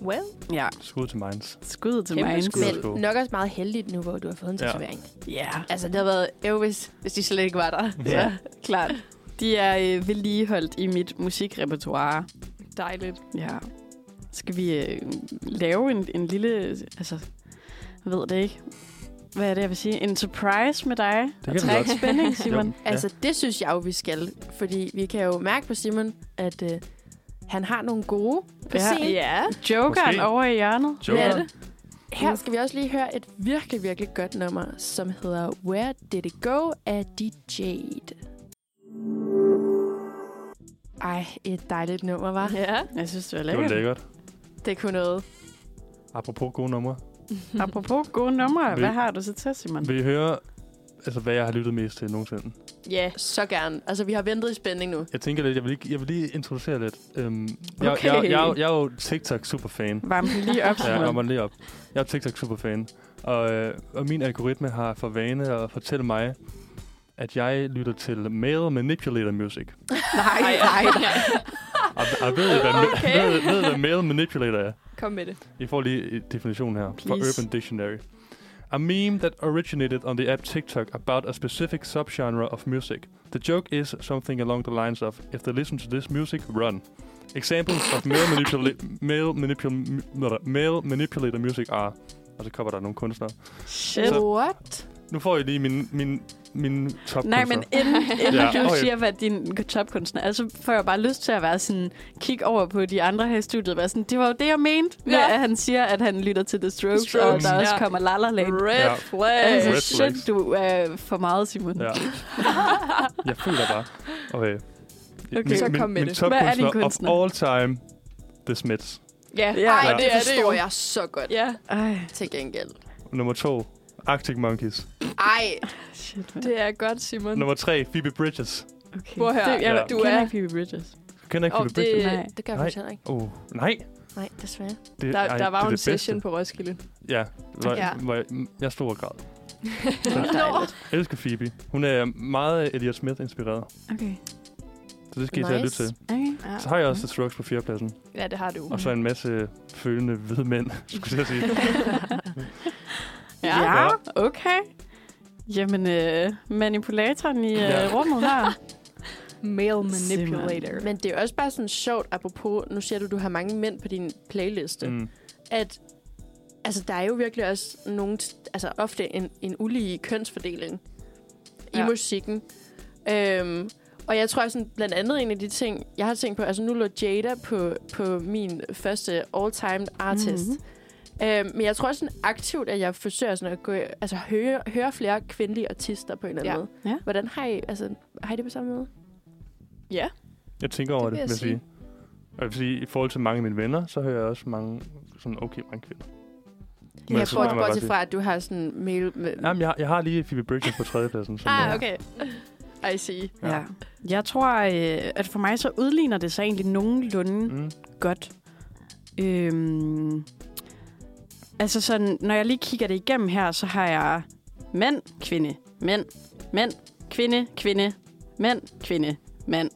Speaker 2: Well,
Speaker 3: Ja.
Speaker 4: skud til Minds.
Speaker 3: Skud til
Speaker 2: Kæmpe
Speaker 3: mig.
Speaker 2: skud.
Speaker 4: Men Skål.
Speaker 5: nok også meget heldigt nu, hvor du har fået en
Speaker 4: Ja.
Speaker 5: tatovering.
Speaker 3: Ja.
Speaker 5: Altså, det har været Elvis, hvis de slet ikke var der.
Speaker 4: Ja.
Speaker 3: Klart. De er øh, vedligeholdt i mit musikrepertoire.
Speaker 2: dejligt.
Speaker 3: Ja. Skal vi øh, lave en, en lille... Altså, jeg ved det ikke. Hvad er det, jeg vil sige? En surprise med dig?
Speaker 4: kan
Speaker 3: Og
Speaker 4: vi
Speaker 3: træk
Speaker 4: godt.
Speaker 3: spænding, Simon.
Speaker 4: Jo,
Speaker 5: Altså, det synes jeg jo, vi skal. Fordi vi kan jo mærke på Simon, at øh, han har nogle gode på
Speaker 3: Ja.
Speaker 5: ja, scenen.
Speaker 2: Ja.
Speaker 3: Jokeren
Speaker 4: Måske.
Speaker 3: over i hjørnet.
Speaker 4: Joker.
Speaker 5: Hvad er Her skal vi også lige høre et virkelig, virkelig godt nummer, som hedder Where Did It Go af DJ. Ej, et dejligt nummer, var.
Speaker 2: Ja.
Speaker 3: Jeg synes, det var
Speaker 4: Det var
Speaker 3: lækkert.
Speaker 4: lækkert.
Speaker 5: Det kunne noget.
Speaker 4: Apropos gode numre.
Speaker 3: Apropos gode numre,
Speaker 4: Vi-
Speaker 3: hvad har du så til, Simon?
Speaker 4: Vil I høre, altså, hvad jeg har lyttet mest til nogensinde?
Speaker 5: Ja, så gerne. Altså, vi har ventet i spænding nu.
Speaker 4: Jeg tænker lidt, jeg vil lige, jeg vil lige introducere lidt. Øhm, jeg, jeg,
Speaker 3: Okay.
Speaker 4: jeg, jeg, er jo- jeg er jo TikTok-superfan.
Speaker 3: Varm den lige op,
Speaker 4: Ja,
Speaker 3: Simon.
Speaker 4: kommer lige op. Jeg er TikTok-superfan, og, øh, og min algoritme har for vane at fortælle mig, at jeg lytter til male manipulator music.
Speaker 3: nej, nej.
Speaker 4: Og, og ved, I, hvad, okay. ved, ved, I, hvad male manipulator er?
Speaker 2: Kom med det.
Speaker 4: I får lige definitionen her fra
Speaker 3: Please.
Speaker 4: Urban Dictionary. A meme that originated on the app TikTok about a specific subgenre of music. The joke is something along the lines of, if they listen to this music, run. Examples of male, manipula- male, manipul- m- male manipulator music are... Og så kommer der nogle kunstnere.
Speaker 3: Shit.
Speaker 5: What?
Speaker 4: Nu får I lige min, min, min top
Speaker 3: Nej, men inden, inden
Speaker 4: Ja,
Speaker 3: ja, du
Speaker 4: okay.
Speaker 3: siger, hvad din topkunstner er, så får jeg bare lyst til at være sådan, kig over på de andre her i studiet og være sådan, det var jo det, jeg mente, med,
Speaker 2: Ja.
Speaker 3: at han siger, at han lytter til The Strokes, The
Speaker 2: Strokes,
Speaker 3: Strokes og der
Speaker 2: ja.
Speaker 3: også kommer La La Land.
Speaker 2: Red
Speaker 4: Ja.
Speaker 2: flag.
Speaker 3: Altså,
Speaker 4: Red flags.
Speaker 3: shit, du er for meget, Simon.
Speaker 4: Ja. Jeg føler bare... Okay.
Speaker 3: Okay, så
Speaker 2: kom med
Speaker 4: min
Speaker 2: det.
Speaker 4: Top
Speaker 3: Hvad er din kunstner?
Speaker 4: Of all time, The Smiths.
Speaker 2: Ja,
Speaker 3: Ja.
Speaker 2: Ej,
Speaker 5: Ej,
Speaker 4: Ja.
Speaker 5: det,
Speaker 2: det er det
Speaker 5: forstår
Speaker 2: jo.
Speaker 5: jeg så godt
Speaker 2: Ja,
Speaker 3: Ej,
Speaker 5: til gengæld.
Speaker 4: Nummer to, Arctic Monkeys.
Speaker 5: Ej,
Speaker 3: shit. Man.
Speaker 2: det er godt, Simon.
Speaker 4: Nummer 3, Phoebe Bridges.
Speaker 3: Okay.
Speaker 2: Prøv at høre.
Speaker 3: Det, jeg
Speaker 4: Ja.
Speaker 3: du
Speaker 2: Du
Speaker 3: kender
Speaker 2: er-
Speaker 3: ikke Phoebe Bridges.
Speaker 4: Kender ikke
Speaker 2: Åh,
Speaker 4: Phoebe Bridges?
Speaker 2: det-
Speaker 3: Nej.
Speaker 5: det gør jeg
Speaker 4: Nej.
Speaker 5: faktisk heller ikke.
Speaker 4: Oh, nej.
Speaker 5: Nej, desværre.
Speaker 4: Det,
Speaker 2: Der,
Speaker 4: ej,
Speaker 2: der var
Speaker 4: det er
Speaker 2: jo en
Speaker 4: det bedste.
Speaker 2: session på Roskilde.
Speaker 4: Ja, hvor,
Speaker 2: Ja.
Speaker 4: ja. Hvor jeg, jeg stod og græd.
Speaker 3: Dejligt.
Speaker 4: Jeg elsker Phoebe. Hun er meget Elliot Smith-inspireret.
Speaker 3: Okay.
Speaker 4: Så det skal nice. I tage og lytte
Speaker 5: Nice.
Speaker 4: til.
Speaker 3: okay.
Speaker 2: Ja. Uh.
Speaker 4: Så har jeg også The Strokes på fjerdepladsen. Mm.
Speaker 2: ja, det har du.
Speaker 4: Og så en masse følende hvide mænd, skulle jeg sige.
Speaker 3: Ja.
Speaker 4: Ja.
Speaker 3: ja, okay. Jamen, øh, manipulatoren i øh,
Speaker 4: Ja.
Speaker 3: rummet her.
Speaker 2: Male manipulator.
Speaker 5: Men det er jo også bare sådan sjovt, apropos, nu siger du, du har mange mænd på din playliste, mm.
Speaker 4: Mm.
Speaker 5: at altså, der er jo virkelig også nogle, altså ofte en, en ulige kønsfordeling ja.
Speaker 6: Ja.
Speaker 5: i musikken. Øhm, og jeg tror sådan, blandt andet en af de ting, jeg har tænkt på, altså nu lå Jada på, på min første all-time artist.
Speaker 3: Mhm.
Speaker 5: Mm-hmm. Øhm, men jeg tror sådan aktivt, at jeg forsøger sådan at gå, altså, høre, høre flere kvindelige artister på en eller anden
Speaker 6: Ja.
Speaker 5: måde.
Speaker 3: Ja.
Speaker 5: Hvordan har I, altså, har I det på samme måde?
Speaker 4: Jeg tænker over
Speaker 5: Det
Speaker 4: det,
Speaker 5: vil
Speaker 4: vil
Speaker 5: jeg
Speaker 4: jeg sige. Og jeg vil sige, i forhold til mange af mine venner, så hører jeg også mange, sådan okay, mange kvinder.
Speaker 5: Men jeg
Speaker 4: så må
Speaker 5: får
Speaker 4: man bare
Speaker 5: bortset
Speaker 4: sige-
Speaker 5: fra, at du har sådan mail med...
Speaker 4: Jamen, jeg, jeg har lige Phoebe Bridgers på tredjepladsen. som jeg-
Speaker 5: ah, okay. I see.
Speaker 4: Ja.
Speaker 3: Ja. Jeg tror, øh, at for mig så udligner det sig egentlig nogenlunde
Speaker 4: Mm.
Speaker 3: godt. Øhm, altså sådan, når jeg lige kigger det igennem her, så har jeg mænd, kvinde, mænd, mænd, kvinde, kvinde, mænd, kvinde, mand,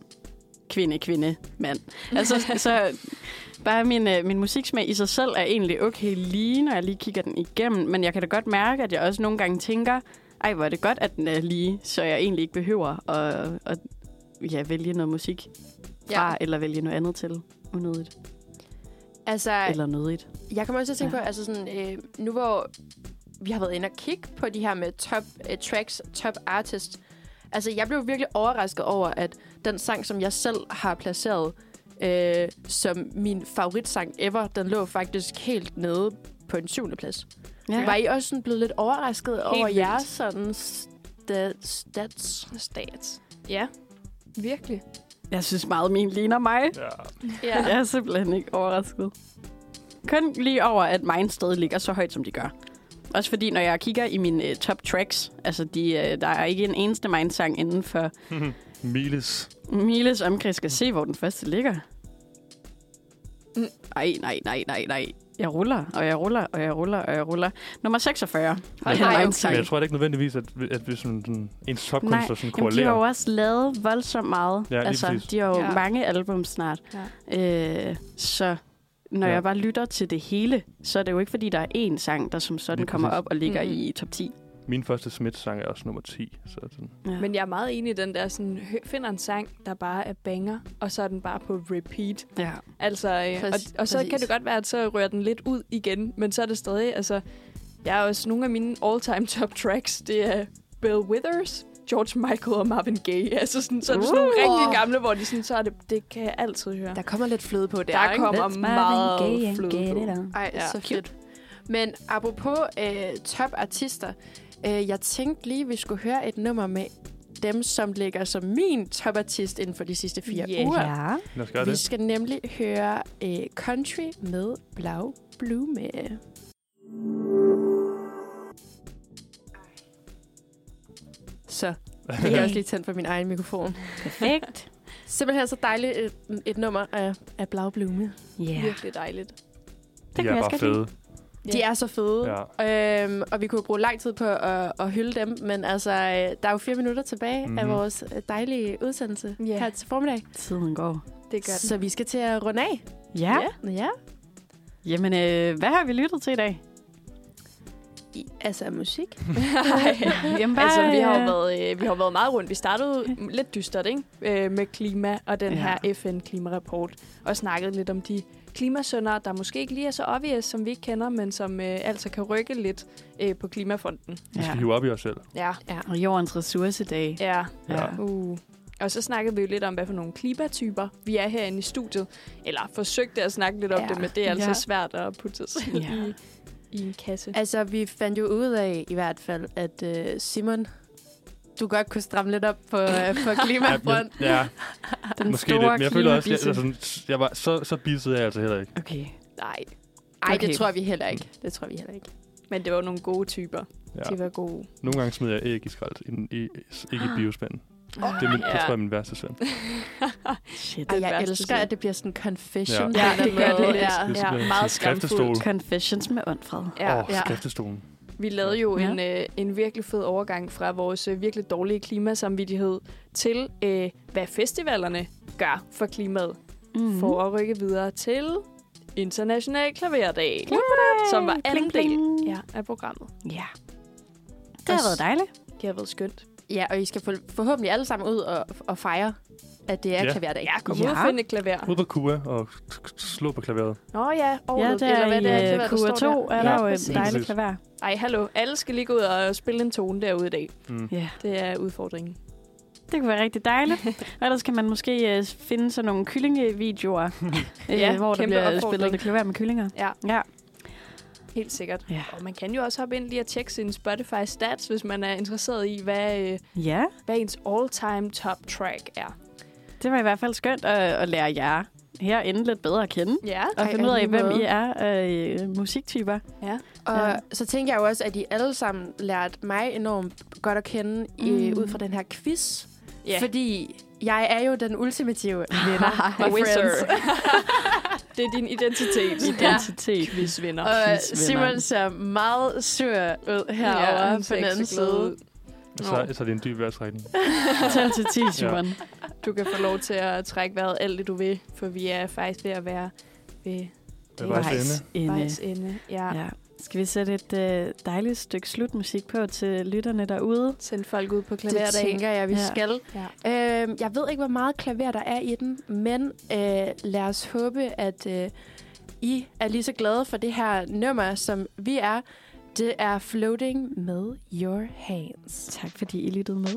Speaker 3: kvinde, kvinde, mand. Altså, så bare min, øh, min musiksmag i sig selv er egentlig okay lige, når jeg lige kigger den igennem. Men jeg kan da godt mærke, at jeg også nogle gange tænker, ej, hvor er det godt, at den er lige, så jeg egentlig ikke behøver at, at ja, vælge noget musik fra, ja. eller vælge noget andet til unødigt.
Speaker 5: Altså,
Speaker 3: Eller nødigt.
Speaker 5: jeg kommer også til at tænke
Speaker 3: Ja.
Speaker 5: på, altså sådan, øh, nu hvor vi har været inde og kigge på de her med top øh, tracks, top artist. Altså, jeg blev virkelig overrasket over, at den sang, som jeg selv har placeret øh, som min favoritsang ever, den lå faktisk helt nede på en syvende plads. Ja. Var I også sådan blevet lidt overrasket helt over
Speaker 2: vildt.
Speaker 5: jeres sådan stats? stats?
Speaker 2: Stats. Ja, virkelig.
Speaker 3: Jeg synes meget, min ligner mig.
Speaker 4: Ja.
Speaker 5: Ja.
Speaker 3: Jeg er simpelthen ikke overrasket. Kun lige over, at mine stadig ligger så højt, som de gør. Også fordi, når jeg kigger i mine uh, top tracks, altså de, uh, der er ikke en eneste Mine-sang inden for
Speaker 4: Miles.
Speaker 3: Miles omkreds. Skal se, hvor den første ligger. Nej, nej, nej, nej, nej. Jeg ruller, og jeg ruller, og jeg ruller, og jeg ruller. Nummer 46.
Speaker 5: Hold
Speaker 3: Det er en
Speaker 5: da op.
Speaker 4: Men
Speaker 3: sang.
Speaker 4: jeg tror da ikke nødvendigvis, at, vi- at vi sådan, sådan, ens
Speaker 3: Nej,
Speaker 4: topkunstner sådan
Speaker 3: Jamen, de har jo
Speaker 4: korrelerer.
Speaker 3: også lavet voldsomt meget.
Speaker 4: Ja, lige
Speaker 3: altså,
Speaker 4: præcis.
Speaker 3: de har jo ja.
Speaker 2: Ja.
Speaker 3: mange album snart. Ja. Øh, så når ja.
Speaker 4: Ja.
Speaker 3: jeg bare lytter til det hele, så er det jo ikke, fordi der er én sang, der som sådan
Speaker 4: Lige
Speaker 3: kommer
Speaker 4: præcis.
Speaker 3: op og ligger
Speaker 2: Mhm.
Speaker 3: i top 10.
Speaker 4: Min første Smith-sang er også nummer 10. Så sådan.
Speaker 3: Ja.
Speaker 2: Men jeg er meget enig i den der, sådan, hø- finder en sang, der bare er banger, og så er den bare på repeat.
Speaker 3: ja.
Speaker 2: Altså, øh,
Speaker 5: Præcis-
Speaker 2: og, og så
Speaker 5: præcis.
Speaker 2: kan det godt være, at så rører den lidt ud igen, men så er det stadig, altså, jeg er også nogle af mine all-time top tracks, det er Bill Withers, George Michael og Marvin Gaye. Altså sådan, så er det sådan nogle
Speaker 5: Uh.
Speaker 2: rigtig gamle, hvor de sådan, så er det, det kan jeg altid høre.
Speaker 5: Der kommer lidt fløde på der,
Speaker 2: Der kommer meget fløde på.
Speaker 5: Ej, ja.
Speaker 2: Ja.
Speaker 5: så fedt. Men apropos øh, topartister, øh, jeg tænkte lige, vi skulle høre et nummer med dem, som ligger som min topartist inden for de sidste fire
Speaker 2: Yeah.
Speaker 5: uger.
Speaker 3: Ja.
Speaker 4: Lad os gøre
Speaker 5: Vi
Speaker 4: det.
Speaker 5: skal nemlig høre øh, Country med Blau Blume. Så, det kan jeg også lige tændt for min egen mikrofon.
Speaker 3: Perfekt.
Speaker 5: Simpelthen så dejligt et, et nummer af, af Blau Blume.
Speaker 3: Ja. Yeah.
Speaker 2: Virkelig dejligt.
Speaker 4: De er bare fede.
Speaker 5: Yeah. De er så fede.
Speaker 4: Ja.
Speaker 5: Øhm, og vi kunne bruge lang tid på at, at hylde dem, men altså, øh, der er jo fire minutter tilbage mm-hmm. af
Speaker 4: Mhm.
Speaker 5: vores øh, dejlige udsendelse
Speaker 2: Ja.
Speaker 5: yeah. her til formiddag.
Speaker 3: Tiden går.
Speaker 2: Det gør den.
Speaker 5: Så vi skal til at runde af.
Speaker 3: Ja. ja.
Speaker 5: ja.
Speaker 3: Jamen, øh, hvad har vi lyttet til i dag?
Speaker 5: I, altså musik.
Speaker 3: Jamen,
Speaker 2: Altså, vi har jo
Speaker 3: øh,
Speaker 2: været, øh, vi har været meget rundt. Vi startede m- lidt dystert, ikke? Øh, med klima og den
Speaker 3: Ja.
Speaker 2: ja. her FN-klimarapport. Og snakkede lidt om de klimasønder, der måske ikke lige er så obvious, som vi ikke kender, men som øh, altså kan rykke lidt øh, på klimafonden.
Speaker 4: Vi
Speaker 3: Ja.
Speaker 4: skal hive op i os selv.
Speaker 2: Ja.
Speaker 3: Og jordens ressourcedag.
Speaker 2: Ja.
Speaker 4: Ja.
Speaker 2: Uh. Og så snakkede vi jo lidt om, hvad for nogle klimatyper vi er herinde i studiet. Eller forsøgte at snakke lidt om
Speaker 5: Ja.
Speaker 2: ja. det, men det er altså
Speaker 3: Ja.
Speaker 2: ja. svært at putte sig selv
Speaker 3: Ja.
Speaker 2: ja. i, i en kasse.
Speaker 5: Altså, vi fandt jo ud af i hvert fald, at øh, Simon, du godt kunne stramme lidt op på, øh, på klimafront.
Speaker 4: ja, ja,
Speaker 3: Den
Speaker 4: måske
Speaker 3: store
Speaker 4: lidt. Men jeg føler også, jeg,
Speaker 3: klimabisse.
Speaker 4: altså, sådan, jeg var, så, så bissede jeg altså heller ikke.
Speaker 3: Okay.
Speaker 2: Nej,
Speaker 5: Nej, okay. Mm.
Speaker 3: Okay.
Speaker 5: det tror vi heller ikke. Det tror vi heller ikke.
Speaker 2: men det var nogle gode typer.
Speaker 4: Ja.
Speaker 2: Ja. De var gode.
Speaker 4: Nogle gange smider jeg æg i skrald, inden i, ikke i biospanden. Det, er min, det
Speaker 2: Ja.
Speaker 4: tror jeg er min værste søn.
Speaker 3: Shit.
Speaker 5: Ej, jeg
Speaker 2: værste
Speaker 5: elsker,
Speaker 2: side.
Speaker 5: at det bliver sådan en confession.
Speaker 4: Ja.
Speaker 2: Ja,
Speaker 5: på en eller
Speaker 2: det gør
Speaker 5: anden
Speaker 2: det
Speaker 5: måde.
Speaker 2: lidt.
Speaker 5: Ja.
Speaker 4: Det er
Speaker 2: Ja,
Speaker 4: simpeldt-
Speaker 2: meget
Speaker 4: skriftestol.
Speaker 2: skamfuldt.
Speaker 3: Confessions med Åndfred.
Speaker 4: Åh,
Speaker 2: Ja,
Speaker 4: oh,
Speaker 5: ja.
Speaker 4: skriftestolen.
Speaker 2: vi lavede jo
Speaker 3: Ja.
Speaker 2: ja. en, øh, en virkelig fed overgang fra vores øh, virkelig dårlige klimasamvittighed til, øh, hvad festivalerne gør for klimaet,
Speaker 5: Mhm.
Speaker 2: mm. for at rykke videre til International Klaverdag, som var anden del ja, af programmet.
Speaker 3: Ja. Det har været dejligt.
Speaker 2: Det har været skønt.
Speaker 5: ja, og I skal for, forhåbentlig alle sammen ud og, og fejre,
Speaker 7: at det er
Speaker 4: Ja.
Speaker 7: yeah. klaverdag.
Speaker 2: Ja, kom ja. ud og find et klaver.
Speaker 4: Ud på kua og slå på klaveret.
Speaker 2: Nå ja,
Speaker 3: Ja,
Speaker 2: overløb,
Speaker 3: der
Speaker 2: eller hvad det er,
Speaker 3: i
Speaker 2: klaver,
Speaker 3: øh,
Speaker 2: der står
Speaker 3: kur 2
Speaker 2: der.
Speaker 3: er
Speaker 4: Ja,
Speaker 3: der jo et
Speaker 7: præcis.
Speaker 3: dejligt
Speaker 4: Præcis.
Speaker 3: klavær.
Speaker 2: Ej, hallo. Alle skal lige gå ud og spille en tone derude i dag.
Speaker 4: Mm.
Speaker 3: Ja,
Speaker 2: Det er udfordringen.
Speaker 3: det kunne være rigtig dejligt. Og ellers kan man måske øh, finde sådan nogle kyllingevideoer,
Speaker 2: Ja,
Speaker 3: ja, hvor der
Speaker 2: kæmpe
Speaker 3: bliver spillet
Speaker 2: opfordring.
Speaker 3: det klaver med kyllinger.
Speaker 2: Ja.
Speaker 3: ja.
Speaker 2: Helt sikkert.
Speaker 3: Ja.
Speaker 2: Og man kan jo også hoppe ind lige og tjekke sin Spotify stats, hvis man er interesseret i, hvad, øh,
Speaker 3: Ja,
Speaker 2: hvad ens all-time top track er.
Speaker 3: det var i hvert fald skønt at, at lære jer herinde lidt bedre at kende.
Speaker 2: Ja.
Speaker 3: Og
Speaker 5: Ej,
Speaker 3: finde ud af,
Speaker 5: lige
Speaker 3: hvem
Speaker 5: måde.
Speaker 3: I er øh, musiktyper.
Speaker 5: Og
Speaker 3: Ja.
Speaker 5: ja. så tænker jeg jo også, at I alle sammen lærte mig enormt godt at kende mm. i,
Speaker 3: Mm.
Speaker 5: ud fra den her quiz.
Speaker 2: Ja.
Speaker 5: Fordi jeg er jo den ultimative vinder.
Speaker 3: Hej.
Speaker 5: My friends.
Speaker 2: det er din identitet.
Speaker 3: Identitet.
Speaker 2: Quizvinder.
Speaker 5: Og
Speaker 3: Quizvinderen.
Speaker 5: Simon ser meget sur ud
Speaker 2: Ja,
Speaker 5: herovre
Speaker 2: han
Speaker 5: ja, på
Speaker 2: ser
Speaker 5: den
Speaker 2: ikke
Speaker 5: anden
Speaker 2: så glad ud.
Speaker 5: side.
Speaker 4: Så, så er det en dyb vejrtrækning.
Speaker 3: Tæl til 10, Simon.
Speaker 2: Du kan få lov til at trække vejret alt det, du vil, for vi er faktisk ved at være ved
Speaker 4: Det
Speaker 2: Vejs
Speaker 4: var ende.
Speaker 3: øh,
Speaker 2: vejs ende. Ja. ja.
Speaker 3: Ja. Skal vi sætte et øh, dejligt stykke slutmusik på til lytterne derude?
Speaker 2: Send folk ud på
Speaker 5: Det
Speaker 2: klaverdag.
Speaker 5: tænker jeg, vi
Speaker 3: Ja.
Speaker 5: ja. skal.
Speaker 2: Ja.
Speaker 5: Øhm, jeg ved ikke, hvor meget klaver der er i den, men øh, lad os håbe, at øh, I er lige så glade for det her nummer, som vi er. Det er Floating med Your Hands.
Speaker 3: Tak fordi I lyttede med.